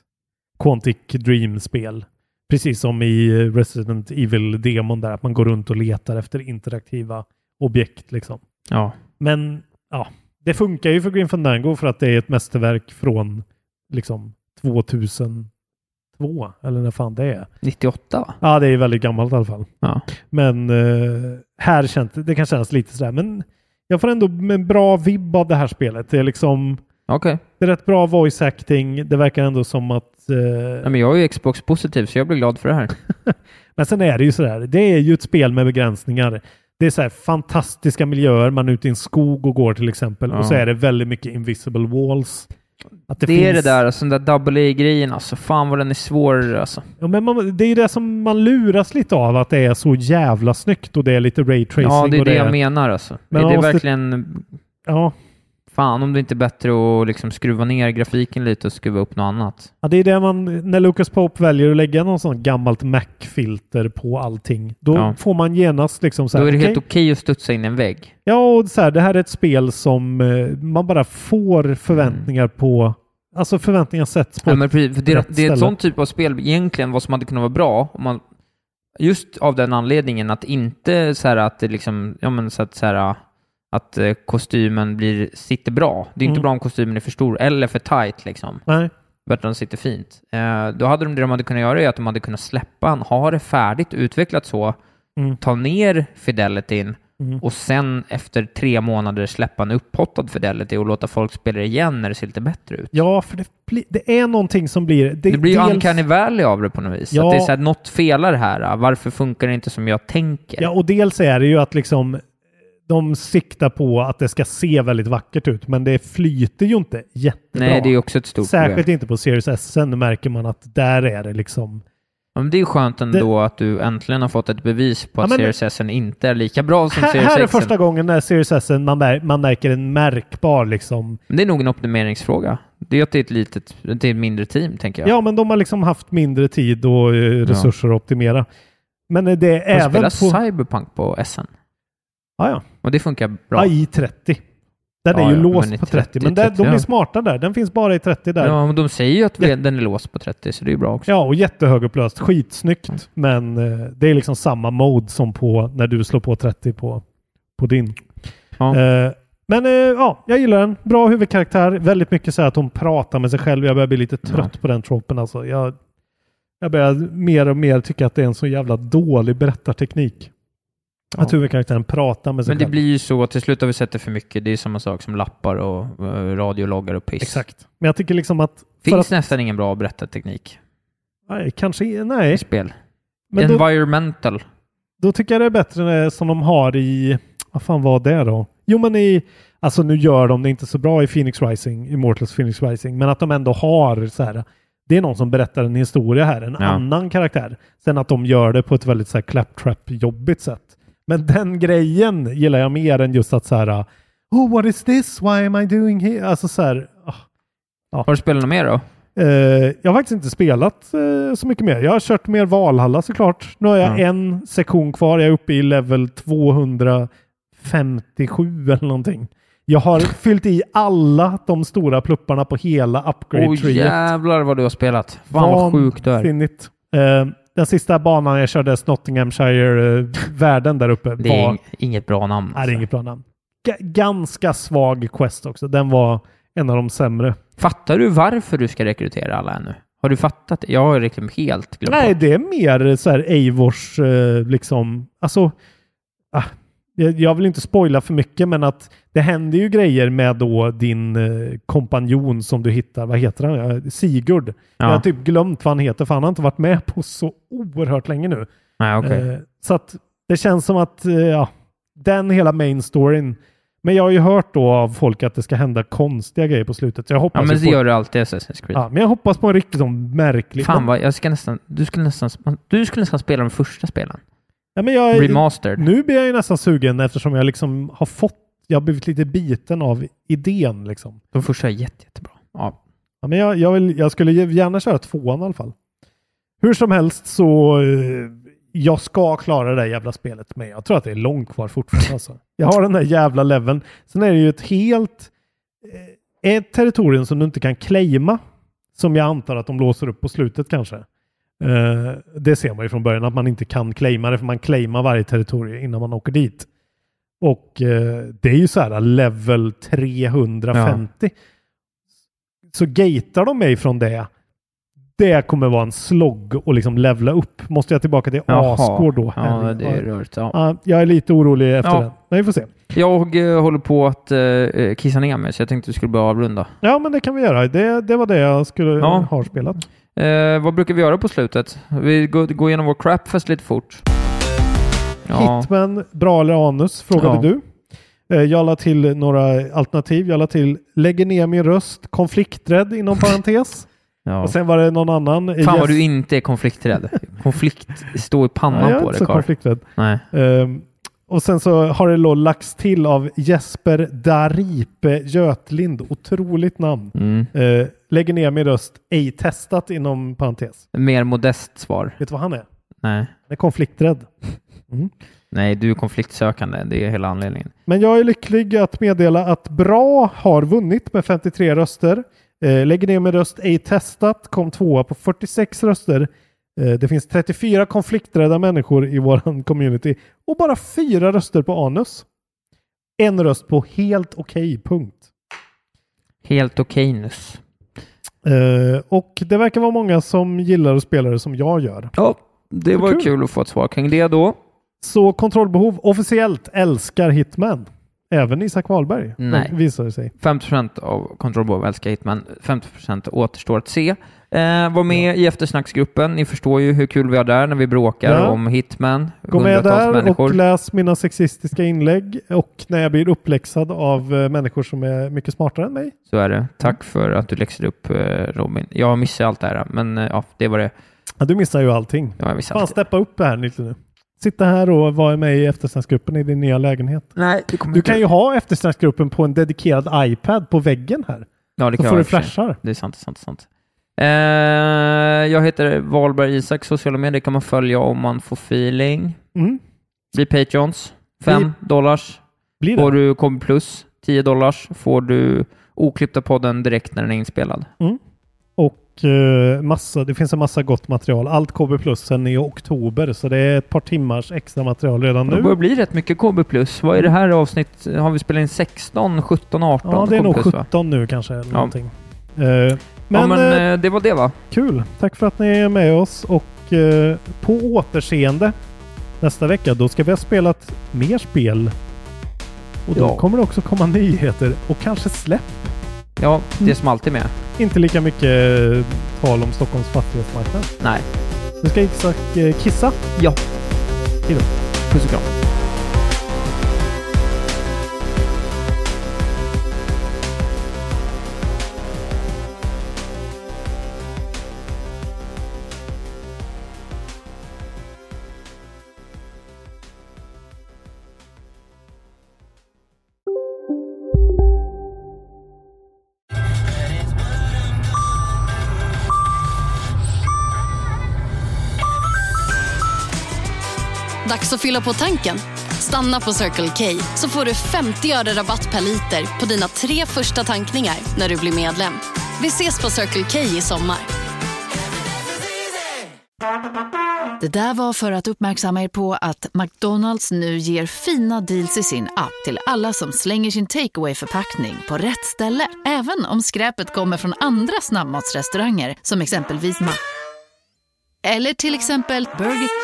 [SPEAKER 3] Quantic Dream-spel. Precis som i Resident Evil-demon där, att man går runt och letar efter interaktiva objekt liksom.
[SPEAKER 4] ja.
[SPEAKER 3] Men ja, det funkar ju för Green Fandango för att det är ett mästerverk från liksom 2002 eller när fan det är.
[SPEAKER 4] 98 va?
[SPEAKER 3] Ja, det är väldigt gammalt i alla fall.
[SPEAKER 4] Ja.
[SPEAKER 3] Men eh, här känns det, det kan kännas lite sådär, men jag får ändå en bra vibb av det här spelet. Det är liksom,
[SPEAKER 4] Okej.
[SPEAKER 3] det är rätt bra voice acting. Det verkar ändå som att... eh,
[SPEAKER 4] Nej, men jag är ju Xbox-positiv så jag blir glad för det här.
[SPEAKER 3] Men sen är det ju sådär, det är ju ett spel med begränsningar. Det är så här fantastiska miljöer, man är ute i en skog och går till exempel.
[SPEAKER 4] Ja.
[SPEAKER 3] Och så är det väldigt mycket invisible walls. Att
[SPEAKER 4] Det, är det där, alltså, den där double A-grejen alltså. Fan vad den är svår alltså.
[SPEAKER 3] Ja, men man, det är ju det som man luras lite av, att det är så jävla snyggt och det är lite ray tracing.
[SPEAKER 4] Ja, det är
[SPEAKER 3] och
[SPEAKER 4] det
[SPEAKER 3] är-
[SPEAKER 4] jag menar alltså.
[SPEAKER 3] Men
[SPEAKER 4] är
[SPEAKER 3] man
[SPEAKER 4] det
[SPEAKER 3] måste-
[SPEAKER 4] verkligen...
[SPEAKER 3] Ja,
[SPEAKER 4] Fan om det inte är bättre att liksom skruva ner grafiken lite och skruva upp något annat.
[SPEAKER 3] Ja, det är det man, när Lucas Pope väljer att lägga någon sån gammalt Mac-filter på allting, då
[SPEAKER 4] Ja.
[SPEAKER 3] får man genast liksom så här,
[SPEAKER 4] Då är det helt
[SPEAKER 3] okej.
[SPEAKER 4] okej att studsa in i en vägg.
[SPEAKER 3] ja och så här, det här är ett spel som eh, man bara får förväntningar på, alltså förväntningar sätts på.
[SPEAKER 4] Nej, Mm. men precis, för det,
[SPEAKER 3] rätt
[SPEAKER 4] det är
[SPEAKER 3] ställe.
[SPEAKER 4] ett sånt typ av spel egentligen, vad som hade kunnat vara bra, om man Just av den anledningen att inte så här att det liksom, ja men så att så här att eh, kostymen blir, sitter bra. Det är inte
[SPEAKER 3] Mm.
[SPEAKER 4] bra om kostymen är för stor eller för tight liksom.
[SPEAKER 3] Nej.
[SPEAKER 4] Bättre om den sitter fint. Eh, då hade de det de hade kunnat göra är att de hade kunnat släppa han, ha det färdigt, utvecklat så,
[SPEAKER 3] Mm.
[SPEAKER 4] ta ner fidelityn
[SPEAKER 3] Mm.
[SPEAKER 4] och sen efter tre månader släppa en upphottad fidelity och låta folk spela det igen när det ser lite bättre ut.
[SPEAKER 3] Ja, för det, blir- det är någonting som blir...
[SPEAKER 4] Det blir ju uncanny valley av det på något vis.
[SPEAKER 3] Ja.
[SPEAKER 4] Att det är så här, något felar här. ah. Varför funkar det inte som jag tänker?
[SPEAKER 3] Ja, och dels är det ju att liksom de siktar på att det ska se väldigt vackert ut, men det flyter ju inte jättebra.
[SPEAKER 4] Nej, det är ju också ett stort
[SPEAKER 3] Särskilt
[SPEAKER 4] problem.
[SPEAKER 3] inte på Series S. Sen märker man att där är det liksom...
[SPEAKER 4] Ja, Men det är ju skönt ändå att du äntligen har fått ett bevis på
[SPEAKER 3] Ja,
[SPEAKER 4] att
[SPEAKER 3] men-
[SPEAKER 4] Series S inte är lika bra som
[SPEAKER 3] Här,
[SPEAKER 4] Series
[SPEAKER 3] här är
[SPEAKER 4] X.
[SPEAKER 3] första gången när Series S man, mär, man märker en märkbar liksom...
[SPEAKER 4] Men det är nog en optimeringsfråga. Det är att det är ett litet, det är ett mindre team, tänker
[SPEAKER 3] Ja.
[SPEAKER 4] jag.
[SPEAKER 3] men de har liksom haft mindre tid och eh, resurser att optimera. Men eh, det är
[SPEAKER 4] De
[SPEAKER 3] även
[SPEAKER 4] spelar
[SPEAKER 3] på...
[SPEAKER 4] Cyberpunk på SN.
[SPEAKER 3] Ja, ja.
[SPEAKER 4] Och det funkar bra.
[SPEAKER 3] AI 30. Den
[SPEAKER 4] Ja,
[SPEAKER 3] är ju
[SPEAKER 4] ja,
[SPEAKER 3] låst
[SPEAKER 4] men i
[SPEAKER 3] på 30,
[SPEAKER 4] 30,
[SPEAKER 3] men där, de
[SPEAKER 4] 30,
[SPEAKER 3] är
[SPEAKER 4] ja.
[SPEAKER 3] smarta där. Den finns bara i 30 där. Ja,
[SPEAKER 4] Ja, men de säger ju att den är låst på 30, så det är ju bra också.
[SPEAKER 3] och jättehögupplöst. Skitsnyggt. Men eh, det är liksom samma mode som på när du slår på 30 på, på din.
[SPEAKER 4] Ja.
[SPEAKER 3] Eh, men eh, ja, jag gillar den. Bra huvudkaraktär. Väldigt mycket så här att hon pratar med sig själv. Jag börjar bli lite trött på den tropen alltså. Jag, jag börjar mer och mer tycka att det är en så jävla dålig berättarteknik.
[SPEAKER 4] Ja.
[SPEAKER 3] Att huvudkaraktären pratar med sig
[SPEAKER 4] Men det
[SPEAKER 3] själv.
[SPEAKER 4] blir ju så, till slut har vi sett det för mycket. Det är samma sak som lappar och eh, radiologgar och piss.
[SPEAKER 3] Exakt. Men jag tycker liksom att...
[SPEAKER 4] Finns
[SPEAKER 3] för att
[SPEAKER 4] nästan ingen bra berättarteknik
[SPEAKER 3] nej, kanske, nej.
[SPEAKER 4] i spel.
[SPEAKER 3] Men då,
[SPEAKER 4] Environmental.
[SPEAKER 3] då tycker jag det är bättre när, som de har i... Vad fan var det då? Jo men i... Alltså nu gör de det inte så bra i Phoenix Rising, Immortals Phoenix Rising, men att de ändå har så här... Det är någon som berättar en historia här, en
[SPEAKER 4] Ja.
[SPEAKER 3] annan karaktär. Sen att de gör det på ett väldigt så här claptrap-jobbigt sätt. Men den grejen gillar jag mer än just att så här... Oh, what is this? Why am I doing here? Alltså så här... ah.
[SPEAKER 4] Har du spelat något mer då?
[SPEAKER 3] Eh, jag har faktiskt inte spelat eh, så mycket mer. Jag har kört mer Valhalla såklart. Nu har jag en sektion kvar. Jag är uppe i level 257 eller någonting. Jag
[SPEAKER 4] [laughs]
[SPEAKER 3] har fyllt i alla de stora plupparna på hela
[SPEAKER 4] Åh
[SPEAKER 3] upgrade treet
[SPEAKER 4] jävlar vad du har spelat. Fan vad sjukt du är.
[SPEAKER 3] Vansinnigt. Eh, den sista banan jag körde, Nottinghamshire-världen där uppe,
[SPEAKER 4] Det är
[SPEAKER 3] var...
[SPEAKER 4] ing- inget alltså. bra namn.
[SPEAKER 3] Nej, det är inget bra namn. Ga- ganska svag quest också. Den var en av de sämre.
[SPEAKER 4] Fattar du varför du ska rekrytera alla ännu? Har du fattat det? Jag har liksom helt glömt
[SPEAKER 3] Nej,
[SPEAKER 4] bort.
[SPEAKER 3] det är mer så här Eivors, eh, liksom, alltså, ah, jag, jag vill inte spoila för mycket, men att det händer ju grejer med då din eh, kompanjon som du hittar, vad heter han? Eh, Sigurd. Jag har
[SPEAKER 4] Ja.
[SPEAKER 3] typ glömt vad han heter, för han har inte varit med på så oerhört länge nu.
[SPEAKER 4] Nej, okej.
[SPEAKER 3] Eh, så att det känns som att, eh, ja, den hela main storyn, men jag har ju hört då av folk att det ska hända konstiga grejer på slutet. Så jag hoppas
[SPEAKER 4] ja, men
[SPEAKER 3] ju
[SPEAKER 4] det
[SPEAKER 3] alltså, på,
[SPEAKER 4] gör du alltid i Assassin's Creed.
[SPEAKER 3] ja, men jag hoppas på en riktigt sån märklig...
[SPEAKER 4] Fan vad, jag ska nästan, du skulle nästan, du skulle nästan spela de första spelen.
[SPEAKER 3] ja, men jag,
[SPEAKER 4] Remastered.
[SPEAKER 3] Nu blir jag ju nästan sugen eftersom jag liksom har fått, jag har blivit lite biten av idén liksom.
[SPEAKER 4] De första är jätte, jättebra. Ja.
[SPEAKER 3] Ja, men jag, jag, vill, jag skulle ge- gärna köra tvåan i alla fall. Hur som helst så, eh, jag ska klara det där jävla spelet men jag tror att det är långt kvar fortfarande alltså. Jag har den där jävla leveln. Sen är det ju ett helt, eh, ett territorium som du inte kan claima. Som jag antar att de låser upp på slutet kanske. Eh, det ser man ju från början att man inte kan claima det för man claimar varje territorium innan man åker dit. Och eh, det är ju så här level 350. Så gatear de mig från det. Det kommer vara en slogg och liksom levla upp. Måste jag tillbaka till
[SPEAKER 4] Jaha.
[SPEAKER 3] Asgård då?
[SPEAKER 4] Ja, det är rörigt. Ja.
[SPEAKER 3] Ja, jag är lite orolig efter
[SPEAKER 4] Ja.
[SPEAKER 3] det. Men vi får se.
[SPEAKER 4] Jag eh, håller på att eh, kissa ner mig, så jag tänkte du skulle börja avrunda.
[SPEAKER 3] Ja, men det kan vi göra. Det, det var det jag skulle
[SPEAKER 4] Ja.
[SPEAKER 3] ha spelat.
[SPEAKER 4] Eh, vad brukar vi göra på slutet? Vi går, går igenom vår crapfest lite fort.
[SPEAKER 3] Hitman, bra eller anus, frågade
[SPEAKER 4] Ja.
[SPEAKER 3] du. Eh, Jag la till några alternativ. Jag la till lägger ner min röst, konflikträdd inom parentes.
[SPEAKER 4] [laughs] ja.
[SPEAKER 3] Och sen var det någon annan. eh,
[SPEAKER 4] Fan
[SPEAKER 3] yes.
[SPEAKER 4] vad du inte är konflikträdd. Konflikt står i
[SPEAKER 3] Nej,
[SPEAKER 4] pannan
[SPEAKER 3] jag är
[SPEAKER 4] på
[SPEAKER 3] inte
[SPEAKER 4] dig
[SPEAKER 3] så
[SPEAKER 4] karl.
[SPEAKER 3] konflikträdd.
[SPEAKER 4] Nej.
[SPEAKER 3] Ehm, och sen så har det då lagts till av Jesper Daripe Götlind. Otroligt namn.
[SPEAKER 4] Mm.
[SPEAKER 3] Eh, lägger ner min röst, ej testat inom parentes.
[SPEAKER 4] Mer modest svar.
[SPEAKER 3] Vet du vad han är?
[SPEAKER 4] Nej.
[SPEAKER 3] Han är konflikträdd.
[SPEAKER 4] Nej, du är konfliktsökande. Det är hela anledningen.
[SPEAKER 3] Men jag är lycklig att meddela att Bra har vunnit med 53 röster. Eh, lägger ner med röst ej testat, kom tvåa på 46 röster. Eh, Det finns 34 konflikträdda människor i våran community och bara fyra röster på anus. En röst på helt okej, punkt.
[SPEAKER 4] Helt okejnus.
[SPEAKER 3] Eh, och det verkar vara många som gillar att spela det som jag gör.
[SPEAKER 4] Ja, det var
[SPEAKER 3] kul.
[SPEAKER 4] kul. att få ett svar kring det då.
[SPEAKER 3] Så kontrollbehov officiellt älskar Hitman. Även Isak Wahlberg
[SPEAKER 4] Nej.
[SPEAKER 3] visar det sig.
[SPEAKER 4] 50% av kontrollbehov älskar Hitman, 50% återstår att se. Eh, var med i eftersnacksgruppen. Ni förstår ju hur kul vi har där när vi bråkar
[SPEAKER 3] Ja.
[SPEAKER 4] om Hitman.
[SPEAKER 3] Gå med
[SPEAKER 4] Hundratals
[SPEAKER 3] där
[SPEAKER 4] människor.
[SPEAKER 3] och läs mina sexistiska inlägg och när jag blir uppläxad av eh, människor som är mycket smartare än mig.
[SPEAKER 4] Så är
[SPEAKER 3] Mm.
[SPEAKER 4] det. Tack för att du läxade upp eh, Robin. Jag missade allt det här, men eh, ja, det var det.
[SPEAKER 3] Ja, du missar ju allting.
[SPEAKER 4] det var jag missade
[SPEAKER 3] Fan,
[SPEAKER 4] allt.
[SPEAKER 3] steppa upp det här lite nu. Sitta här och vara med i eftersnacksgruppen i din nya lägenhet.
[SPEAKER 4] Nej, det kommer
[SPEAKER 3] Du
[SPEAKER 4] inte-
[SPEAKER 3] kan ju ha eftersnacksgruppen på en dedikerad iPad på väggen här.
[SPEAKER 4] Ja, det
[SPEAKER 3] Så
[SPEAKER 4] kan
[SPEAKER 3] får
[SPEAKER 4] jag i
[SPEAKER 3] du
[SPEAKER 4] och för sig.
[SPEAKER 3] flashar.
[SPEAKER 4] Det är sant, det är sant, det är sant. Eh, jag heter Valberg Isak. Sociala medier kan man följa om man får feeling.
[SPEAKER 3] Mm.
[SPEAKER 4] Bli Patreons. 5 dollars
[SPEAKER 3] Blir
[SPEAKER 4] får
[SPEAKER 3] det?
[SPEAKER 4] du kom plus. 10 dollars får du oklippta podden direkt när den är inspelad.
[SPEAKER 3] Och eh, massa, det finns en massa gott material. Allt KB plusen är i oktober så det är ett par timmars extra material redan
[SPEAKER 4] Det börjar
[SPEAKER 3] nu.
[SPEAKER 4] bli rätt mycket KB+. plus. Vad är det här avsnitt? Har vi spelat in 16, 17, 18?
[SPEAKER 3] Ja, det är
[SPEAKER 4] KB+,
[SPEAKER 3] nog
[SPEAKER 4] va?
[SPEAKER 3] 17 nu kanske. Eller
[SPEAKER 4] Ja.
[SPEAKER 3] någonting. Eh, men
[SPEAKER 4] ja, men
[SPEAKER 3] eh,
[SPEAKER 4] eh, det var det va?
[SPEAKER 3] Kul! Tack för att ni är med oss och eh, på återseende nästa vecka. Då ska vi ha spelat mer spel. Och då
[SPEAKER 4] Ja.
[SPEAKER 3] kommer det också komma nyheter och kanske släpp.
[SPEAKER 4] Ja, det som alltid är med.
[SPEAKER 3] Inte lika mycket eh, tal om Stockholms fastighetsmarknad.
[SPEAKER 4] Nej.
[SPEAKER 3] Nu ska Isak eh, kissa.
[SPEAKER 4] Ja.
[SPEAKER 3] Hejdå.
[SPEAKER 4] Puss och kram.
[SPEAKER 5] Dags att fylla på tanken. Stanna på Circle K så får du 50 öre rabatt per liter på dina tre första tankningar när du blir medlem. Vi ses på Circle K i sommar.
[SPEAKER 6] Det där var för att uppmärksamma er på att McDonalds nu ger fina deals i sin app till alla som slänger sin takeaway förpackning på rätt ställe. Även om skräpet kommer från andra snabbmatsrestauranger som exempelvis Ma... Eller till exempel Burger...